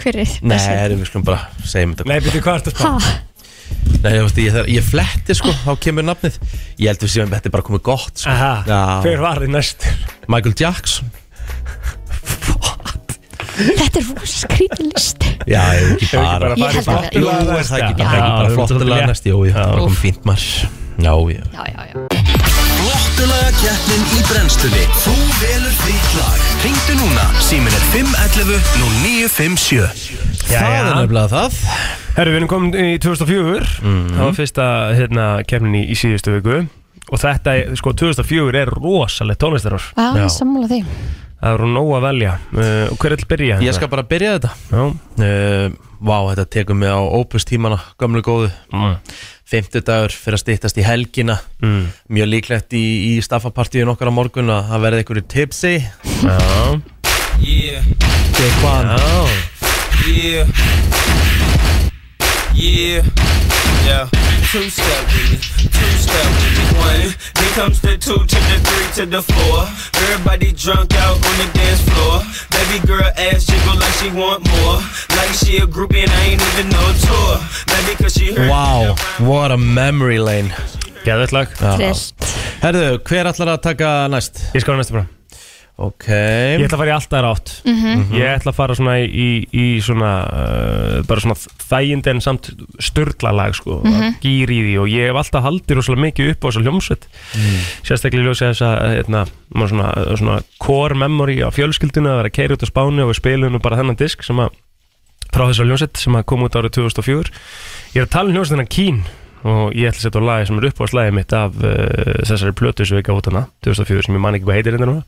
Speaker 2: hver er
Speaker 1: Nei, herru, við skulum bara segjum þetta
Speaker 3: Nei, byrju hvað ertu að spá?
Speaker 2: ha,
Speaker 1: Nei, ég, veist, ég, þarf- ég fletti sko, þá kemur nafnið Ég held við séum að þetta er bara komið gott sko.
Speaker 3: Aha,
Speaker 1: Já.
Speaker 3: hver var þið næstur?
Speaker 1: Michael Jackson
Speaker 2: þetta er rosa skrítið listi
Speaker 1: Já, ég er ekki bara
Speaker 2: Ég held að-
Speaker 1: Jú, er það ekki bara, ekki bara flottilega næst Jú, jú, það kom fínt marg Já, já
Speaker 2: já, já, já,
Speaker 4: Flottulega keppnin í brennstunni Þú velur þitt lag Ringdu núna, símin er 511 0957
Speaker 3: Já,
Speaker 1: Það er
Speaker 3: já.
Speaker 1: nefnilega Mhm. það
Speaker 3: Herru, við erum komin í 2004 Það var fyrsta hérna, kemnin í, í síðustu viku Og þetta, er- sko, 2004 er rosalegt tónlistarár
Speaker 2: já, ég er sammála því
Speaker 3: Það eru nóg að velja uh, Og hver er að byrja?
Speaker 1: Ég skal bara byrja þetta
Speaker 3: Já,
Speaker 1: uh, Vá, þetta tekur mig á ópust tímana Gamlu góðu
Speaker 3: mm.
Speaker 1: Fimmtudagur fyrir að styttast í helgina
Speaker 3: Mm.
Speaker 1: Mjög líklegt í, í staffapartíun okkar á morgun að það verði einhverju tipsi
Speaker 3: já
Speaker 5: Yeah,
Speaker 1: Þegar hvaðan
Speaker 3: Já,
Speaker 5: yeah, yeah, yeah. Two step with me, two step with me. One, here comes the two to the three to the four. Everybody drunk out on the dance floor. Baby girl ass jiggle like she want more. Like she a groupie and I ain't even know a tour. Maybe cause she heard.
Speaker 1: Wow, what a memory lane
Speaker 3: geðvægt lag
Speaker 2: trillt,
Speaker 1: Herðu, hver ætlar að taka næst?
Speaker 3: Ég skal á næsta bara
Speaker 1: Ok
Speaker 3: Ég ætla að fara í alltaf rátt Ég ætla að fara svona í, í, í svona uh, bara svona þægind en samt störla lag sko, mm gýr í því og ég hef alltaf haldið rosalega mikið upp á þessa hljómsveit sérstaklega í ljósi þess að hérna, maður svona, svona core memory á fjölskylduna að vera að keira út á spáni og við spilum nú bara þennan disk sem að frá þessa hljómsveit sem að kom út árið 2004 Ég er að tala um hljómsveitina Kín og ég ætla að setja á lagi sem er upp á slagið mitt af uh, þessari plötu sem við gaf út hana 2004 sem ég man ekki hvað heitir hérna núna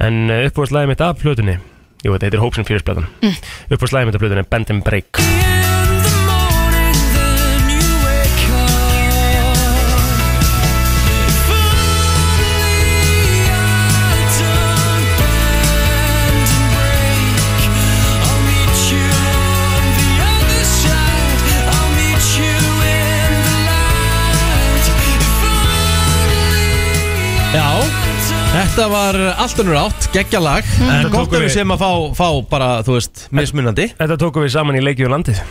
Speaker 3: En uh, uppbúðslæðið mitt af plötunni Jú, þetta heitir Hopes and Fears platan mm. Uppbúðslæðið mitt af plötunni er Bend and Break
Speaker 1: Já, þetta var allt önnur átt, geggja lag En
Speaker 3: Þetta
Speaker 1: gott
Speaker 3: tókum
Speaker 1: að við
Speaker 3: við-
Speaker 1: sem að fá, fá bara, þú veist, mismunandi
Speaker 3: Þetta tókum við saman í leikið og landið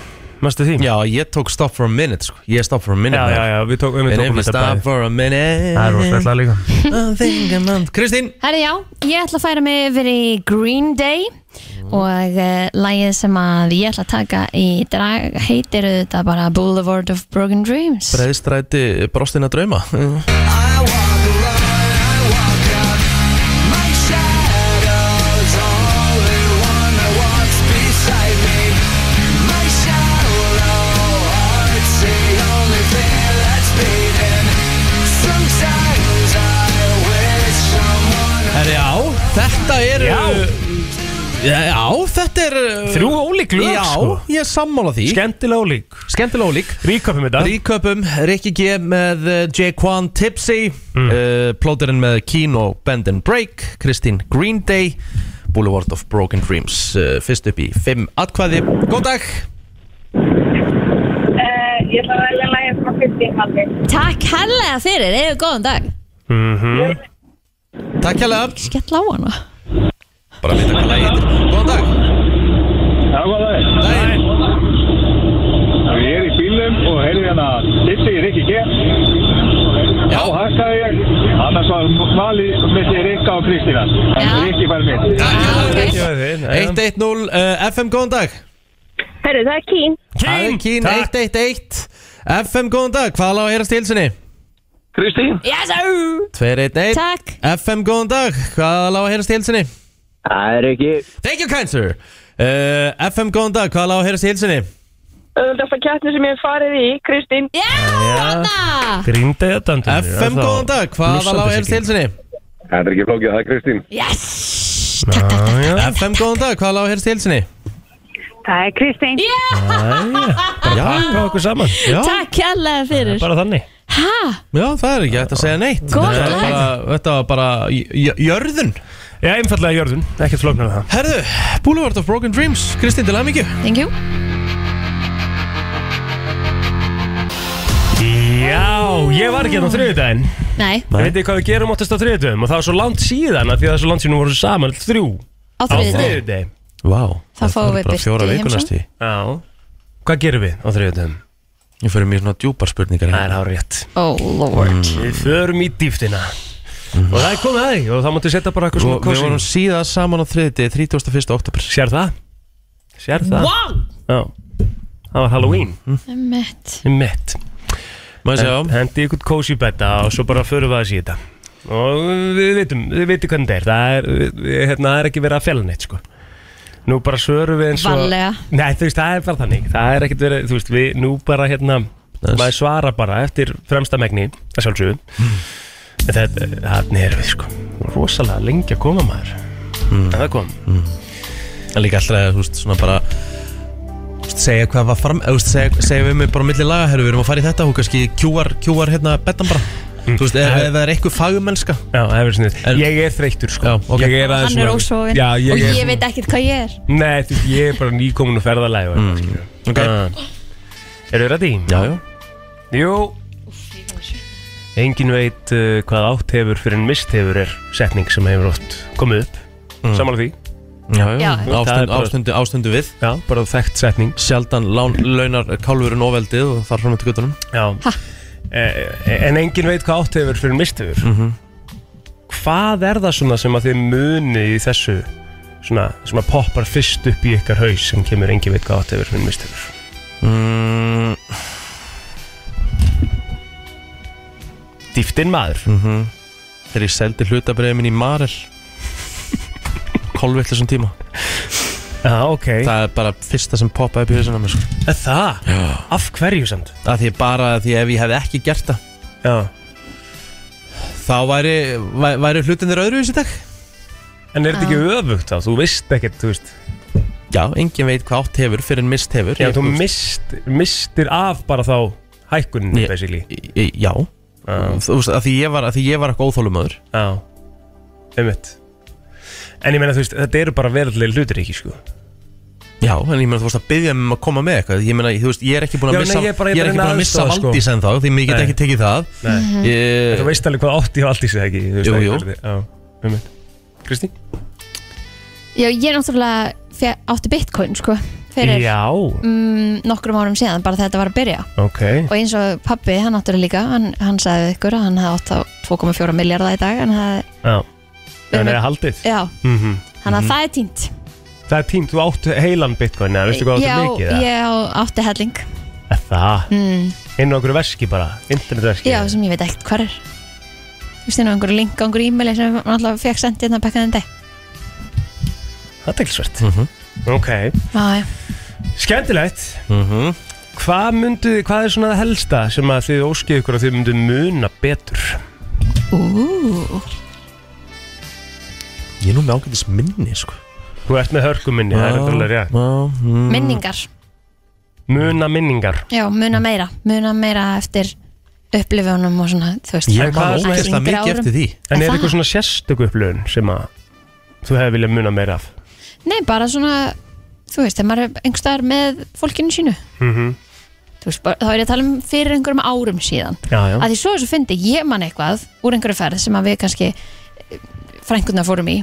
Speaker 3: Mastu því?
Speaker 1: Já, ég tók Stop for a Minute, sko Ég er Stop for a Minute
Speaker 3: já, já, já, við tókum,
Speaker 1: En
Speaker 3: við
Speaker 1: if
Speaker 3: tókum
Speaker 1: you
Speaker 3: þetta
Speaker 1: stop
Speaker 3: bæði
Speaker 1: for a minute
Speaker 3: Það er rosalega líka
Speaker 1: I think I'm on- Kristín
Speaker 2: herri já ég ætla að færa mig yfir í Green Day og uh, lægið sem að ég ætla að taka í drag heitir þetta bara Boulevard of Broken Dreams
Speaker 1: Breiðstræti brostina drauma Herri, já, þetta er
Speaker 3: Já.
Speaker 1: já þetta er
Speaker 3: Þrjú ólík lög,
Speaker 1: Já,
Speaker 3: sko.
Speaker 1: ég er sammála því
Speaker 3: Skemmtilega ólík
Speaker 1: Skemmtilega ólík
Speaker 3: Ríkafum þetta
Speaker 1: Ríköpum, Rikki G með eh, Jaquan Tipsy mm. uh, Plóterinn með Keen og Bend and Break Kristín Green Day Boulevard of Broken Dreams uh, Fyrst upp í 5 atkvæði Góð dag
Speaker 6: Eh, Ég ætla að velja lagið frá 50 haldi.
Speaker 2: takk herrlega fyrir, eða góðan dag
Speaker 1: Takk hérlega
Speaker 2: skell á hana
Speaker 1: Bara að vita hvað lagið heitir Góð dag
Speaker 7: Já, hvað það er?
Speaker 1: Daginn.
Speaker 7: Ég er í bílum og heyrði hérna Dissi Rikki G.
Speaker 1: Já,
Speaker 7: Þá hakkaði ég, annars var valið milli Rikka og Kristína. En
Speaker 2: Já.
Speaker 7: Rikki fær mitt.
Speaker 1: takk hérlega
Speaker 2: okay.
Speaker 3: Já, þið, já.
Speaker 1: 110 uh, FM góðan dag
Speaker 6: Herru, það er Kín.
Speaker 1: Aðeins Keen
Speaker 3: Takk.
Speaker 1: 111 FM góðan dag Hvað lág að heyrast í hilsinni?
Speaker 7: Kristín
Speaker 2: Yes, au!
Speaker 1: 211
Speaker 2: Takk.
Speaker 1: FM, góðan dag, hvað lág að heyrast í hilsinni?
Speaker 7: Það er ekki
Speaker 1: Thank you, kind sir uh, FM, góðan dag, hvað lág að heyrast í hilsinni?
Speaker 6: Öðvöldasta keppni sem ég hef farið í, Kristín.
Speaker 2: Já, Anna!
Speaker 3: Grínda þetta
Speaker 1: FM, góðan dag, hvað lág að heyrast í hilsinni?
Speaker 7: Það er ekki flókið, það er Kristín
Speaker 2: Yes! Takk, takk, takk.
Speaker 1: FM, góðan dag, hvað lág að heyrast í hilsinni?
Speaker 6: Það er Kristín.
Speaker 2: Já,
Speaker 1: Já,
Speaker 3: Pakka okkur saman
Speaker 1: já,
Speaker 2: takk kærlega fyrir.
Speaker 3: Bara þannig
Speaker 2: Hæ?
Speaker 1: já, það er ekki hægt að segja neitt
Speaker 2: Góðan
Speaker 1: Þetta var
Speaker 2: dag.
Speaker 1: bara- Þetta var bara j- j- jörðun
Speaker 3: Já, einfallega jörðun, ekkert flóknar en það
Speaker 1: Herðu, Boulevard of Broken Dreams, Kristín til Amíkju
Speaker 2: Thank you.
Speaker 3: Já, ég var ekki hérna á þriðudaginn
Speaker 2: Nei,
Speaker 3: Ég veit ekki hvað við gerum áttast á þriðudaginn Og það var svo langt síðan að því að það er svo langt síðan við vorum saman öll Þrjú
Speaker 2: á
Speaker 3: á
Speaker 2: þriðið.
Speaker 3: þriðudaginn
Speaker 1: Vá,
Speaker 2: Þá fáum
Speaker 1: eru
Speaker 2: við
Speaker 1: bara
Speaker 2: Birti
Speaker 1: fjóra
Speaker 2: í
Speaker 1: vikur
Speaker 2: heimsókn.
Speaker 1: næstu í.
Speaker 3: Já Hvað gerum við á þriðudaginn?
Speaker 1: Ég fyrir mér svona djúpar spurningar
Speaker 3: Það
Speaker 1: hérna.
Speaker 3: er árétt
Speaker 2: Oh lord.
Speaker 3: Við förum í dýftina Og það er komið aðeins og það máttu setja bara eitthvað svona
Speaker 1: Og Mhm. Við
Speaker 3: kosing.
Speaker 1: vorum síðan saman á þriðti 31. oktober
Speaker 3: Sér það? Sér það?
Speaker 2: Wow!
Speaker 3: Já Það var Halloween
Speaker 1: Mhm.
Speaker 2: Emmett.
Speaker 3: Ég mitt
Speaker 1: Maður sjá
Speaker 3: Hendi ykkur kósi betta og svo bara förum við að síða þetta Og við veitum, við veitum hvernig þetta er Það er, við- við- hérna, það er ekki verið að fjalla neitt sko Nú bara svörum við eins og
Speaker 2: Varlega.
Speaker 3: Nei, þú veist, það er bara þannig Það er ekkert verið, þú veist, við nú bara hérna
Speaker 1: Yes.
Speaker 3: Maður svara bara eftir fremsta megni Það sjálfsögum
Speaker 1: Hmm.
Speaker 3: En þetta, þannig erum við sko Rosalega lengi að koma maður
Speaker 1: Hmm.
Speaker 3: En það kom
Speaker 1: En líka alltaf að, þú veist, svona bara þú veist, segja hvað var fram þú veist, segja, segja við mig bara á milli laga herru, við erum að fara í þetta og kannski QR, QR hérna betan bara þú veist, ef ef það er eitthvað fagmennska
Speaker 3: Já, það er verið
Speaker 1: En-
Speaker 3: sniðið Ég er þreyttur sko
Speaker 1: Já, ok.
Speaker 3: Ég er aðeins
Speaker 2: Hann er
Speaker 3: svona-
Speaker 2: ósofin.
Speaker 3: Já, ég
Speaker 2: Og
Speaker 3: er
Speaker 2: ég veit ekkert hvað ég er.
Speaker 3: Nei, þú veist, ég er bara nýkomin og ferðalæg
Speaker 1: Hmm.
Speaker 3: mm.
Speaker 1: ok,
Speaker 3: Eru þið ræddi?
Speaker 1: já, já,
Speaker 3: Jú Engin veit uh, hvað átt hefur fyrir en mist hefur er setning sem hefur oft komið upp mm. Samanlega því
Speaker 1: já,
Speaker 2: Já.
Speaker 3: Það er
Speaker 1: Ástund,
Speaker 3: bara-
Speaker 1: ástundu, ástundu við
Speaker 3: Já, bara þekkt setning
Speaker 1: sjaldan lán, launar kálfurinn ofeldið og þar fram eftir guttunum
Speaker 3: Já e e- En engin veit hvað átt hefur fyrir en mist hefur Hvað er það svona sem að þið munið í þessu svona, sem að poppar fyrst upp í ykkar haus sem kemur engin veit hvað átt hefur fyrir en mist hefur
Speaker 1: mm,
Speaker 3: Dýftin maður
Speaker 1: þegar ég seldi hlutabriðið minn í Marel kálvillisum tíma
Speaker 3: Já, ok
Speaker 1: það er bara fyrsta sem poppaði upp í hausinn á mér, sko.
Speaker 3: Er Það? Já. Af hverju samt?
Speaker 1: Af því bara að því ef ég hefði ekki gert það
Speaker 3: Já.
Speaker 1: þá væri, væ- væri hlutin þér öðruvísi í dag
Speaker 3: En er þetta ekki öfugt þá? Þú veist ekkert, þú veist
Speaker 1: Já, enginn veit hvað átt hefur fyrir en mist hefur
Speaker 3: Já,
Speaker 1: Ég-
Speaker 3: þú
Speaker 1: þú-
Speaker 3: mist, mistir af bara þá hækkunni,
Speaker 1: Ég-
Speaker 3: basically
Speaker 1: Í- í- Já,
Speaker 3: Já,
Speaker 1: þú veist, að því ég var, að því ég var eitthvað óþólumöður
Speaker 3: já Einmitt En ég meina, þú veist, þetta eru bara verðlega hlutir ekki, sko
Speaker 1: Já, en ég meina þú veist að byggja mig um að koma með eitthvað Ég meina, þú veist, ég er ekki búin
Speaker 3: Já,
Speaker 1: að
Speaker 3: nei,
Speaker 1: missa
Speaker 3: ég er bara- ég er
Speaker 1: er ekki
Speaker 3: bara
Speaker 1: búin
Speaker 3: að
Speaker 1: að missa
Speaker 3: aðstoða, sko.
Speaker 1: Valdís en þá Því mig get
Speaker 3: Nei.
Speaker 1: ekki tekið það
Speaker 2: Mm.
Speaker 3: Nei,
Speaker 2: Mhm.
Speaker 1: ég,
Speaker 3: þú veist alveg hvað átti og allt í sig ekki þú veist,
Speaker 1: Jú,
Speaker 3: ekki
Speaker 1: jú.
Speaker 3: hvernig- Já, einmitt Kristín?
Speaker 2: Já, ég er náttúrulega fe- átti bitcoin, sko, fyrir
Speaker 3: Já,
Speaker 2: mm, nokkrum árum síðan, bara þegar þetta var að byrja.
Speaker 3: ok
Speaker 2: Og eins og pabbi, hann náttúrulega líka, hann, hann sagði við ykkur að hann hefði átt á 2,4 miljardar í dag, en það,
Speaker 3: Já, en er það haldið?
Speaker 2: já,
Speaker 3: Mm
Speaker 2: hann að það er tínt.
Speaker 3: Það er tímt, þú áttu heilan bitcoin, eða veistu hvað
Speaker 2: já,
Speaker 3: áttu mikið? eða?
Speaker 2: ég á- átti helling,
Speaker 3: Er Það, inn á okkur veski bara, internetveski
Speaker 2: Mm. já, sem ég veit ekkert hvað er. Þú veist, hérna á einhverju link á einhverju e-maili sem hann alltaf fekk sendið hérna bekkaðin dag.
Speaker 3: Það er teklisvert Ok,
Speaker 2: Já, já.
Speaker 3: skemmtilegt
Speaker 1: mm -hmm.
Speaker 3: Hvað myndu, hvað er svona það helsta sem að þið óskið ykkur að þið myndu muna betur?
Speaker 2: Ú,
Speaker 1: ég er nú með ágætis minni, sko
Speaker 3: Þú ert með hörkuminni, það er náttúrulega rétt
Speaker 1: mm,
Speaker 2: minningar,
Speaker 3: Muna minningar
Speaker 2: já, muna meira, muna meira eftir upplifunum og svona, þú veist.
Speaker 1: Ég
Speaker 3: En hvað
Speaker 1: man
Speaker 3: er svona
Speaker 1: ógæslega
Speaker 2: yngri
Speaker 1: mikið
Speaker 2: árum?
Speaker 1: eftir því
Speaker 3: En
Speaker 2: Er
Speaker 3: er
Speaker 2: það?
Speaker 3: eitthvað svona sérstök upplöðun sem að þú hefði viljað muna meira af?
Speaker 2: Nei, bara svona, þú veist, þegar maður er einhverstaðar með fólkinu sínu
Speaker 3: Mhm.
Speaker 2: Þú veist, bara, þá er ég að tala um fyrir einhverjum árum síðan
Speaker 3: Já, já
Speaker 2: að því svo þessu fyndi ég man eitthvað úr einhverju ferð sem að við kannski frængurna fórum í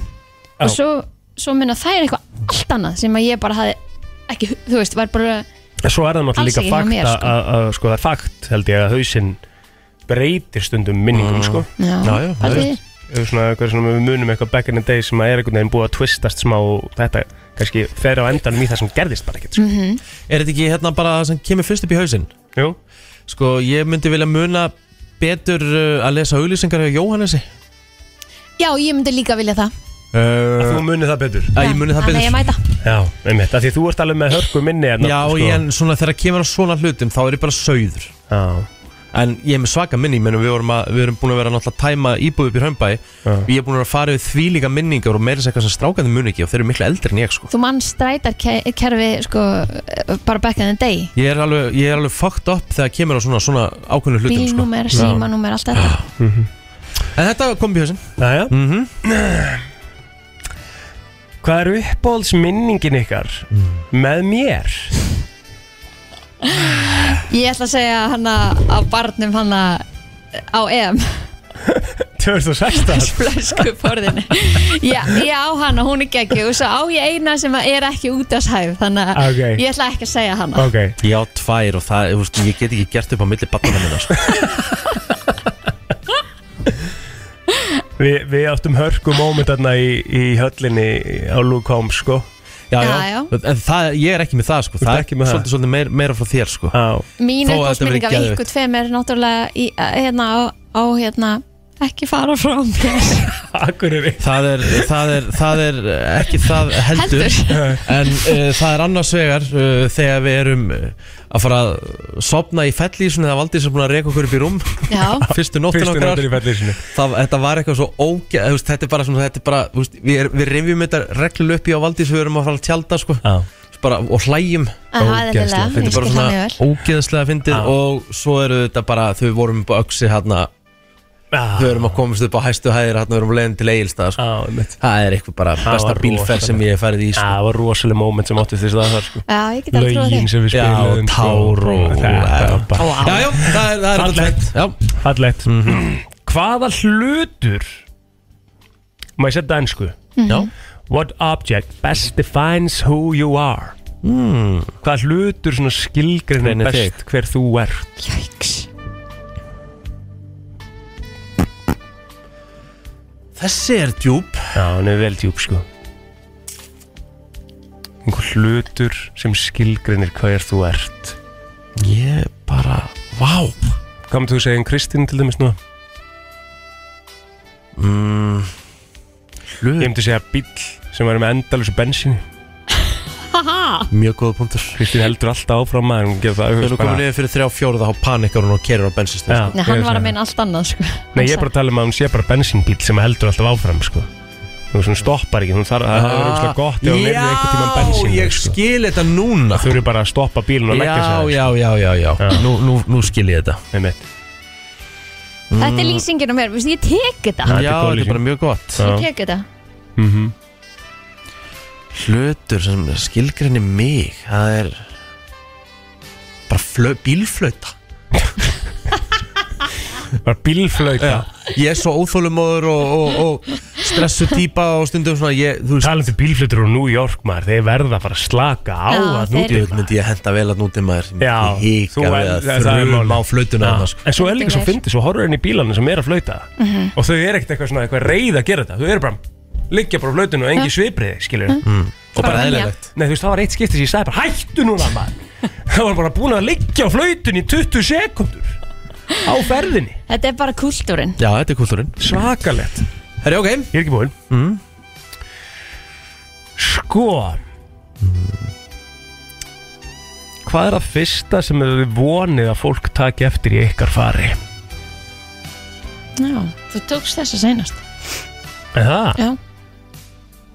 Speaker 2: og
Speaker 3: Já.
Speaker 2: svo, svo minna það er eitthvað allt annað sem að ég bara hafði ekki, þú veist, var bara
Speaker 3: En Svo er það náttúrulega
Speaker 2: Alls
Speaker 3: líka
Speaker 2: ekki hjá
Speaker 3: fakt
Speaker 2: mér,
Speaker 3: að,
Speaker 2: sko.
Speaker 3: að, að sko, það er fakt held ég að hausinn breytir stundum minningum sko
Speaker 2: já,
Speaker 1: Já, já, já,
Speaker 2: pældi því.
Speaker 3: Ef svona, eitthvað svona við munum eitthvað back in the day sem að er einhvern veginn búið að twistast smá og þetta kannski fer á endanum í það sem gerðist bara ekkert sko.
Speaker 2: Mhm.
Speaker 1: Er þetta ekki hérna bara það sem kemur fyrst upp í hausinn?
Speaker 3: Jú,
Speaker 1: Sko, ég myndi vilja muna betur uh, að lesa auglýsingar hjá Jóhannesi?
Speaker 2: Já, ég myndi líka vilja það
Speaker 1: Uh,
Speaker 3: Þú munið það betur
Speaker 1: að ég muni það
Speaker 2: Þannig að ég
Speaker 1: betur
Speaker 2: mæta
Speaker 3: Já, einmitt, af því þú ert alveg með hörku minni hérna,
Speaker 1: Já,
Speaker 3: sko.
Speaker 1: ég, en svona þegar kemur á svona hlutum þá er ég bara sauður
Speaker 3: Já,
Speaker 1: En ég er með svaka minni, mennum við, vorum að- við erum búin að vera náttúrulega að tæma íbúð upp í Römbæ
Speaker 3: Já.
Speaker 1: Ég er búin að fara við þvílíka minningar og meira þess eitthvað sem strákandi muni ekki og þeir eru miklu eldri en ég sko
Speaker 2: Þú mann strætar kerfi sko, eh, bara back in the day
Speaker 1: Ég er alveg, ég er alveg fucked up þegar kemur á svona, svona ákveðnu hlutum sko. Ah.
Speaker 2: Bílnúmer, símanúmer, allt þetta
Speaker 1: En þetta kom í hausinn
Speaker 3: já, já.
Speaker 1: mm -hmm.
Speaker 3: Hvað er uppbólsminningin ykkar með mér?
Speaker 2: Ég ætla að segja hana á barnum hana á EM
Speaker 3: 2016
Speaker 2: flösku borðinu já, ég á hana, hún er geggi og svo á ég eina sem að er ekki út af sæf þannig
Speaker 1: Ah.
Speaker 2: að
Speaker 3: Ok.
Speaker 2: ég ætla ekki að segja hana
Speaker 3: Ok,
Speaker 1: Ég á tvær og það, þú veist, ég get ekki gert upp á milli barnana minna sko.
Speaker 3: Vi, við áttum hörku moment þarna í, í höllinni á Luke Holmes sko
Speaker 1: já, já.
Speaker 2: Já, já.
Speaker 1: En það, ég er ekki með það sko.
Speaker 3: ert
Speaker 1: Það er svolítið,
Speaker 3: ekki með það? Ah.
Speaker 1: svolítið, meir, meira frá þér sko.
Speaker 3: Já,
Speaker 2: mín
Speaker 1: Þó að þetta verið
Speaker 2: uppásminning af
Speaker 1: geðveikt.
Speaker 2: ykkur tveim er náttúrulega í, hérna, á, á hérna, ekki fara frá mér
Speaker 3: akkur er
Speaker 1: Það er, það, er, það er ekki það heldur,
Speaker 2: Heldur.
Speaker 1: En uh, það er annars vegar uh, Þegar við erum uh, að fara að sopna í fellísunni Það valdi sem búin að reka okkur upp í rúm
Speaker 2: já,
Speaker 1: Fyrstu nóttin
Speaker 3: Fyrstu
Speaker 1: okkar
Speaker 3: náttur í fællisinu
Speaker 1: það, Þetta var eitthvað svo ógæð veist, Þetta er bara, svona, þetta er bara þú veist, við, er, við rifjum þetta reglulega upp í á Valdís Við erum að fara að tjálta sko,
Speaker 3: Já,
Speaker 1: bara, og hlægjum
Speaker 2: það er
Speaker 3: Ógeðslega
Speaker 2: eðlilega
Speaker 3: fyndið,
Speaker 1: Þetta er
Speaker 2: ég skil það mjög
Speaker 1: bara
Speaker 2: vel
Speaker 1: svona ógeðslega fyndið
Speaker 3: Já.
Speaker 1: Og svo eru þetta bara Þau vorum upp á öksi hérna Þau
Speaker 3: já,
Speaker 1: erum að komast upp á hæstu hæðir hérna Þau erum leiðin til eigilstað sko.
Speaker 3: einmitt.
Speaker 1: Það er eitthvað bara besta
Speaker 3: var
Speaker 1: bílferð sem ég hef farið í
Speaker 3: Já,
Speaker 1: sko.
Speaker 3: það var rosalega moment sem áttu þess að það sko
Speaker 2: já, ég get alveg trúið
Speaker 3: Lögin
Speaker 2: því
Speaker 3: sem við
Speaker 1: Já,
Speaker 3: spiluðum sko.
Speaker 1: tár og
Speaker 3: Þetta var bara
Speaker 1: Já, já, það er, það er
Speaker 3: Fallegt.
Speaker 1: þetta tvennt.
Speaker 3: Fallegt Hvaða hlutur Má ég setja dansku
Speaker 1: Já, já
Speaker 3: What object best defines who you are mm. Hvaða hlutur svona skilgrinn
Speaker 1: Greinir þig.
Speaker 3: best hver þú ert
Speaker 2: Jæks.
Speaker 1: Þessi er djúb
Speaker 3: Já, hann er vel djúb sko Einhver hlutur sem skilgrinnir hver þú ert
Speaker 1: Ég bara, vá
Speaker 3: Hvað með þú segja um Kristín til dæmis nú? Ég
Speaker 1: Hlut,
Speaker 3: myndi segja bíll sem væri með endalösu bensinni
Speaker 1: mjög góða punktur
Speaker 3: Kristín heldur alltaf áfram að hún gefa það
Speaker 1: Við erum komin niður fyrir þrjá fjóruða þá panikar hún og kerir á sko. bensinstöð
Speaker 3: Já,
Speaker 2: Nei,
Speaker 3: ég
Speaker 2: hann var
Speaker 3: sagði.
Speaker 2: að meina allt annað sko.
Speaker 3: Nei, ég er bara að tala um að hún sé bara bensinbíl sem heldur alltaf áfram, sko. Þú veist, hún stoppar ekki, hún þarf, það er auðvitað gott ef hún er einhvern tímann bensin,
Speaker 1: Ah. Já, ég
Speaker 3: sko.
Speaker 1: skil þetta núna
Speaker 3: Þú eru bara að stoppa bílinn og leggja
Speaker 1: Já,
Speaker 3: sig
Speaker 1: já, já, já, já Nú, nú, nú skil ég þetta
Speaker 3: Nei, mitt.
Speaker 2: þetta er lýsingin á mér, veistu, ég tek þetta
Speaker 3: Já,
Speaker 1: Já,
Speaker 3: þetta er góð
Speaker 1: þetta er
Speaker 3: lýsing.
Speaker 1: bara mjög gott
Speaker 2: ég tek þetta
Speaker 1: Hlutur sem skilgrinni mig Það er bara flö, bílflöta
Speaker 3: Bara bílflauta.
Speaker 1: Ég er svo óþólumóður og, og, og stressu típa og stundum svona ég, Þú veist,
Speaker 3: Talandi um bílflautur úr New York, maður, þeir verða að fara að slaka á
Speaker 2: Já,
Speaker 3: að
Speaker 2: þeir-
Speaker 3: núti.
Speaker 1: djöfull myndi ég henda vel að núti maður sem
Speaker 3: Já,
Speaker 1: ekki
Speaker 3: þú
Speaker 1: hika við
Speaker 3: er-
Speaker 1: að
Speaker 3: það- það er málið.
Speaker 1: þrjum á flötuna þarna, sko.
Speaker 3: En svo er líka svo
Speaker 2: Heldur
Speaker 3: fyndið, svo horfur henni í bílana sem er að flauta og þau eru ekkert eitthvað svona eitthvað reyð að gera þetta, þau eru bara liggja bara á flautinu og engi svipriði, skilur
Speaker 1: Og bara
Speaker 2: Bara
Speaker 1: eðlilegt
Speaker 3: Nei, þú veist, það var eitt skipti sem ég sagði bara hættu núna maður Það var bara búin að liggja á flautun í 20 sekundur Á ferðinni
Speaker 2: þetta er bara kultúrin
Speaker 1: Já, þetta er kultúrin
Speaker 3: Svakalett
Speaker 1: Herri, ok
Speaker 3: Ég er ekki búinn mm. Sko Hvað er það fyrsta sem þið vonið að fólk taki eftir í ykkar fari?
Speaker 2: Já, þú tókst þess að seinast
Speaker 3: Er það?
Speaker 2: Já.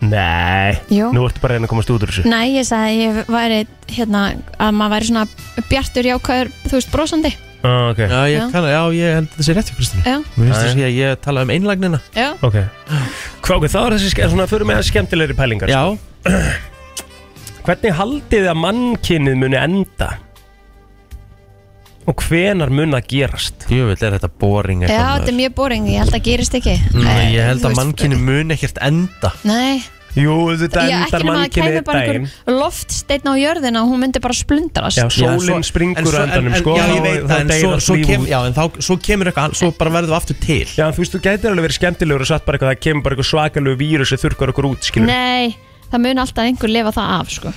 Speaker 3: Nei
Speaker 2: Jú.
Speaker 3: Nú ertu bara að reyna að komast út úr þessu
Speaker 2: Nei, ég sagði að ég væri hérna, að maður væri svona bjartur jákvæður, þú veist, brosandi
Speaker 3: ah, Ok,
Speaker 1: Já, ég,
Speaker 2: Já.
Speaker 1: kann, já, ég held að þetta sé rétt hjá Kristín
Speaker 2: Já,
Speaker 1: Mér finnst
Speaker 3: Já,
Speaker 1: þess að ég tala um einlagnina
Speaker 2: já,
Speaker 3: ok Hvað okkur, þá er þessi ske- svona að fyrir með skemmtilegri pælingar
Speaker 1: Já,
Speaker 3: Hvernig haldið þið að mannkynnið muni enda? Og hvenar mun að gerast?
Speaker 1: djúvill er þetta boring
Speaker 2: já,
Speaker 1: eitthvað, maður.
Speaker 2: þetta er mjög boring ég held að gerist ekki
Speaker 1: Nei,
Speaker 2: Eh,
Speaker 1: Ég held
Speaker 2: þú
Speaker 1: að
Speaker 2: veist,
Speaker 1: mannkinni mun ekkert enda
Speaker 2: Nei,
Speaker 3: Jú, þetta
Speaker 2: ég ekki nema
Speaker 3: endar
Speaker 2: að
Speaker 3: mannkynið
Speaker 2: kæmi
Speaker 3: einn
Speaker 2: bara
Speaker 3: daginn.
Speaker 2: einhver loftsteinn á jörðina og hún myndi bara splundrast
Speaker 3: Já, sólinn
Speaker 1: svo- en
Speaker 3: springur
Speaker 1: svo-
Speaker 3: á endanum,
Speaker 1: en-
Speaker 3: sko.
Speaker 1: Já, ég
Speaker 3: og
Speaker 1: veit
Speaker 3: þá
Speaker 1: það, en
Speaker 3: deyr
Speaker 1: svo,
Speaker 3: allt
Speaker 1: svo,
Speaker 3: líf
Speaker 1: kem,
Speaker 3: út.
Speaker 1: já, en þá, svo kemur eitthvað annað, Svo bara verðum við aftur til
Speaker 3: Já, en þú veist, þú gætir alveg verið skemmtilegur og satt bara eitthvað, það kemur bara eitthvað svakalegu vírus sem þurkar okkur út, skilur.
Speaker 2: Nei, það mun alltaf einhver lifa það af, sko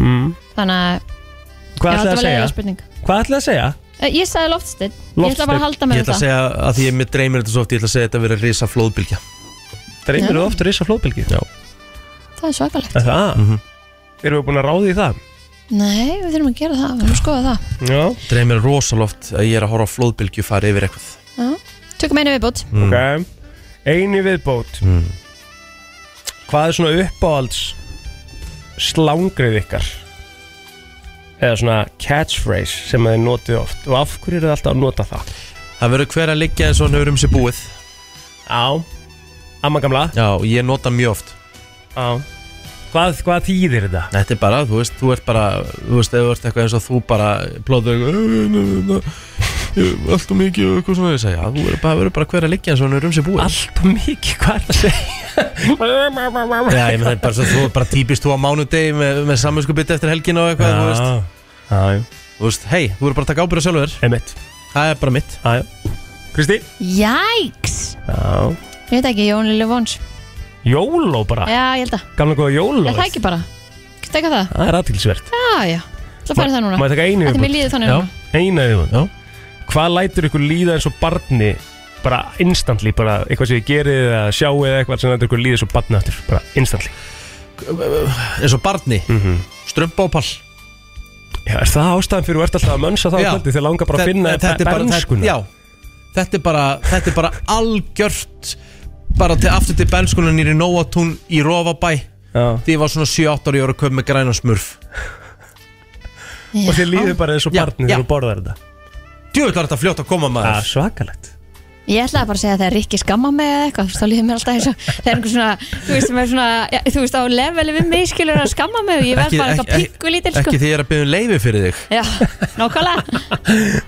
Speaker 3: Mm.
Speaker 2: Þannig að, já,
Speaker 3: Hvað ætlaði
Speaker 2: þetta
Speaker 3: að
Speaker 2: var leiðilega
Speaker 3: segja?
Speaker 2: spurning
Speaker 3: Hvað ætlaði að segja?
Speaker 2: Eh, Ég sagði loftsteinn Ég ætla bara að halda
Speaker 1: Ég
Speaker 2: með
Speaker 1: ætla að
Speaker 2: það
Speaker 1: segja að því ég með dreymir þetta svo oft Ég ætla að segja að þetta verið að risa flóðbylgja
Speaker 3: Dreymir þú oft risa flóðbylgi?
Speaker 1: Já.
Speaker 2: Það er svakalegt
Speaker 3: Er Það? Erum við búin að ráði í það?
Speaker 2: Nei, við þurfum að gera það, við þurfum að skoða það
Speaker 3: Já
Speaker 1: Dreymir rosaloft að ég er að horfa á flóðbylgju fara yfir eitthvað
Speaker 2: Já. Tökum einu viðbútt
Speaker 3: Ok Einu viðbót Hvað er svona uppáhalds slangrið ykkar? Eða svona catchphrase sem þið notið oft Og af hverju eru þið alltaf að nota það?
Speaker 1: Það verður hver að liggja eins og hann hefur um sig búið
Speaker 3: Á Amma gamla
Speaker 1: Já, og ég nota hann mjög oft
Speaker 3: Á Hvað, hvað þýðir þetta?
Speaker 1: Þetta er bara, þú veist, þú ert bara Þú veist, ef þú ert eitthvað eins og þú bara Plóðu eitthvað Ég- Allt og mikið og eitthvað svona Ég segja, já, þú verður bara, verður bara hver að liggja eins og hann hefur um sig búið
Speaker 3: Allt og mikið, hvað er það að segja?
Speaker 1: Já, ég menn það er bara, svo, þú, bara típist þú á mánudegi með, með samvinskubit eftir helgina og eitthvað, þú veist,
Speaker 3: Já, já,
Speaker 1: þú veist, hei, þú verður bara að taka ábyrða sjálfur,
Speaker 3: emitt
Speaker 1: það er bara mitt.
Speaker 3: Já, já Kristín?
Speaker 2: Jæks
Speaker 3: Já
Speaker 2: Ég veit ekki, Jón Lili Vons
Speaker 3: Jóló bara,
Speaker 2: Já, ég held að
Speaker 3: gamla góða jóló
Speaker 2: Er það ekki bara? Tekka það?
Speaker 3: Það er aðtilsvert
Speaker 2: Já, já Ég ætla að fara í það núna
Speaker 3: Má ég taka einu
Speaker 2: Þetta er mér
Speaker 3: viðbútt?
Speaker 2: líðið þannig
Speaker 1: Já.
Speaker 2: núna
Speaker 3: Einu viðbútt?
Speaker 1: Já.
Speaker 3: Hvað lætur ykkur líða eins og barni bara instantly, bara eitthvað sem ég gerið eða sjáið eða eitthvað sem lætur ykkur líða eins og barni aftur, bara instantly
Speaker 1: eins og barni,
Speaker 3: Mhm.
Speaker 1: strömpa og pall.
Speaker 3: Já, er það ástæðan fyrir þú ert alltaf að mönsa það á
Speaker 1: Já.
Speaker 3: kvöldi þegar langar bara að
Speaker 1: Þetta-
Speaker 3: finna
Speaker 1: þetta er bara- þetta-
Speaker 3: bernskuna
Speaker 1: Já, þetta er bara, þetta er bara algjört bara til aftur til bernskunan í Nóatún í Rófabæ
Speaker 3: Já.
Speaker 1: því ég var svona 7-8 ári og var að köpa með græna smurf
Speaker 3: og þér líður bara eins og
Speaker 1: Já,
Speaker 3: barni
Speaker 1: já.
Speaker 3: þegar þú borðar þetta
Speaker 1: Djúvill var þetta fljótt að koma
Speaker 3: Það
Speaker 1: maður
Speaker 3: er svakalegt
Speaker 2: Ég ætlaði bara að segja að þegar Rikki skamma mig eða eitthvað, þú veist, þá líður mér alltaf eins og það er einhver svona, þú veist, sem er svona, ja, þú veist, á leveli við mig skilur að skamma mig og ég verð bara eitthvað pikku lítil, sko.
Speaker 1: ekki því ég er að byrja um leifi fyrir þig
Speaker 2: Já, nákvæmlega.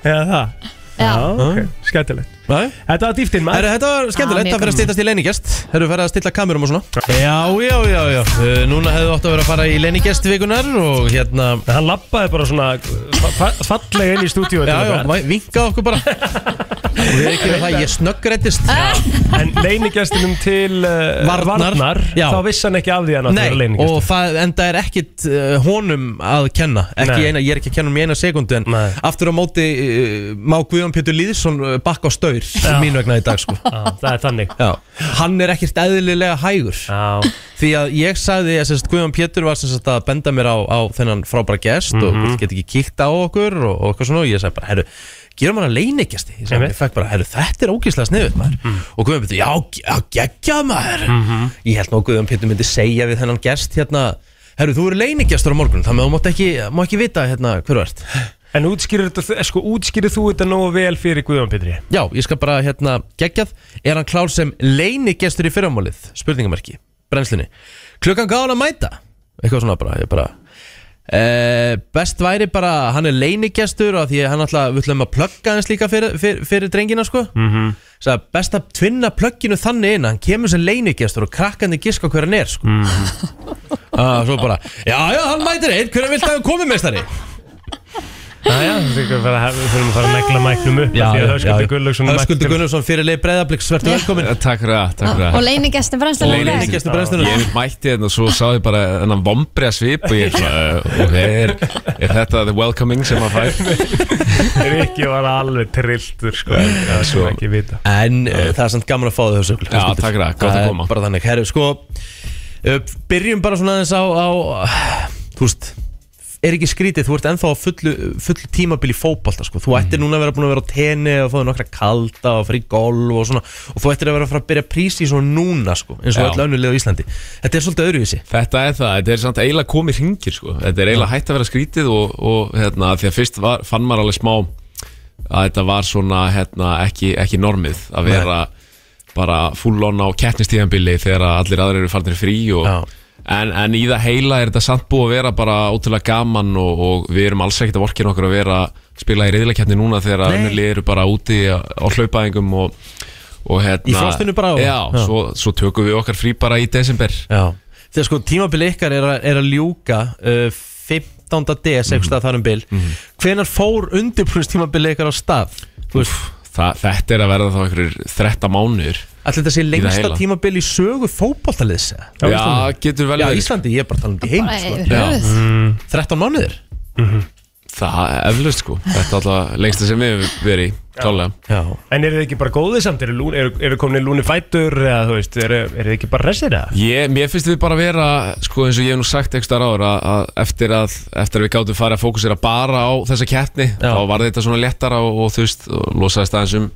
Speaker 3: Já, það
Speaker 2: Já,
Speaker 3: ok, skemmtilegt
Speaker 1: Nei?
Speaker 3: Þetta var dýftin maður
Speaker 1: Herru, þetta var
Speaker 2: Ah,
Speaker 1: skemmtilegt,
Speaker 2: mjög
Speaker 1: það fyrir að
Speaker 2: gaman.
Speaker 1: stýtast í leiningest Herru, fyrir að stilla kamerum og svona Já, já, já, já uh, Núna hefðu átt að vera að fara í leiningest vikunar og hérna
Speaker 3: Hann lappaði bara svona fa- fa- fallega inn í stúdíu
Speaker 1: Já, já, væ- vinkaðu okkur bara Og við ekki það, ég snöggrættist
Speaker 2: Ah.
Speaker 3: En leinigestinum til uh,
Speaker 1: Varnar.
Speaker 3: varnar
Speaker 1: Já.
Speaker 3: Þá vissi hann ekki af því að hann átti að vera
Speaker 1: Nei, og
Speaker 3: leinigestur
Speaker 1: það enda er ekkit uh, honum að kenna ekki
Speaker 3: Nei.
Speaker 1: eina, Ég er ekki að kenna um í eina sekundu En
Speaker 3: Nei.
Speaker 1: aftur á móti uh, má Guðjón Pétur Lýðsson uh, bakka á staur Mín vegna í dag sko
Speaker 3: ah, Það er þannig
Speaker 1: Já. Hann er ekkert eðlilega hægur
Speaker 3: Já,
Speaker 1: Því að ég sagði að sérst, Guðjón Pétur var sérst, að benda mér á, á þennan frábæra gest og get ekki kíkt á okkur og, og eitthvað svona og ég sagði bara, herru, gerum hann að leinigesti ég, sagði,
Speaker 3: Einmitt.
Speaker 1: ég fekk bara, herru, þetta er ógíslega sniðut maður og Guðjón Pétur, já, ge- já, geggja maður ég held nú að Guðjón Pétur myndi segja við þennan gest hérna herru, þú eru leinigestur á morgun þannig að þú mátt ekki, má ekki vita hérna hver þú ert
Speaker 3: en útskýrir, þetta- sko, útskýrir þú þetta nógu vel fyrir Guðjón Pétri?
Speaker 1: já, ég skal bara, hérna, geggjað er hann klár sem leinigestur í fyrramálið spurningamarki, brennslunni klukkan gáðan að mæta eitthvað svona bara, ég bara Uh, best væri bara, að hann er leinigestur og því að hann alltaf, við ætlum að plugga hans líka fyrir, fyrir, fyrir drengina sko mm -hmm.
Speaker 3: Mhm.
Speaker 1: best að tvinna plugginu þannig inn að hann kemur sem leinigestur og krakkandi giska hver hann er sko mm
Speaker 3: Mhm.
Speaker 1: svo bara, já já, hann mætir einn hverja vilt að hann komi meistari
Speaker 3: Jæja, við þurfum bara að- við þurfum að fara að negla mæknum upp af Því að Höskuldur Gunnlaugsson
Speaker 1: Höskuldur Gunnlaugsson fyrir leið breyðabliks, verður velkomin
Speaker 8: Takk fyrir það, takk fyrir
Speaker 2: og
Speaker 8: það
Speaker 2: leini gestin brennstum
Speaker 8: Leynigestur.
Speaker 1: leinigestur brennslunni
Speaker 8: Ég mætti hérna og svo sá ég bara þennan vombriða svip og ég er svona, uh, ok, er, er þetta the welcoming sem að fær?
Speaker 3: Rikki var alveg trilltur sko Það er
Speaker 8: svo-
Speaker 3: ekki vita
Speaker 1: En uh, það er samt gaman að fá þau þessu
Speaker 8: Já, takk fyrir það, gott að koma.
Speaker 1: Bara þannig, herru, sko uh, Byrjum bara svona aðeins á, á Þú veist Er ekki skrítið, þú ert ennþá á fullu, fullu tímabil í fótbalta sko.
Speaker 8: Mhm.
Speaker 1: Þú ættir núna að vera búin að vera á tenni og fáið nokkra kalda og fyrir golf og svona og þú ættir að vera að fara að byrja prísi svona núna sko, eins og
Speaker 8: Já.
Speaker 1: öll önnulega á Íslandi Þetta er svolítið öðruvísi
Speaker 8: Þetta er það, þetta er samt eiginlega komið hringir sko. Þetta er eiginlega hægt að vera skrítið og, og hérna, því að fyrst var, fann maður alveg smá að þetta var svona hérna, ekki, ekki normið að vera bara full on á keppnistíðanbili þegar að allir aðrir eru farnir í frí og,
Speaker 1: Já.
Speaker 8: en, en í það heila er þetta samt búið að vera bara ótrúlega gaman og, og við erum alls ekkert að vorkina okkur að vera að spila í reyðilekeppni núna þegar að
Speaker 1: Nei.
Speaker 8: önnurlið eru bara úti á, á hlaupaðingum og, og hérna
Speaker 1: Í frostinu bara og-
Speaker 8: Já,
Speaker 1: Já.
Speaker 8: Svo, svo tökum við okkar frí bara í desember
Speaker 1: Já. Þegar sko tímabili ykkar er, að- er að ljúka uh, 15. DS mm -hmm. þar um bil mm fór undirbúrst ykkar á stað? Þú veist,
Speaker 8: Þa, þetta er að verða þá einhverjur 13 mánuður
Speaker 1: Ætli þetta sé lengsta
Speaker 8: heila.
Speaker 1: tímabil í sögu fótboltaliðs eða?
Speaker 8: Já, getur vel
Speaker 1: Já,
Speaker 8: verið,
Speaker 1: Íslandi, ég er bara að tala um því heim sko.
Speaker 8: Já.
Speaker 2: Röð,
Speaker 1: 13 mánuðir
Speaker 8: Það er eflaust sko Þetta er alltaf lengsta sem við höfum verið í Klálega
Speaker 1: Já,
Speaker 3: En eru þið ekki bara góðið samt? Eru, lún, eru, eru komin lúni fætur eða þú veist, eru, eru þið ekki bara restir eða?
Speaker 8: Ég, mér finnst við bara vera, sko eins og ég hef nú sagt ekstra ráður að, að eftir að eftir að við gáttum farið að fókusera bara á þessa keppni þá var þetta svona léttara og, og þú veist, og losaðist aðeins um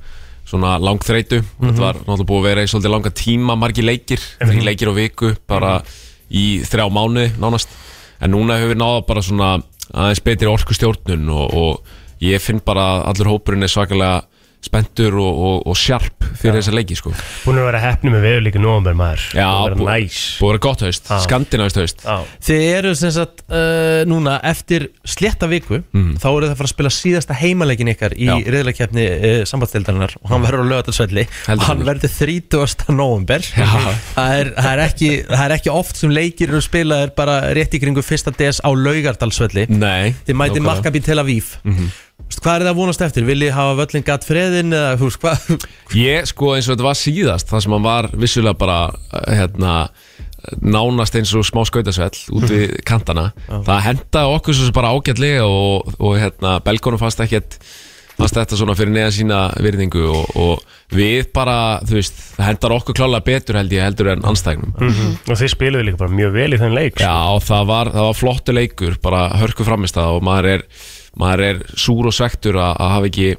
Speaker 8: svona langþreytu, þetta var náttúrulega búið að vera í svolítið langa tíma, margir leikir mm leikir á viku, bara í þrjá mánuði nánast, en núna hefur við náða bara svona aðeins betri orkustjórnun og, og ég finn bara að allur hópurinn er svakalega spenntur og, og, og sjarp fyrir þessa leiki sko.
Speaker 3: Búin að vera hefni með veður líka nómber maður
Speaker 8: Já,
Speaker 3: Búin að
Speaker 8: bú-
Speaker 3: vera næs Ah.
Speaker 8: Búið að vera gott haust,
Speaker 3: Já.
Speaker 8: skandinavískt haust
Speaker 3: Já,
Speaker 1: Þið eru sem sagt uh, núna eftir slétta viku þá eru það að fara að spila síðasta heimaleikin ykkar í
Speaker 8: Mhm. Já.
Speaker 1: reyðleikefni uh, sambandstildarinnar og hann verður á lögatarsvelli
Speaker 8: Heldur
Speaker 1: og hann
Speaker 8: betur.
Speaker 1: verður 30. november það er, það, er ekki, það er ekki oft sem leikir eru spilaðir bara rétt í kringu fyrsta des á laugardalsvelli
Speaker 8: Nei
Speaker 1: Þið mætið
Speaker 8: nákvæmlega. Mhm.
Speaker 1: Maccabi Tel Aviv mm Hvað er það að vonast eftir? Viljið hafa völlin gatt freðin eða þú veist hvað?
Speaker 8: Ég sko eins og þetta var síðast Það sem hann var vissulega bara eh, hérna, Nánast eins og smá skautasvell Út við kantana Það hendaði okkur svo sem bara ágætlega Og, og hérna, belgónum fannst ekkert fannst þetta svona fyrir neða sína virðingu og, og við bara, þú veist það hendar okkur klálega betur held ég heldur en anstæknum
Speaker 3: Mhm. og þið spiluðu líka bara mjög vel í þenn leik sko.
Speaker 8: Já, það var, það var flottu leikur bara hörku framist og maður er, maður er súr og svektur að, að hafa ekki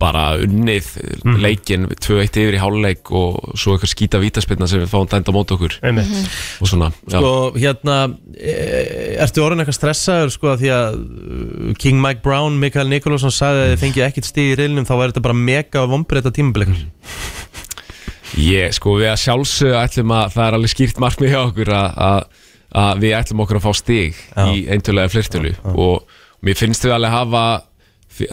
Speaker 8: bara unnið mm. leikin 2-1 yfir í háluleik og svo eitthvað skýta vítaspilna sem við fáum dænda mót okkur
Speaker 3: Einmitt.
Speaker 8: og svona, já,
Speaker 1: og hérna e, ertu orðin eitthvað stressaður sko af því að uh, King Mike Brown, Mikael Nikolásson sagði að þið fengið ekkert stíð í reylinum þá var þetta bara mega vombreyta tímablekar
Speaker 8: ég sko við að sjálfsögðu ætlum að það er alveg skýrt markmið hjá okkur að, að, að við ætlum okkur að fá stig í eintölulega flertölu og mér finnst við alveg hafa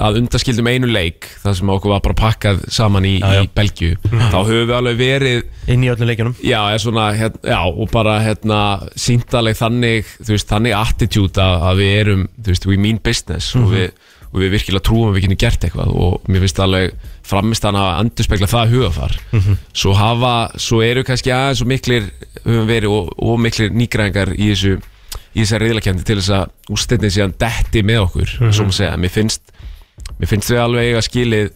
Speaker 8: að undaskildum einu leik þar sem okkur var bara pakkað saman í, í Belgju þá höfum við alveg verið
Speaker 1: inn í öllum leikjunum
Speaker 8: Já, er svona, hérna, já, og bara hérna, síndaleg þannig, þú veist, þannig attitude að, að við erum, þú veist, we mean business og, við, og við virkilega trúum að við getum gert eitthvað og mér finnst alveg framist að hafa andurspegla það hugafar svo hafa, svo eru kannski aðeins og miklir, höfum verið og, og miklir nýgræðingar í þessu í þessar reyðlakefni til þess að úrstendin síðan detti með okkur, mm -hmm. svo maður segja mér finnst, mér finnst við alveg eiga skilið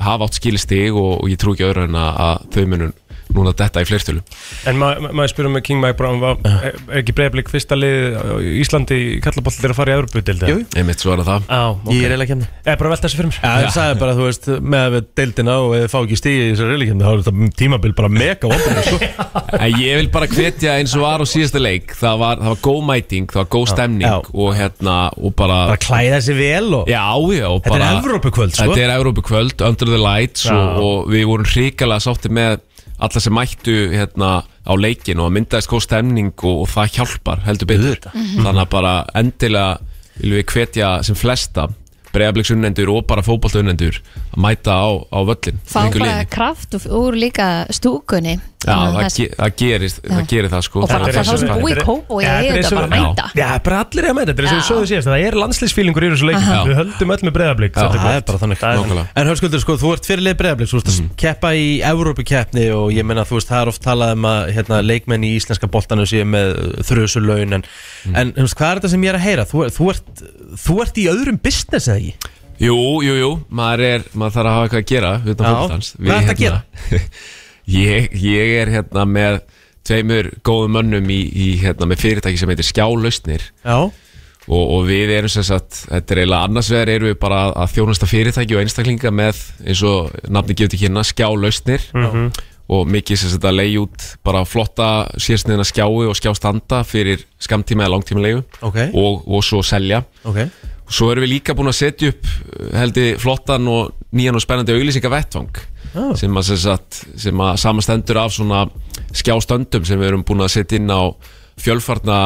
Speaker 8: hafa átt skilið stig og, og ég trú ekki öðru en að, að þau munum núna detta í flertölu
Speaker 3: En ma- ma- maður spyrir með King Mike Brown var, er er ekki breyðblik fyrsta lið á Íslandi í kallaball til að fara í Evroputildi?
Speaker 1: Jú, jú.
Speaker 8: einmitt svo er það það
Speaker 3: Á,
Speaker 1: í
Speaker 3: ok
Speaker 1: reylakefni
Speaker 3: Eða bara velta þessu fyrir mér
Speaker 1: Já, það sagði bara, þú veist, með að deildina og eða fá ekki stíð í þessari reylakefni þá er þetta tímabil bara mega vombreyta sko.
Speaker 8: en ég vil bara hvetja eins og var á síðasta leik það var, það var góð mæting, það var góð stemning
Speaker 1: Já.
Speaker 8: og hérna, og bara,
Speaker 1: bara klæða sér vel og
Speaker 8: já, já og
Speaker 1: Þetta er
Speaker 8: bara,
Speaker 1: Evrópukvöld, sko.
Speaker 8: þetta er Evrópu kvöld, under the lights og, og við vorum hrikalega sátti með alla sem mættu hérna á leikin og það myndaðist góð stemning og, og það hjálpar heldur betur þannig að bara endilega viljum við hvetja sem flesta bregðarbliksunnendur og bara fótballtunnendur að mæta á, á völlin
Speaker 2: Fá bara kraft úr- úr líka stúkunni
Speaker 8: Já,
Speaker 2: Þannig að
Speaker 8: það,
Speaker 2: það-
Speaker 8: ge það gerist, það
Speaker 2: Já.
Speaker 8: gerir það sko
Speaker 2: Og bara
Speaker 8: Þannig
Speaker 2: alltaf
Speaker 8: að
Speaker 2: þá sem
Speaker 8: það-
Speaker 2: búi
Speaker 3: þetta er-
Speaker 2: kópói
Speaker 3: Já,
Speaker 2: að
Speaker 3: þetta er
Speaker 2: eiga þetta
Speaker 3: eins og-
Speaker 2: bara að mæta
Speaker 3: Já, bara allir er að mæta, þetta er eins og við sögum síðast Það er landslýsfílingur í þessu leikin
Speaker 8: Já.
Speaker 3: Við höldum öll með breyðablík
Speaker 1: það er bara þannig Mhm.
Speaker 8: Nákvæmlega.
Speaker 1: En hörskuldur, sko, þú ert fyrirlið breyðablið Þú ert að keppa í Evrópukeppni og ég meina, þú veist, það er oft talað um að hérna, leikmenn í íslenska boltanum séu með þrjusulögin en, en þú veist, hvað er þetta sem ég er að heyra? Þú, þú, ert, þú ert í öðrum business eða ekki?
Speaker 8: Jú, jú, jú, maður er, maður þarf að hafa eitthvað að gera utan
Speaker 1: Já.
Speaker 8: fótboltans
Speaker 1: Hvað ertu að
Speaker 8: gera? ég, ég er hérna með tveimur góðum mönnum í, í hérna með fyrirtæki sem heitir Skjálausnir
Speaker 1: Já,
Speaker 8: og, og við erum sem sagt, þetta er eiginlega annars vegar erum við bara að, að þjónasta fyrirtæki og einstaklinga með eins og nafni gefur til kynna skjálausnir
Speaker 1: Mhm.
Speaker 8: og mikið sem sagt að leiði út bara flotta sérsniðina skjái og skjástanda fyrir skamtíma eða langtíma leiðu
Speaker 1: Ok.
Speaker 8: og, og svo selja
Speaker 1: ok
Speaker 8: og svo erum við líka búin að setja upp heldur flottan og nýjan og spennandi auglýsinga vettvang
Speaker 1: Oh.
Speaker 8: sem, að, sem, sagt, sem að samastendur af svona skjástöndum sem við erum búin að setja inn á fjölfarna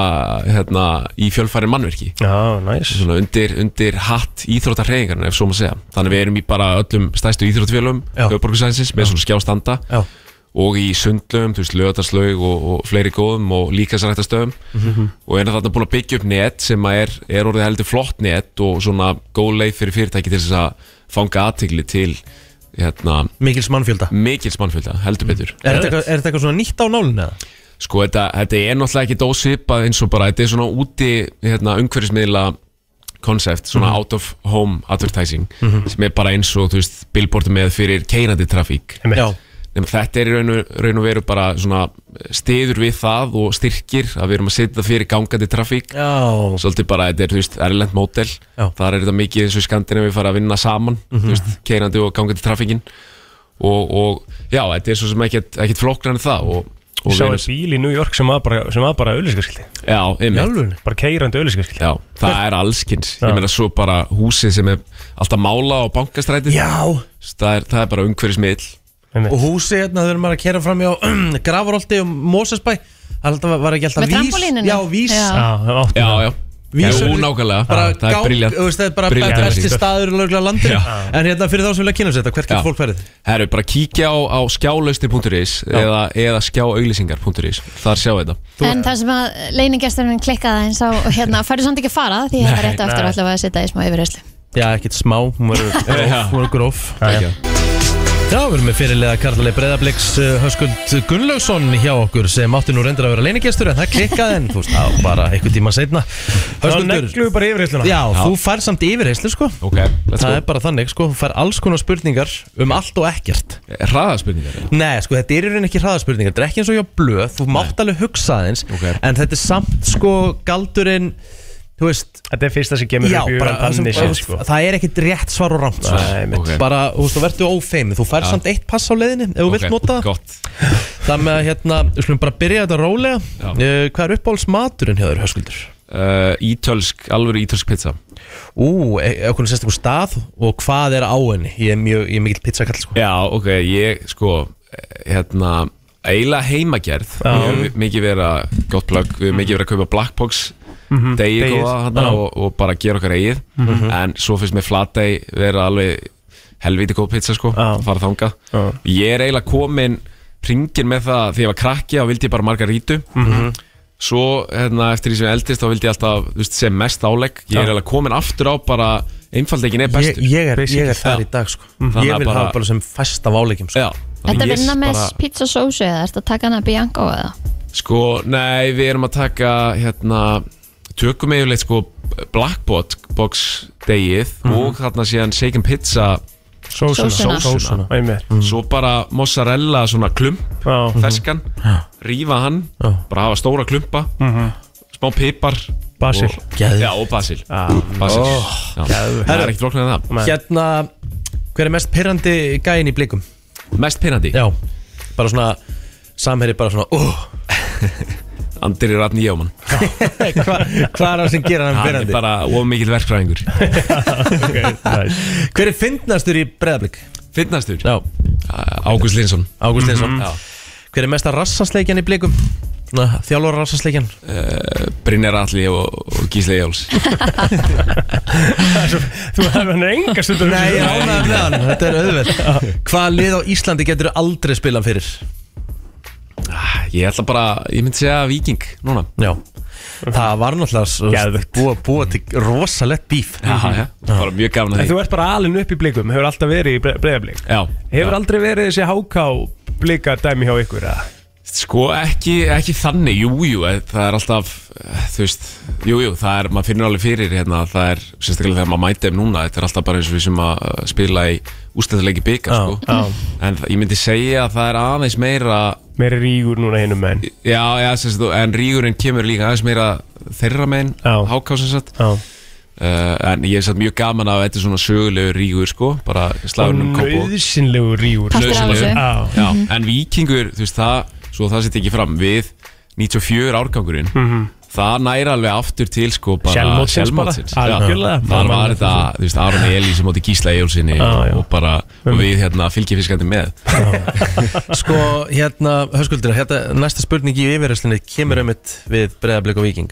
Speaker 8: hérna, í fjölfæri mannverki
Speaker 3: Já, næs
Speaker 8: svona undir, undir hatt íþróttar hreyingarna ef svo maður segja þannig við erum í bara öllum stæstu íþróttfjölum
Speaker 1: Já.
Speaker 8: höfborgarsænsins með svona skjástanda
Speaker 1: Já.
Speaker 8: og í sundlöfum, þú veist, lögatarslaug og, og fleiri góðum og líkasarættastöfum og erum þarna búin að byggja upp net sem að er, er orðið heldur flott net og svona góð leið fyrir fyrirtæki til þess að fanga aðtegli til hérna,
Speaker 1: Mikils mannfjölda
Speaker 8: mikils mannfjölda, heldur betur
Speaker 1: Er þetta eitthvað- er þetta eitthvað svona nýtt á nálinu? eða?
Speaker 8: Sko þetta, þetta er náttúrulega ekki dósipað eins og bara þetta er svona úti hérna, umhverfismiðla concept, svona out of home advertising sem er bara eins og þú veist, billboard með fyrir keirandi trafík
Speaker 3: Einmitt.
Speaker 1: Já,
Speaker 8: Nefnum, þetta er í raun og, raun og veru bara svona stiður við það og styrkir að við erum að setja það fyrir gangandi trafík
Speaker 1: já,
Speaker 8: svolítið bara, þetta er, þú veist, erlend mótel
Speaker 1: Já. Mhm.
Speaker 8: þar er þetta mikið eins og skandina við fara að vinna saman, þú veist, keirandi og gangandi trafíkin og, og já, þetta er svo sem ekkert, ekkert flóknar en það og, og
Speaker 3: Sá
Speaker 8: við
Speaker 3: er
Speaker 8: erum-
Speaker 3: bíl í New York sem var bara, sem var bara auðlýsingarskildi
Speaker 8: já, einmitt
Speaker 1: jálfurinn
Speaker 3: Bara keirandi auðlýsingarskildi
Speaker 8: Já, það er allskins
Speaker 3: Já.
Speaker 8: Ég meina svo bara húsið sem er alltaf mála á bankastræti
Speaker 1: Já,
Speaker 8: það er, það er bara umhverfismiðl
Speaker 1: og húsi hérna, þau erum maður að kera fram hjá Grafarolti og Mosesbæ Alltaf var ekki alltaf
Speaker 2: Með trampolíninu?
Speaker 1: Já, vís
Speaker 2: Já.
Speaker 3: Já, það átti
Speaker 8: Já,
Speaker 3: það.
Speaker 8: já
Speaker 1: Vís-
Speaker 8: Jú, nákvæmlega
Speaker 1: Bara
Speaker 8: Ah, Það er
Speaker 1: gang,
Speaker 8: briljant
Speaker 1: þú veist, það er bara
Speaker 8: brilliant
Speaker 1: besti
Speaker 8: lýsing.
Speaker 1: staður í lögulega landinu En hérna fyrir þá sem vilja kynna sér þetta, hvert
Speaker 8: Já.
Speaker 1: getur fólk verið?
Speaker 8: Herru, bara kíkja á, á skjálaustir.is eða, eða skjáauglýsingar.is Þar sjá þetta
Speaker 2: En það sem að leiningesturinn klikkaði eins á hérna, færðu samt ekki að fara því þetta er rétt á eftir
Speaker 3: nei.
Speaker 2: og ætlum við að setja í smá yfirherslu
Speaker 1: Já, ekkert smá, hún verður gróf, hún verður gróf.
Speaker 3: Já,
Speaker 1: Já, við erum með fyrirlega Karlalei Breiðabliks uh, Höskuld Gunnlaugsson hjá okkur sem átti nú reyndar að vera leinigestur en það klikkaði en þú veist, það var bara einhvern tíma setna
Speaker 3: Þá
Speaker 1: Höskuldur,
Speaker 3: neglu við bara yfir hérna
Speaker 1: já, þú fær samt yfirheyslu sko
Speaker 8: Ok, let's
Speaker 1: Það er bara þannig sko, þú fær alls konar spurningar um allt og ekkert
Speaker 8: go Hraðaspurningar eða?
Speaker 1: Nei, sko, þetta er í rauninni ekki hraðaspurningar Þetta er ekki eins og hjá blöð, þú mátt alveg hugsa aðeins
Speaker 8: Ok.
Speaker 1: En þetta er samt sko galdurinn Þú veist,
Speaker 3: Þetta er fyrsta sem kemur
Speaker 1: já,
Speaker 3: upp í
Speaker 1: bara, það, sem,
Speaker 3: þannig séð sko
Speaker 1: það er ekkit rétt svar og rámt svar
Speaker 3: Nei, mitt.
Speaker 8: Ok.
Speaker 1: Bara, þú veist, þú verður ófeimið Þú fær samt eitt pass á leiðinni ef þú
Speaker 8: Ok,
Speaker 1: vilt nota það
Speaker 8: Gott
Speaker 1: Það með að hérna, við slumum bara byrja þetta rólega
Speaker 8: Já.
Speaker 1: uh, Hvað er uppáhalds maturinn hjá þér, Höskuldur?
Speaker 8: uh, Ítölsk, alvöru ítölsk pizza
Speaker 1: Ú, e, eitthvað sérstakur stað og hvað er á henni? Ég er mjög, ég er mikill pizzakall sko
Speaker 8: Já, ok, ég sko hérna, eiginlega heimagerð við höfum mikið verið að gott plögg, við höfum mikið verið að kaupa black box degi
Speaker 3: degið,
Speaker 8: góða
Speaker 3: já.
Speaker 8: þarna og, og bara gera okkar eigið en svo finnst mér flatei vera alveg helviti góð pizza sko,
Speaker 3: Já.
Speaker 8: fara þangað
Speaker 3: Já.
Speaker 8: ég er eiginlega komin ringin með það, þegar ég var krakki þá vildi ég bara margarítu svo hérna, eftir því sem ég eldist þá vildi ég alltaf þú veist, sem mest álegg, ég er eiginlega komin aftur á bara einfaldleikin er
Speaker 1: Ég,
Speaker 8: bestur
Speaker 1: ég, er, ég
Speaker 3: Basically,
Speaker 1: er þar
Speaker 8: já.
Speaker 1: í dag sko
Speaker 8: Þannig
Speaker 1: Ég
Speaker 8: að
Speaker 1: vil
Speaker 8: bara-
Speaker 1: hafa bara sem fæst af áleikjum sko
Speaker 8: Já, þannig
Speaker 2: Þetta
Speaker 8: ég
Speaker 2: vinna með
Speaker 8: bara-
Speaker 2: pizza sósu eða ertu að taka hana Bianco eða?
Speaker 8: Sko, nei, við erum að taka hérna, tökum eiginlega sko Blackbot box degið
Speaker 1: Mhm.
Speaker 8: og þarna síðan shaken pizza
Speaker 2: Sósuna.
Speaker 3: Sósuna Einmitt.
Speaker 1: Mhm.
Speaker 8: svo bara mozzarella svona klump
Speaker 3: Já.
Speaker 8: ferskan, rífa hann bara hafa stóra klumpa smá pipar
Speaker 3: Basil.
Speaker 8: og,
Speaker 1: Mhm. Geðveikt. Ah. Oh,
Speaker 8: Já, og basil, basil. Já. Það er ekkert flóknir en það
Speaker 1: Hérna, hver er mest pirrandi gæin í blikum?
Speaker 8: Mest pinnandi,
Speaker 1: Já, bara svona Samherri bara svona, óh
Speaker 8: Andri Ratni Jóman
Speaker 1: Hva, Hvað er það sem gerir hann
Speaker 8: Hann er
Speaker 1: pirrandi?
Speaker 8: bara of mikill verkfræðingur
Speaker 1: Hver er fyndnastur í breðablik?
Speaker 8: Finnastur,
Speaker 1: Já,
Speaker 8: Ágúst Linsson
Speaker 1: Ágúst Einsson
Speaker 8: Já.
Speaker 1: Mhm. Hver er mesta rassasleikjan í blikum? Þjálfur rassasleikjan
Speaker 8: Eh, Brynjar Atli og, og Gísli Jóls
Speaker 3: Þú hefði hann enga stundum
Speaker 1: Nei, ég ránaði með hann, þetta er auðveld Hvaða lið á Íslandi getur aldrei spilað fyrir?
Speaker 8: Ah, Ég ætla bara, ég myndi segja viking núna
Speaker 3: Mhm.
Speaker 1: Já Það var náttúrulega s-
Speaker 3: Geðveikt.
Speaker 1: búa, búa til rosalett bíf
Speaker 8: Jaha, já, bara mjög gafna
Speaker 3: En
Speaker 8: því
Speaker 3: þú ert bara alin upp í blikum, hefur alltaf verið í breiðablík
Speaker 8: Já,
Speaker 3: Hefur
Speaker 8: já.
Speaker 3: aldrei verið þessi háká blika dæmi hjá ykkur eða?
Speaker 8: Sko ekki, ekki þannig, jújú jú, eh, það er alltaf, eh, þú veist jújú, jú, það er, maður finnur alveg fyrir hérna, það er, sérstaklega þegar maður mæti þeim núna þetta er alltaf bara eins og við sem að eh, spila í ústæðuleiki byggar, sko en það- ég myndi segja að það er aðeins meira
Speaker 3: Mér er rígur núna hinnum menn
Speaker 8: já, já, sérstu, en rígurinn kemur líka aðeins meira þeirra megin,
Speaker 3: Já.
Speaker 8: hákásinsett
Speaker 3: Já
Speaker 8: uh, en ég er satt mjög gaman að þetta er svona sögulegur rígur, sko, bara slagurinn um Kópavog.
Speaker 3: Nauðsynlegu rígur
Speaker 2: Partur af
Speaker 8: Nauðsynlegur.
Speaker 2: þessu
Speaker 3: Já
Speaker 8: Já, en vikingur, þú veist það svo það setja ekki fram við 94 árgangurinn það næra alveg aftur til sko bara
Speaker 3: Mhm. Sjálfmótsins bara,
Speaker 8: sjálfmótsins. Já.
Speaker 3: algjörlega.
Speaker 8: þar var þetta, þú veist, Aron Eli sem átti Gísla Jólsinni
Speaker 3: Já, já.
Speaker 8: og bara, og við hérna fylgjifiskandi með
Speaker 1: Sko, hérna, höskuldur, hérna, næsta spurning í yfirreyslinni kemur einmitt við breðablik og viking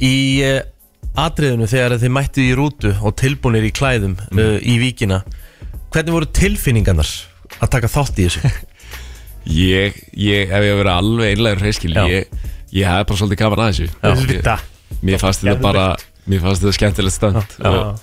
Speaker 1: Í uh, atriðinu þegar þið mættu í rútu og tilbúinir í klæðum uh, í vikina Hvernig voru tilfinningarnar að taka þátt í þessu?
Speaker 8: ég, ég, ef ég hef verið alveg einlegur reyskil,
Speaker 1: Já.
Speaker 8: ég, ég hef bara svolítið gaman að þessu
Speaker 3: Þetta
Speaker 8: Ég- mér fannst þetta bara, mér fannst þetta skemmtilegt stönd og,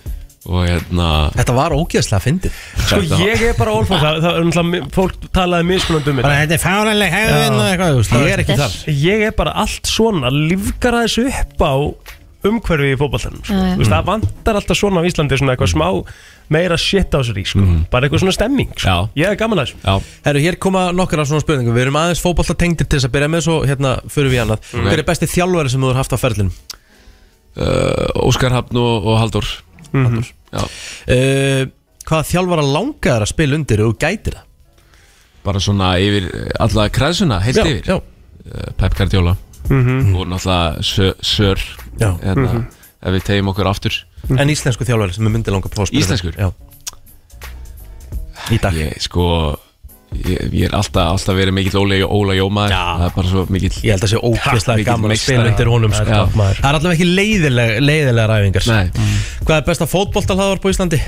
Speaker 8: og hérna
Speaker 1: Þetta var ógeðslega fyndið
Speaker 3: Sko
Speaker 8: þetta-
Speaker 3: ég er bara all for það, það er umtlað, fólk talaði mismunandi um þetta
Speaker 1: Bara þetta er fáranleg hegðun og eitthvað Ég er ekki þar
Speaker 3: Ég er bara allt svona, lífgar að þessu upp á umhverfi í fótballtænum sko.
Speaker 2: Já, já.
Speaker 3: Þú veist, það vantar alltaf svona á Íslandi svona
Speaker 8: Mm.
Speaker 3: eitthvað smá meira shit á sér í sko. bara eitthvað svona stemming sko.
Speaker 8: Já.
Speaker 3: ég er gaman að þessu
Speaker 8: Já,
Speaker 1: Herru, hér koma nokkar af svona spurningum Við erum aðeins fótballta tengdir til þess að byrja með Svo hérna förum við í annað Hver er besti þjálfari sem þú er haft á ferlinum?
Speaker 8: Óskar Hafn og, og Haldur
Speaker 1: Mhm.
Speaker 8: Haldur, já
Speaker 1: Uh, hvaða þjálfara langar að spila undir og gætir það?
Speaker 8: Bara svona yfir alla kreðsuna, heilt yfir
Speaker 1: já, Mhm.
Speaker 8: Eh, Pep Guardiola og náttúrulega Sir, sir
Speaker 1: já.
Speaker 8: hérna,
Speaker 1: Mhm.
Speaker 8: ef við tegjum okkur aftur
Speaker 1: En íslensku þjálfari sem er myndi langar að fá að spila
Speaker 8: Íslenskur?
Speaker 1: undir. Já Í dag
Speaker 8: ég sko ég, ég er alltaf, alltaf verið mikill Óla, Óla Jómaður það er bara svo mikill
Speaker 1: Ég held að sé ókvistlega
Speaker 8: mikill
Speaker 1: gaman að
Speaker 8: meistari.
Speaker 1: spila undir honum sko.
Speaker 8: Já.
Speaker 1: Það er allavega ekki leiðilega, leiðilega ræfingar
Speaker 8: Nei,
Speaker 1: Hvað er besta fótballtalhaðar på Íslandi?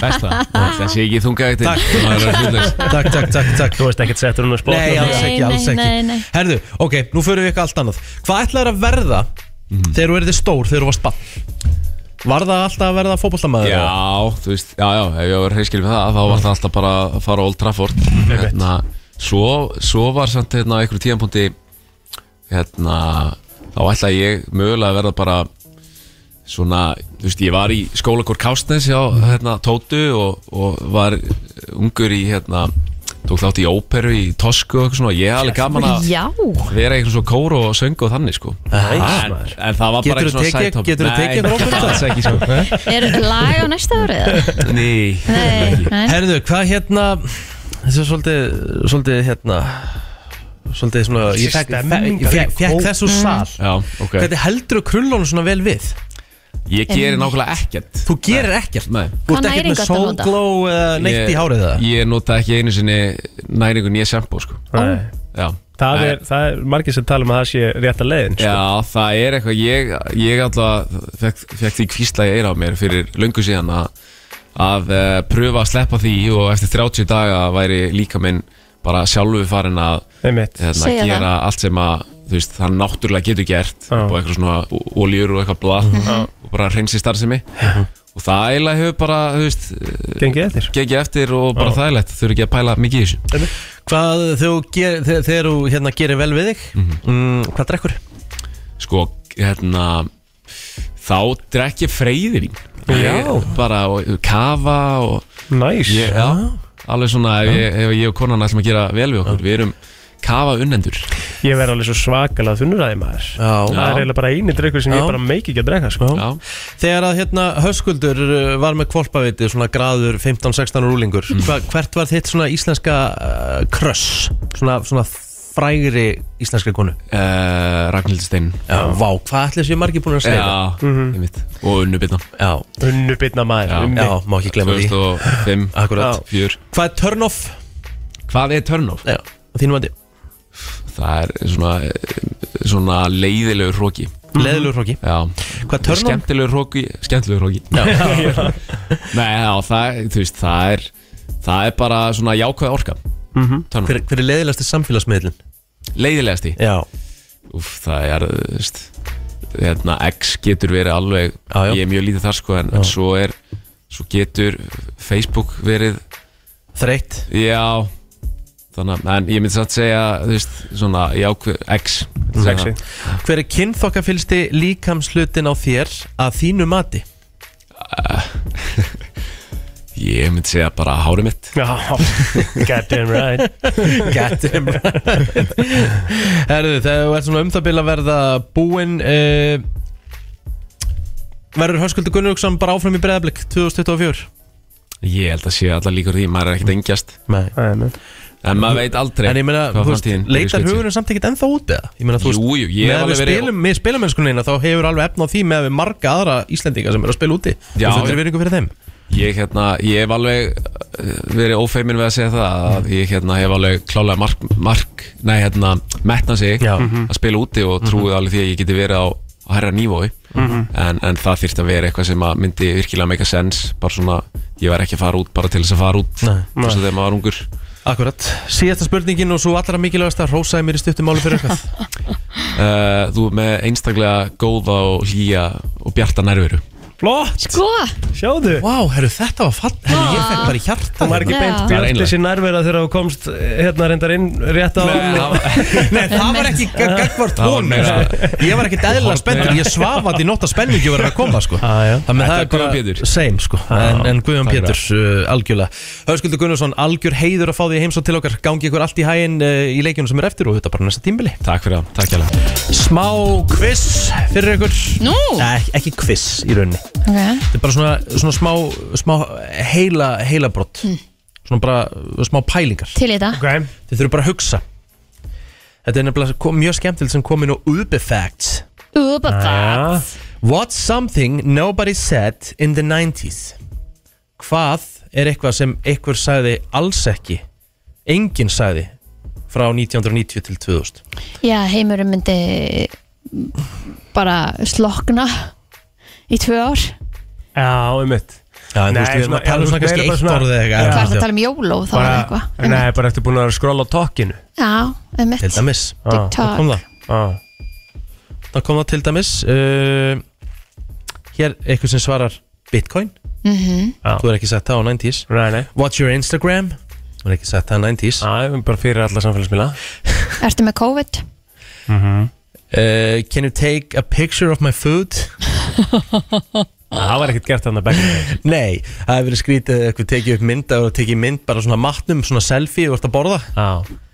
Speaker 8: besta Það sé ekki þunga eftir
Speaker 1: Takk. Takk, takk, takk, takk
Speaker 3: þú veist ekkert settur hún að spóta
Speaker 1: Nei, alls
Speaker 2: Nei,
Speaker 1: ekki, alls
Speaker 2: nei,
Speaker 1: ekki
Speaker 2: nei, nei.
Speaker 1: Herðu, ok, nú förum við eitthvað allt annað Hvað ætlaður að verða
Speaker 8: Mhm.
Speaker 1: þegar þú erði stór, þegar þú varst bann? Var það alltaf að verða fótboltamaður?
Speaker 8: Já, þú veist, já, já, ef ég var reyskil við það þá var það alltaf bara að fara á Old Trafford hérna, svo, svo var samt hérna á einhverjum tíðanpunkti hérna, þá ætlaði ég mögulega að verða bara svona, þú veist, ég var í skólakor Kástnes hjá hérna, Tótu og, og var ungur í hérna, tók þátt í óperu í Tosku og eitthvað svona, ég hef alveg gaman að
Speaker 2: Já,
Speaker 8: vera einhvern svona kóru og söngu og þannig sko en,
Speaker 3: maður.
Speaker 8: en það var bara
Speaker 1: Geturðu
Speaker 8: einhvern
Speaker 1: tekið- geturðu tekið einhver óperu?
Speaker 8: alls ekki sko
Speaker 2: er lag á næsta árið? eða?
Speaker 8: Nei,
Speaker 2: Nei, nei.
Speaker 1: Herðu, hvað hérna Þessi er svolítið, svolítið hérna Svolítið svona Ég fekk,
Speaker 3: Stemmingar
Speaker 1: ég fekk,
Speaker 3: í
Speaker 1: fekk þessu sal
Speaker 8: Já, ok
Speaker 1: Hvernig heldur þú krullónu svona vel við?
Speaker 8: Ég gerir nákvæmlega ekkert
Speaker 1: Þú gerir ekkert
Speaker 8: Nei
Speaker 1: Þú ert ekkert
Speaker 2: Hvaða næringu
Speaker 1: með
Speaker 2: ertu að nota?
Speaker 1: sólgló eða neitt í
Speaker 8: Ég-
Speaker 1: hárið það
Speaker 8: Ég nota ekki einu sinni næringun ég sempó sko
Speaker 3: Nei.
Speaker 8: Já
Speaker 3: það
Speaker 8: Nei.
Speaker 3: er, það er margir sem tala um að það sé rétt að leiðin sko.
Speaker 8: Já, það er eitthvað Ég, ég alltaf fekk, fekk því kvísla í eira á mér fyrir löngu síðan að, að uh, pröfa að sleppa því og eftir 30 daga væri líka minn bara sjálfu farin að
Speaker 3: Einmitt.
Speaker 8: hérna,
Speaker 2: Segja
Speaker 8: gera allt sem að þú veist, það náttúrulega getur gert
Speaker 3: Já.
Speaker 8: og eitthvað svona ó- olíur og eitthvað blað og bara hreinsi starfsemi og það eiginlega hefur bara, þú veist
Speaker 3: gengið eftir
Speaker 8: gengið eftir og bara þægilegt þau eru ekki að pæla mikið í þessu
Speaker 1: Hvað þegar þú ger, þegar, þegar þú hérna gerir vel við þig mm, Hvað drekkur?
Speaker 8: sko, hérna þá drekk ég freyðivín
Speaker 3: Já.
Speaker 8: bara og, kafa og
Speaker 3: næs
Speaker 8: ég, já, alveg svona ef ég, ef ég og konan ætlum að gera vel við okkur við erum kafa unnendur
Speaker 3: ég verð alveg svo svakalega þunnuræði maður
Speaker 1: Já.
Speaker 3: það er eiginlega bara eini draugur sem
Speaker 1: Já.
Speaker 3: ég bara meiki ekki að drekka sko.
Speaker 8: já,
Speaker 1: Þegar að hérna Höskuldur uh, var með kvolpaviti svona graður 15-16 rúlingur hva, hvert var þitt svona íslenska uh, kröss, svona, svona frægri íslenska konu
Speaker 8: uh, Ragnhildur Stein
Speaker 1: Já, vá, hvað ætli séu margir búin að segja
Speaker 8: já, Mhm. einmitt og unnubitna
Speaker 1: Já,
Speaker 3: unnubitna maður
Speaker 8: Já.
Speaker 1: já,
Speaker 3: Unni.
Speaker 1: má ekki glemma því
Speaker 8: 2005,
Speaker 1: Akkurat.
Speaker 8: 4
Speaker 1: Hvað er turn off?
Speaker 8: hvað er turn off?
Speaker 1: Já, á þínum andi,
Speaker 8: það er svona, eh, svona leiðilegur hróki
Speaker 1: leðilugur hróki
Speaker 8: já,
Speaker 1: Hvað er turn off?
Speaker 8: skemmtilegur hróki skemmtilegur hróki
Speaker 1: Já,
Speaker 8: Nei, já, það, þú veist, það er Það er bara svona jákvæð orka mm
Speaker 1: hver, hver er leðilegasti samfélagsmiðlun?
Speaker 8: Leiðilegasti
Speaker 1: Já,
Speaker 8: Úf, það er, þú veist Hérna, X getur verið alveg
Speaker 1: Já, já.
Speaker 8: Ég er mjög lítið þar, sko, en, en svo er Svo getur Facebook verið
Speaker 1: þreytt
Speaker 8: Já Þannig, að- en ég myndi satt segja, þú veist Svona jákvæð, X
Speaker 3: Sexy.
Speaker 1: Hver er kynþokkafylsti líkamslutin á þér að þínu mati?
Speaker 8: Ég myndi segja bara hárið mitt
Speaker 3: Já, goddamn right
Speaker 1: Get him right Herðu, þegar þú ert svona um það bil að verða búinn uh, Verður Höskuldur Gunnlaugsson bara áfram í breðablik 2024?
Speaker 8: Ég held að sé allar líkur því, maður er ekkert engjast
Speaker 1: Nei
Speaker 3: Nei, nei.
Speaker 8: En maður veit aldrei
Speaker 1: En ég meina,
Speaker 8: hvað
Speaker 1: þú veist,
Speaker 8: framtíðin ber í
Speaker 1: leitar
Speaker 8: skauti sér.
Speaker 1: hugurinn samt ekkert ennþá út eða? Ég meina, þú
Speaker 8: Jú, jú, ég hef
Speaker 1: með að
Speaker 8: alveg
Speaker 1: við
Speaker 8: verið-
Speaker 1: spilum, með spilamennskunina þá hefur alveg efna á því með að við marga aðra Íslendinga sem eru að spila úti
Speaker 8: Já,
Speaker 1: og þetta
Speaker 8: já.
Speaker 1: er veringu fyrir þeim
Speaker 8: Ég, hérna, ég hef alveg eh, verið ófeimin við að segja það að ég hérna, hef alveg klálega mark, mark nei, hérna, metna sig
Speaker 1: Já. Mhm.
Speaker 8: að spila úti og trúið alveg því að ég geti verið á, á herra nývói
Speaker 1: Mhm.
Speaker 8: en, en það þyrfti að vera eitthvað sem að myndi virkilega make a sense, bara svona ég var ekki að fara út bara til þess að fara út
Speaker 1: Nei.
Speaker 8: þess að þegar maður var ungur
Speaker 1: Akkurat, síðasta spurningin og svo allra mikilvægasta Rósaði mér í stuttum máli fyrir eitthvað
Speaker 8: Eh, uh, Þú ert með einstaklega góða og hlýja og bjarta nærveru
Speaker 3: Flott,
Speaker 2: Sko,
Speaker 3: sjáðu
Speaker 1: Vá, herru, þetta var fall Herru, ég fekk bara í hjarta
Speaker 3: Hún var ekki
Speaker 2: Já.
Speaker 3: beint
Speaker 8: Það er
Speaker 3: björnli
Speaker 8: einlægt.
Speaker 3: sér nærvera þegar þú komst hérna reyndar inn rétt á
Speaker 1: Nei, það var sko. ekki gagvart
Speaker 8: Það var
Speaker 1: hún
Speaker 8: meira-
Speaker 1: Ég var ekki dæðilega spenntur Ég svafandi í nótt að spenningi að vera að koma sko.
Speaker 3: Já, já.
Speaker 1: Þannig að
Speaker 8: Þetta
Speaker 1: það
Speaker 8: er
Speaker 1: er bara
Speaker 8: Guðjón Pétur.
Speaker 1: same sko. en, en Guðjón
Speaker 8: Takk fyrir
Speaker 1: Péturs uh, algjörlega Höskuldur Gunnarsson, algjör heiður að fá því heim svo til okkar Gangi ykkur allt í hæginn uh, í leikjunum sem er eftir og þetta bara næsta tímbili
Speaker 8: Takk fyrir það, takk hérlega
Speaker 1: Smá quiz fyrir ykkur
Speaker 2: Nú?
Speaker 1: Nei, ekki quiz í rauninni
Speaker 2: ok
Speaker 1: Þetta er bara svona, svona smá, smá heila, heilabrott Svona bara uh, smá pælingar
Speaker 2: Til í þetta
Speaker 3: Ok,
Speaker 1: Þið þurfum bara að hugsa Þetta er nefnilega kom, mjög skemmtilegt sem komin á Uber Facts
Speaker 2: Uba
Speaker 3: já.
Speaker 2: það
Speaker 1: What's something nobody said in the 90s? Hvað er eitthvað sem einhver sagði alls ekki enginn sagði frá 1990 til 2000
Speaker 2: Já, heimurinn myndi bara slokna í tvö ár
Speaker 3: Já, um mitt
Speaker 1: Já, en þú
Speaker 3: Nei,
Speaker 1: veist, við erum
Speaker 3: svona-
Speaker 1: að tala um
Speaker 3: já,
Speaker 1: svona kannski
Speaker 3: meira bara
Speaker 1: eitt
Speaker 3: svona-
Speaker 1: orð eða
Speaker 3: Já.
Speaker 2: Hvað er
Speaker 1: eitthvað
Speaker 2: það að
Speaker 1: já,
Speaker 2: tala um jól og þá er
Speaker 3: bara,
Speaker 2: eitthvað
Speaker 3: Nei, bara eftir búin að vera að skrolla á tokkinu
Speaker 2: Já, einmitt
Speaker 1: Til dæmis,
Speaker 3: Ah.
Speaker 2: TikTok.
Speaker 1: það kom það
Speaker 3: Já,
Speaker 1: Það kom það til dæmis uh, Hér eitthvað sem svarar Bitcoin
Speaker 2: Mhm.
Speaker 3: Já.
Speaker 1: Þú er ekki sagt það á 90s
Speaker 3: nei, nei
Speaker 1: What's your Instagram? Ah. Þú er ekki sagt það á 90s
Speaker 3: Já, bara fyrir alla samfélagsmiðla
Speaker 2: Ah. Ertu með COVID?
Speaker 1: uh, Can you take a picture of my food?
Speaker 3: Það var ekkert gert þarna bekk
Speaker 1: Nei, það hefur verið skrítið eitthvað tekið upp mynd og tekið mynd bara svona matnum, svona selfie og ert að borða
Speaker 2: Ah.
Speaker 3: Já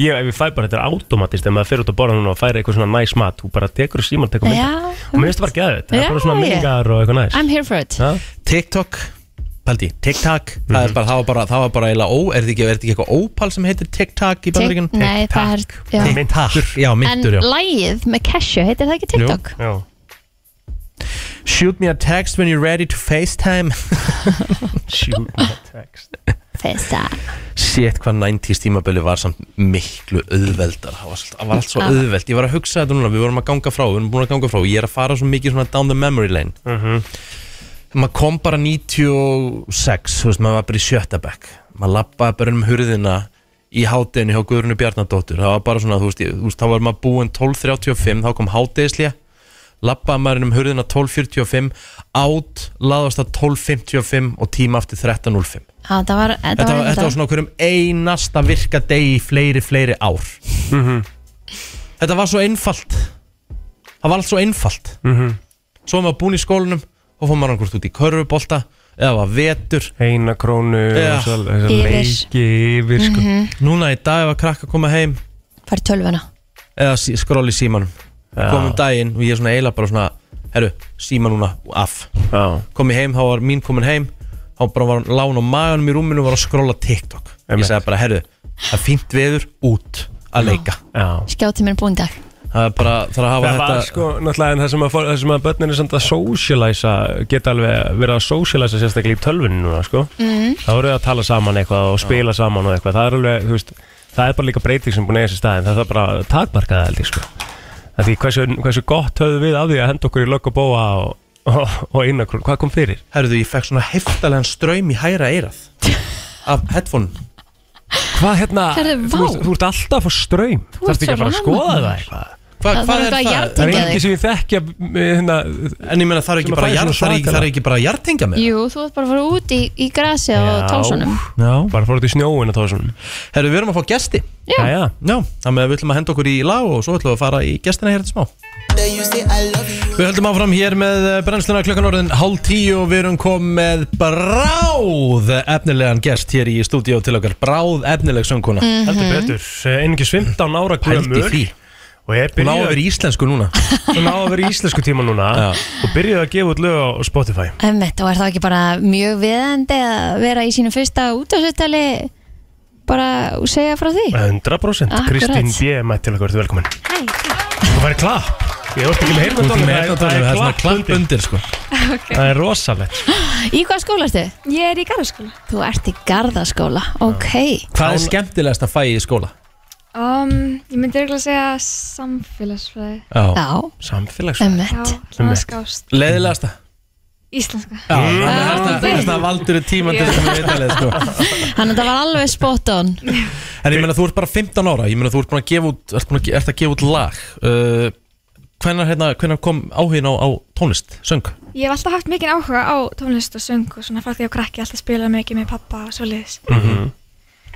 Speaker 3: Ég, ef ég fæ bara, þetta er automatist ef maður fyrir út að borða núna og færi eitthvað svona næs mat þú bara tekur síman, tekur mynda
Speaker 2: Já,
Speaker 3: og mér finnst það bara gæðið það er bara
Speaker 2: Já,
Speaker 3: svona
Speaker 2: ég-
Speaker 3: minningar og eitthvað næs
Speaker 2: I'm here for it
Speaker 3: Já,
Speaker 1: TikTok, paldi, TikTok Mhm. það, er bara, það var bara, það var bara eiginlega ó er þetta ekki, er þetta ekki eitthvað ópal sem heitir TikTok í
Speaker 2: Tik-
Speaker 1: bandaríkjunum?
Speaker 2: Nei, það er já.
Speaker 1: TikTok, já,
Speaker 2: En
Speaker 1: myndur, já
Speaker 2: lægið með Cashew, heitir það ekki TikTok?
Speaker 3: já
Speaker 1: Shoot me a text when you're ready to FaceTime
Speaker 3: Shoot me a text
Speaker 2: Festa
Speaker 1: Sétt hvað 90s tímabili var samt miklu auðveldar Það var allt- það var allt svo
Speaker 2: Já.
Speaker 1: auðveld Ég var að hugsa þetta núna, við vorum að ganga frá Við vorum búin að ganga frá, ég er að fara svo mikið svona down the memory lane Maður kom bara 96 Þú veist, maður var bara í sjötta bekk Maður lappaði bara um hurðina Í hátinu hjá Guðrunu Bjarnadóttur Það var bara svona, þú veist, ég, þú veist þá var maður búinn 12.35, þá kom hátegislega Lappaði maður um hurðina 12.45 Át, laðast að 12.55 Og tíma aftur 13.05
Speaker 2: Það var, þetta
Speaker 1: Þetta
Speaker 2: var,
Speaker 1: var, þetta var svona okkur um einasta virka deg í fleiri, fleiri ár
Speaker 3: Mhm.
Speaker 1: Þetta var svo einfalt Það var allt svo einfalt
Speaker 3: Mhm.
Speaker 1: Svo var maður búin í skólanum og fór maður einhvert út í körfubolta eða var vetur
Speaker 3: eina krónu
Speaker 1: Já.
Speaker 3: og svo-
Speaker 2: Yfir.
Speaker 3: þessar
Speaker 2: Mhm.
Speaker 3: leiki yfir sko
Speaker 1: Núna í dag var krakka að koma heim
Speaker 2: Fær í tölvuna
Speaker 1: eða sí- skrolla í símanum
Speaker 3: Já.
Speaker 1: Komum daginn og ég er svona eiginlega bara svona Herru, síma núna af
Speaker 3: Já,
Speaker 1: Kom ég heim, þá var mín komin heim Þá bara var hann lán á maganum í rúminu og var að skrolla TikTok Ég
Speaker 3: Einmitt.
Speaker 1: sagði bara, herru, það er fínt veður út að leika
Speaker 3: já
Speaker 2: Skjátti mér búin í dag
Speaker 1: Það er bara, það er að hafa
Speaker 3: Það var
Speaker 1: þetta
Speaker 3: sko, náttúrulega, en það sem að, fór- það sem að börnin er samt að socialisa, geta alveg verið að socialisa sérstaklega í tölvunni núna, sko.
Speaker 2: Mhm.
Speaker 3: Mm. Það voru að tala saman eitthvað og spila saman og eitthvað. Það er alveg, þú veist, það er bara líka breyting sem búin að eiga sér staðin. Það er bara takmarkaða, held ég, sko. Það því hversu, hversu gott höfðu við af því að henda okkur í lögg og bóa og, og, og innakrún. Hvað kom fyrir?
Speaker 1: Herðu, ég fekk svona heftalegan ströym í hæra eirað af headphone
Speaker 3: Hvað hérna,
Speaker 2: Herðu, vá.
Speaker 3: þú, veist, þú ert alltaf að fá ströym.
Speaker 2: Þú
Speaker 3: Það
Speaker 2: ert
Speaker 3: er ekki
Speaker 2: svo
Speaker 3: að fara að skoða
Speaker 2: rólegur.
Speaker 3: það eitthvað.
Speaker 1: Hva,
Speaker 2: Það þarf eitthvað að
Speaker 3: Það er
Speaker 2: Tengja
Speaker 3: engi
Speaker 2: þig.
Speaker 3: sem ég þekki að, hérna,
Speaker 1: En ég meina, það er
Speaker 3: Sem
Speaker 1: ekki
Speaker 3: að
Speaker 1: bara
Speaker 3: fara í
Speaker 1: jarð-
Speaker 3: svona
Speaker 1: það er ekki- það er
Speaker 3: svakalega.
Speaker 1: ekki bara að jartenga mig
Speaker 2: Jú, þú ert bara að fara út í, í grasi og
Speaker 3: Já.
Speaker 2: tálsunum
Speaker 1: Já
Speaker 3: bara fór út í snjóin að tóða svona.
Speaker 1: Herðu, við erum að fá gesti
Speaker 2: Já.
Speaker 3: Jæja.
Speaker 1: Já Þannig að við ætlum að henda okkur í lag og svo ætlum við að fara í gestina hér til smá Við höldum áfram hér með eh, brennsluna klukkan orðin hálf tíu og við erum komið með bráð efnilegan gest hér í stúdíó til okkar Bráð efnileg sönguna mm.
Speaker 3: heldur betur, einingis 15 ára
Speaker 1: Pældi
Speaker 3: gömur
Speaker 1: því
Speaker 3: og ég
Speaker 1: Hún á að vera
Speaker 3: byrjaði
Speaker 1: í íslensku núna
Speaker 3: hún á að vera í íslensku tíma núna
Speaker 1: Já.
Speaker 3: og byrjaði að gefa út lög á Spotify
Speaker 2: Emmett, og er það ekki bara mjög viðandi að vera í sínu fyrsta útafsettali bara og segja frá því?
Speaker 3: 100%
Speaker 2: Akkurat.
Speaker 3: Kristín B. mætt til okkur, þú velkomin
Speaker 2: Hæ,
Speaker 3: Þú færi klapp, ég vorst ekki
Speaker 1: Þú ert
Speaker 3: með heyrnardónum
Speaker 1: með eyrnadónum, Það er svona
Speaker 3: klapp
Speaker 1: klamp
Speaker 3: undir.
Speaker 1: undir sko
Speaker 3: Það er rosalegt
Speaker 2: Í hvað skóla ertu?
Speaker 6: Ég er í garðaskóla.
Speaker 2: Þú ert í Garðaskóla, ok
Speaker 1: Hvað er skemmtilegast að fæ í skóla?
Speaker 6: Um, ég myndi eiginlega segja samfélagsfræði.
Speaker 1: Já
Speaker 2: Já,
Speaker 3: Samfélags
Speaker 6: Já,
Speaker 2: emmett
Speaker 6: það skást.
Speaker 1: Leiðilegasta?
Speaker 6: Íslenska.
Speaker 1: Já, það er það valdur í tíma til þessum viðtalið sko.
Speaker 2: Þannig að það var alveg spot on
Speaker 1: En ég meina þú ert bara 15 ára Ég meina þú ert búin að gefa út Ert, búin að, ge- ert að gefa út lag uh, hvenar, hérna, hvenar kom áhugin á, á tónlist, söng?
Speaker 6: Ég hef alltaf haft mikinn áhuga á tónlist og söng og svona frá því að krakki alltaf spila mikið með pappa og svoleiðis.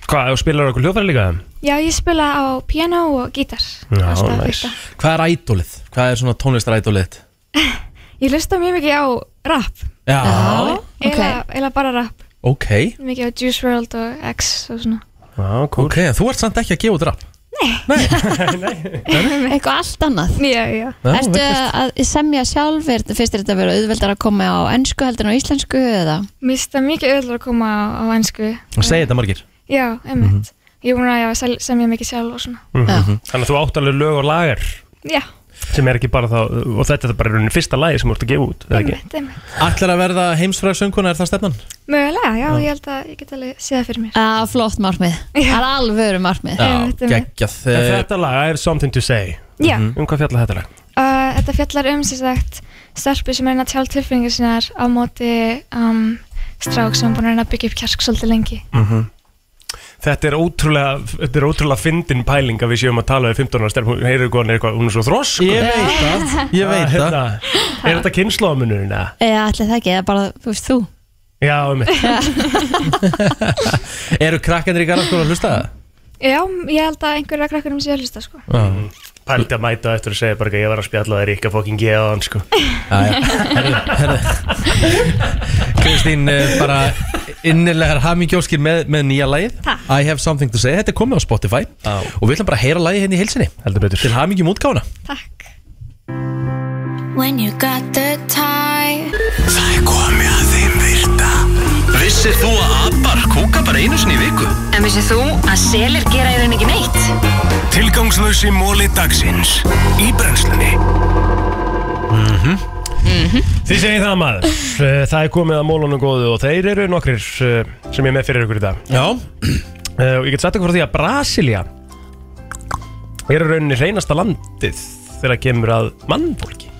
Speaker 3: Hvað, og spilar okkur hljóðfæri líka?
Speaker 6: Já, ég spila á piano og gítar.
Speaker 3: Já,
Speaker 6: Alltaf
Speaker 3: næs.
Speaker 6: þetta.
Speaker 1: Hvað er ædólið? Hvað er svona tónlistarædólið? þitt?
Speaker 6: Ég hlusta mjög mikið á rap,
Speaker 1: Já,
Speaker 2: Já, ok
Speaker 6: eiginlega eiginlega bara rap,
Speaker 1: ok
Speaker 6: mikið á Juice WRLD og X og svona.
Speaker 3: Já, cool
Speaker 1: Ok, en þú ert samt ekki að gefa út rap
Speaker 2: Eitthvað allt annað
Speaker 6: Já, já.
Speaker 1: Já,
Speaker 2: Ertu að semja sjálf, er, finnst þér þetta að vera auðveldar að koma á ennsku heldur en á íslensku eða?
Speaker 6: Mér finnst það mikið öðru að koma á, á ennsku.
Speaker 1: Það segir þetta margir
Speaker 6: Já, einmitt. Ég er búin að já, sel- semja mikið sjálf og svona.
Speaker 2: Mhm.
Speaker 3: Þannig að þú átt alveg lög og lagar
Speaker 6: Já,
Speaker 3: sem er ekki bara þá, og þetta er bara í rauninni fyrsta lagi sem þú ert að gefa út, eða ekki?
Speaker 6: einmitt, einmitt.
Speaker 1: Ætlar að verða heimsfræð sönguna, er það stefnan?
Speaker 6: Mögulega, já, ég held að ég get alveg séð það fyrir mér.
Speaker 2: Að flott markmið, það er alvöru markmið
Speaker 6: Einmitt, einmitt.
Speaker 1: geggjað
Speaker 3: En
Speaker 1: Eh,
Speaker 3: þetta lag, I have something to say
Speaker 6: Já,
Speaker 1: Mm.
Speaker 3: Um hvað fjallar þetta lag?
Speaker 6: uh, þetta fjallar um sem sagt stelpu sem er að tjála tilfinningar sinnar á móti um, strák sem er búin að reyna að byggja upp kjark svolítið lengi.
Speaker 3: Þetta er ótrúlega, þetta er ótrúlega fyndin pæling að við séum að tala við 15 ára stelp Hún heyrðu hvað hún er eitthvað, hún er svo þrosk
Speaker 1: Ég veit það Ég veit það
Speaker 9: hérna.
Speaker 3: Er þetta kynnslóðmunurinn eða?
Speaker 2: Eða ætli það ekki, eða bara, þú veist þú
Speaker 3: Já, um
Speaker 1: Eru krakkandir í garðaskóla að hlusta það?
Speaker 6: Já, ég held að einhverja krakkarum sé að hlusta sko.
Speaker 3: Pældi að mæta á eftir að segja bara ekki að ég var að spjalla þér ekki að fokkin geða hann sko
Speaker 1: Kristín, eh, bara innilegar hamingjóskir með, með nýja lagið
Speaker 6: Takk.
Speaker 1: I have something to say, þetta er komið á Spotify
Speaker 3: Já.
Speaker 1: og við ætlum bara að heyra lagið henni í heilsinni
Speaker 3: Heldur betur
Speaker 1: til hamingjum útgána
Speaker 6: Takk.
Speaker 10: When you got the time
Speaker 4: Það er komið að þeim virta Vissir þú að abar kúka bara einu sinni í viku?
Speaker 11: En vissið þú að selir gera í rauninni ekki neitt?
Speaker 4: Tilgangslösi móli dagsins Í brennslunni
Speaker 3: Þið segir það maður Eh, Það er komið að mólunum góðu og þeir eru nokkrir eh, sem ég er með fyrir ykkur í dag
Speaker 1: Já,
Speaker 3: Eh, og ég get sagt ykkur frá því að Brasilia er í rauninni hreinasta landið þegar kemur að mannfólki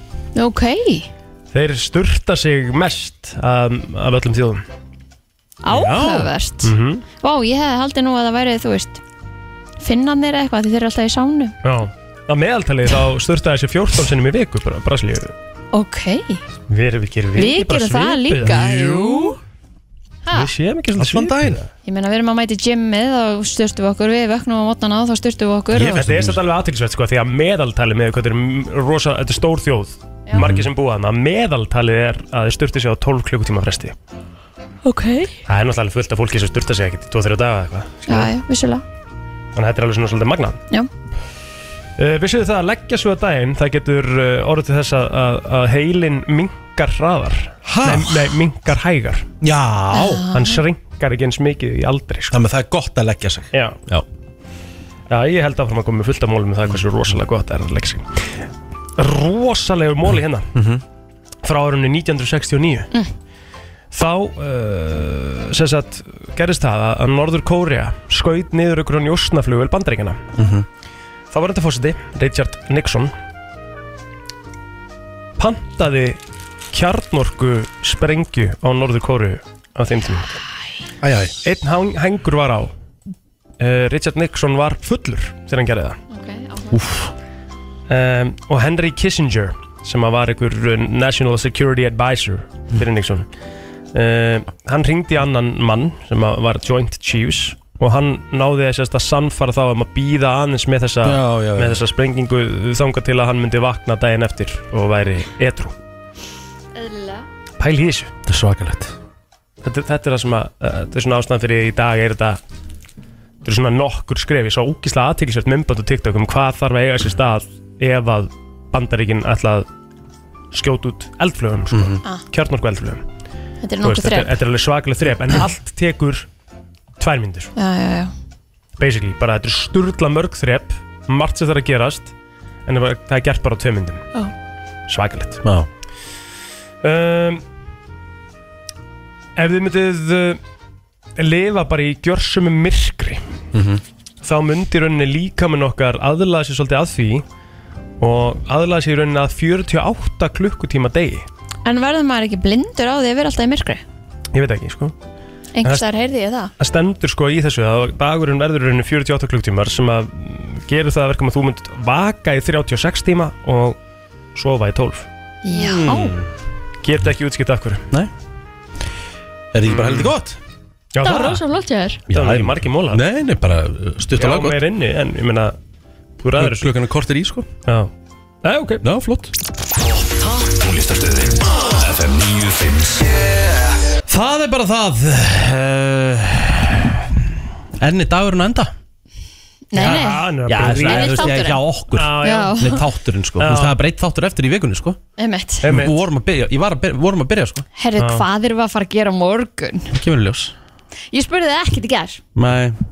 Speaker 2: Ok,
Speaker 3: þeir sturta sig mest um, af öllum þjóðum
Speaker 2: áhugavert Vá, ég hefði haldið nú að það væri, þú veist Finnanir eða eitthvað, því þeir eru alltaf í sánu
Speaker 3: Já. að meðaltali þá sturta þessi 14 sinnum í viku bara Brasilia
Speaker 2: Ok,
Speaker 3: við erum ekki við,
Speaker 2: við gerum það líka Jú Ha,
Speaker 3: við séum ekki
Speaker 1: allan
Speaker 3: svona
Speaker 1: daginn
Speaker 2: ég meina við erum að mæti gymmið og sturtum við okkur, við vöknum á mótnana og þá sturtum við okkur og...
Speaker 3: Þetta er satt alveg aðtilsvett sko, því að meðaltalið með hvað þetta er m- rosa, þetta er stór þjóð
Speaker 2: Já.
Speaker 3: margir sem búa þannig að meðaltalið er að þeir sturti sig á 12 klukkutíma fresti
Speaker 2: Ok,
Speaker 3: Það er náttúrulega alveg fullt af fólki sem sturta sig ekkert í 2-3 daga eða eitthvað sko.
Speaker 2: já, já, vissulega
Speaker 3: Þannig að þetta er alveg svona svolítið magnað
Speaker 2: Já.
Speaker 3: uh, Vissuðu það að leggja svo að daginn það getur uh, orðið til þess að, að, að heilin minkar hraðar
Speaker 1: Ha?
Speaker 3: nei, nei, minkar hægar
Speaker 1: Já,
Speaker 3: Hann srinkar ekki eins mikið í aldri sko.
Speaker 1: þannig að það er gott að leggja sig
Speaker 3: Já.
Speaker 1: Já.
Speaker 3: Já, ég held áfram að koma með fullt af mólum með það hversu rosalega gott það er að leggja sig Rosalegu móli hérna
Speaker 1: Mhm.
Speaker 3: frá árunni 1969 þá uh, sem sagt, gerist það að- að Norður Kórea skaut niður ykkur hann jósnaflugvel bandaríkjana
Speaker 1: Mhm.
Speaker 3: þá var þetta fósiti, Richard Nixon pantaði kjarnorku sprengju á Norður Kóreu á þeim tíma
Speaker 1: Æ, æ.
Speaker 3: einn hang, hengur var á uh, Richard Nixon var fullur þegar hann gerði það um, og Henry Kissinger sem að var einhver eh, National Security Advisor fyrir Nixon uh, hann ringdi annan mann sem að var Joint Chiefs og hann náði þess að samfara þá um að býða aðeins með þessa,
Speaker 1: Já, já, já.
Speaker 3: með þessa sprengingu þanga til að hann myndi vakna daginn eftir og væri etru pæli í þessu
Speaker 1: Þetta er svakalegt
Speaker 3: þetta, þetta er það sem að uh, þetta er svona ástæðan fyrir í dag er þetta þetta er svona nokkur skref ég sá ógislega aðtýrlisvert mymband og TikTok um hvað þarf að eiga sér stað ef að bandaríkin ætla að skjóta út eldflögum sko,
Speaker 2: Ah.
Speaker 3: kjarnorku eldflögum
Speaker 2: Þetta er
Speaker 3: Þú
Speaker 2: nokkuð
Speaker 3: þetta, er-
Speaker 2: þrejf
Speaker 3: þetta er alveg svakalega þref en allt tekur tvær myndir
Speaker 2: Já, já, já
Speaker 3: basically, bara þetta er sturla mörg þrep margt sem þarf að gerast en það það er gert bara á tvei myndum
Speaker 2: Já.
Speaker 3: svakalegt
Speaker 1: Já.
Speaker 3: um, Ef þið myndið uh, lifa bara í gjörsum myrkri Mhm. þá myndi rauninni líka með nokkar aðlaða sér svolítið að því og aðlaða sér í rauninni að 48 klukkutíma degi
Speaker 2: En verður maður ekki blindur á því að vera alltaf í myrkri?
Speaker 3: ég veit ekki sko
Speaker 2: Einhvers þar heyrði ég það
Speaker 3: það stendur sko í þessu að dagurinn verður í rauninni 48 klukkutímar sem að mm, gerir það að verkum að þú mynd vaka í 36 tíma og sofa í 12
Speaker 2: Já
Speaker 1: Mm.
Speaker 3: Get ekki útskipt af hverju Nei
Speaker 9: Er það ekki bara heldur gott?
Speaker 3: Já,
Speaker 2: Það var rosa flott hjá þér
Speaker 3: Já, það er ekki margir mólar
Speaker 9: Nei, nei, bara uh, stutt og laggott.
Speaker 3: Já, meir inni, en ég meina Þú ræður þessu
Speaker 9: Klukkan er kortir í, sko
Speaker 3: Já Nei, ok
Speaker 9: Já, flott
Speaker 12: Tónlistarstöðin FM 957
Speaker 1: Það er bara það uh, Enni dagurinn á enda
Speaker 2: Nei, nei
Speaker 1: Já, það
Speaker 2: byrja. Nei,
Speaker 1: er
Speaker 2: við
Speaker 1: þú veist,
Speaker 2: þátturinn.
Speaker 1: hjá okkur
Speaker 2: Já, já.
Speaker 1: Nei, þátturinn sko,
Speaker 2: Já.
Speaker 1: Þú veist, það er bara eitt þáttur eftir í vikunni sko
Speaker 2: Einmitt.
Speaker 1: Við vorum að byrja, ég var að byrja, vorum að byrja sko
Speaker 2: Herru, hvað erum við að fara að gera á morgun?
Speaker 1: Það kemur í ljós
Speaker 2: Ég spurði það ekkert í ger
Speaker 1: Nei,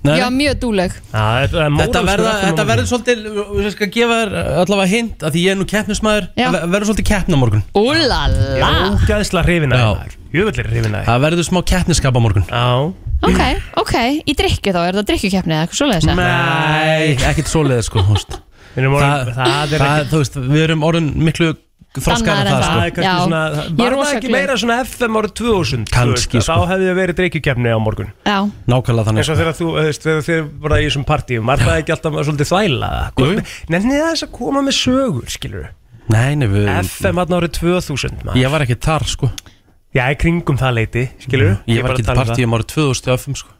Speaker 1: nei.
Speaker 2: Ég var mjög dúleg
Speaker 3: Já,
Speaker 1: Þetta
Speaker 3: móralskur
Speaker 1: verða-
Speaker 3: aftur
Speaker 1: þetta
Speaker 3: morgun.
Speaker 1: verður svolítið, ég skal gefa þér allavega hint að því ég er nú keppnismæður,
Speaker 2: Já.
Speaker 1: það verður svolítið keppna morgun
Speaker 2: Úlala
Speaker 3: Ógæðsla hrifinæg Jöfullir hrifinæg
Speaker 1: Það verður smá keppniskap á morgun
Speaker 3: Já
Speaker 2: Ok, ok, í drikju þá, er það drikkjukeppni eða eitthvað svoleiðis eða?
Speaker 1: Nei, ekkit svoleiðis sko þú veist.
Speaker 3: orðin- það er ekki-
Speaker 1: Þú veist, við erum orðin miklu þroskar en það
Speaker 3: Það er
Speaker 1: sko
Speaker 3: kannski svona
Speaker 2: Ég er
Speaker 3: Var það
Speaker 2: rosa
Speaker 3: ekki
Speaker 2: glöð.
Speaker 3: meira svona FM árið 2000 þú
Speaker 1: Kannski,
Speaker 3: veist, að Þá hefði það verið dreikjukefni á morgun
Speaker 2: Já
Speaker 1: sko. Nákvæmlega þannig
Speaker 3: sko. eins og þegar þú, þú veist, þegar þið bara í þessum partíum Var það ekki alltaf svolítið þvæla Nenni það þess að koma með sögur, skilur
Speaker 1: Nei, nei, við
Speaker 3: FM hann árið 2000 maður.
Speaker 1: Ég var ekki þar sko
Speaker 3: Já, í kringum það leiti, skilur
Speaker 1: Ég var ekki í
Speaker 3: um
Speaker 1: partíum árið 2000 FM sko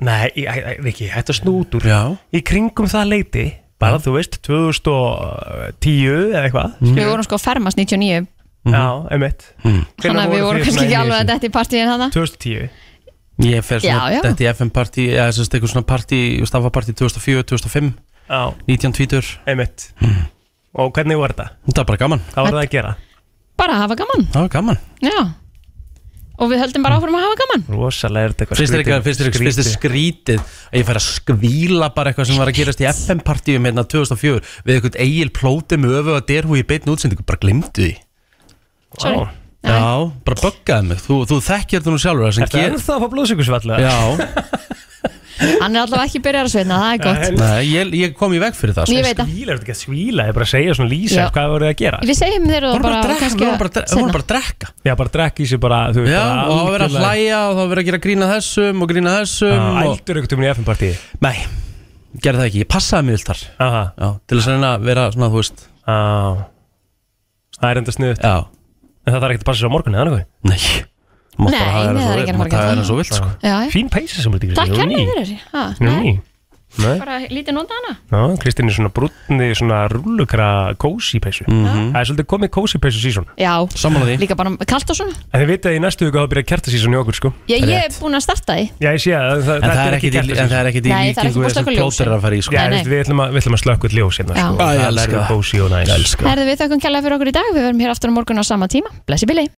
Speaker 3: Nei, ég- ég- ég- Riki, hættu að snútur
Speaker 1: Já.
Speaker 3: Í kringum það leiti Bara,
Speaker 1: Mm.
Speaker 3: þú veist, 2010 eða eitthvað
Speaker 1: Mm.
Speaker 2: Við
Speaker 3: skilurðu.
Speaker 2: vorum sko að fermast 99
Speaker 1: Mhm.
Speaker 3: Já, emitt
Speaker 2: Þannig að við vorum kannski ekki alveg að þetta hérna í hérna. partíin hana
Speaker 3: 2010
Speaker 1: Ég fer svona
Speaker 2: Já, já.
Speaker 1: Þetta í FM partí Eða þess að eitthvað svona partí Stafapartí 2004, 2005
Speaker 3: Já
Speaker 1: 1920
Speaker 3: Emitt
Speaker 1: Mm.
Speaker 3: Og hvernig var þetta?
Speaker 1: Þetta var bara gaman
Speaker 3: Hvað var það að gera?
Speaker 2: Bara að hafa gaman
Speaker 1: Það var gaman
Speaker 2: Já Og við höldum bara áfram að hafa gaman
Speaker 3: Rosalega er þetta eitthvað
Speaker 1: Fyrst er eitthvað, fyrst er eitthvað, fyrst er skrítið að ég fær að skvíla bara eitthvað sem var að gerast í FM-partíum hérna 2004 við eitthvað eigil plóti með öfu að derhú í beinni útsendingu, bara glimtu því.
Speaker 2: Sorry. Vá.
Speaker 1: Já, bara böggaði mig, þú, þú þekkjar þú nú sjálfur það sem
Speaker 3: Ertu ennþá að fá blóðsíkusvalla?
Speaker 1: Já,
Speaker 2: Hann er allavega ekki byrjar að sveitna, það er gott
Speaker 1: Nei, ég, ég kom í veg fyrir það. sko.
Speaker 2: Ég veit það.
Speaker 3: Svíla, er þetta ekki að svíla? Ég er bara að segja svona lýsa
Speaker 2: Já.
Speaker 3: Hvað voru það að gera?
Speaker 2: Við segjum
Speaker 1: Hún
Speaker 2: þeir það
Speaker 1: var bara
Speaker 2: bara
Speaker 1: að drekka,
Speaker 2: kannski
Speaker 1: hún var bara að dre- hún var bara að drekka
Speaker 3: Já, bara drekk í sig bara þú veist,
Speaker 1: Já,
Speaker 3: bara
Speaker 1: og það var verið að
Speaker 3: algjörlega-
Speaker 1: hlæja og það var verið að gera grína þessum og grína þessum
Speaker 3: Já,
Speaker 1: og...
Speaker 3: Ældur einhvern veginn í FM-partíi
Speaker 1: Nei, gerði það ekki, ég passaði mig vilt þar
Speaker 3: Aha.
Speaker 1: Já, til þess að reyna að vera svona, þú veist
Speaker 3: Já Það er enda sniðut
Speaker 1: Já,
Speaker 3: En það þarf ekki að passa sér á morgunni, eða nokkuð
Speaker 1: nei Má
Speaker 2: Nei,
Speaker 1: bara hafa
Speaker 2: nei,
Speaker 1: það eins og
Speaker 2: það er ekki
Speaker 1: vill,
Speaker 2: að
Speaker 1: má
Speaker 2: fara að gera
Speaker 1: taka það
Speaker 2: það.
Speaker 1: eins og vilt, sko
Speaker 2: Já, já.
Speaker 3: Fín peysa sem þú ert í
Speaker 2: Eh? Takk
Speaker 3: Kristín,
Speaker 2: kærlega
Speaker 3: hún er ný.
Speaker 2: fyrir ha,
Speaker 3: Hún er
Speaker 2: nei,
Speaker 3: ný. Nei.
Speaker 2: Bara lítið nota hana
Speaker 3: Já, Kristín er svona brúnni, svona rúllukra kósi peysu
Speaker 1: Mhm.
Speaker 3: Það er svolítið komið kósi peysu sísón
Speaker 2: Já,
Speaker 1: Sammála því
Speaker 2: líka bara kalt og svona
Speaker 3: En þið vitið að í næstu viku þá byrja kertasísón í okkur, sko
Speaker 2: Já, ég er búin að starta því
Speaker 3: Já, ég sé að það,
Speaker 1: En það er ekkit í- en það
Speaker 3: kertasísón
Speaker 1: er ekkit í
Speaker 2: Nei, það er ekki
Speaker 1: líkingu
Speaker 2: búið
Speaker 1: þessum
Speaker 2: slökkva ljósin.
Speaker 1: plóter að fara í, sko
Speaker 3: Já,
Speaker 2: Nei, nei.
Speaker 3: þú veist, við ætlum að, við ætlum að slökka út ljós hérna,
Speaker 2: Já.
Speaker 3: sko
Speaker 1: Æ, ég
Speaker 3: Það
Speaker 1: elska
Speaker 3: er
Speaker 1: það.
Speaker 3: kósi og næs
Speaker 1: Ég elska það.
Speaker 2: Herðu við þökkum kærlega fyrir okkur í dag Við verum hér aftur á morgun á sama tíma Blessi bili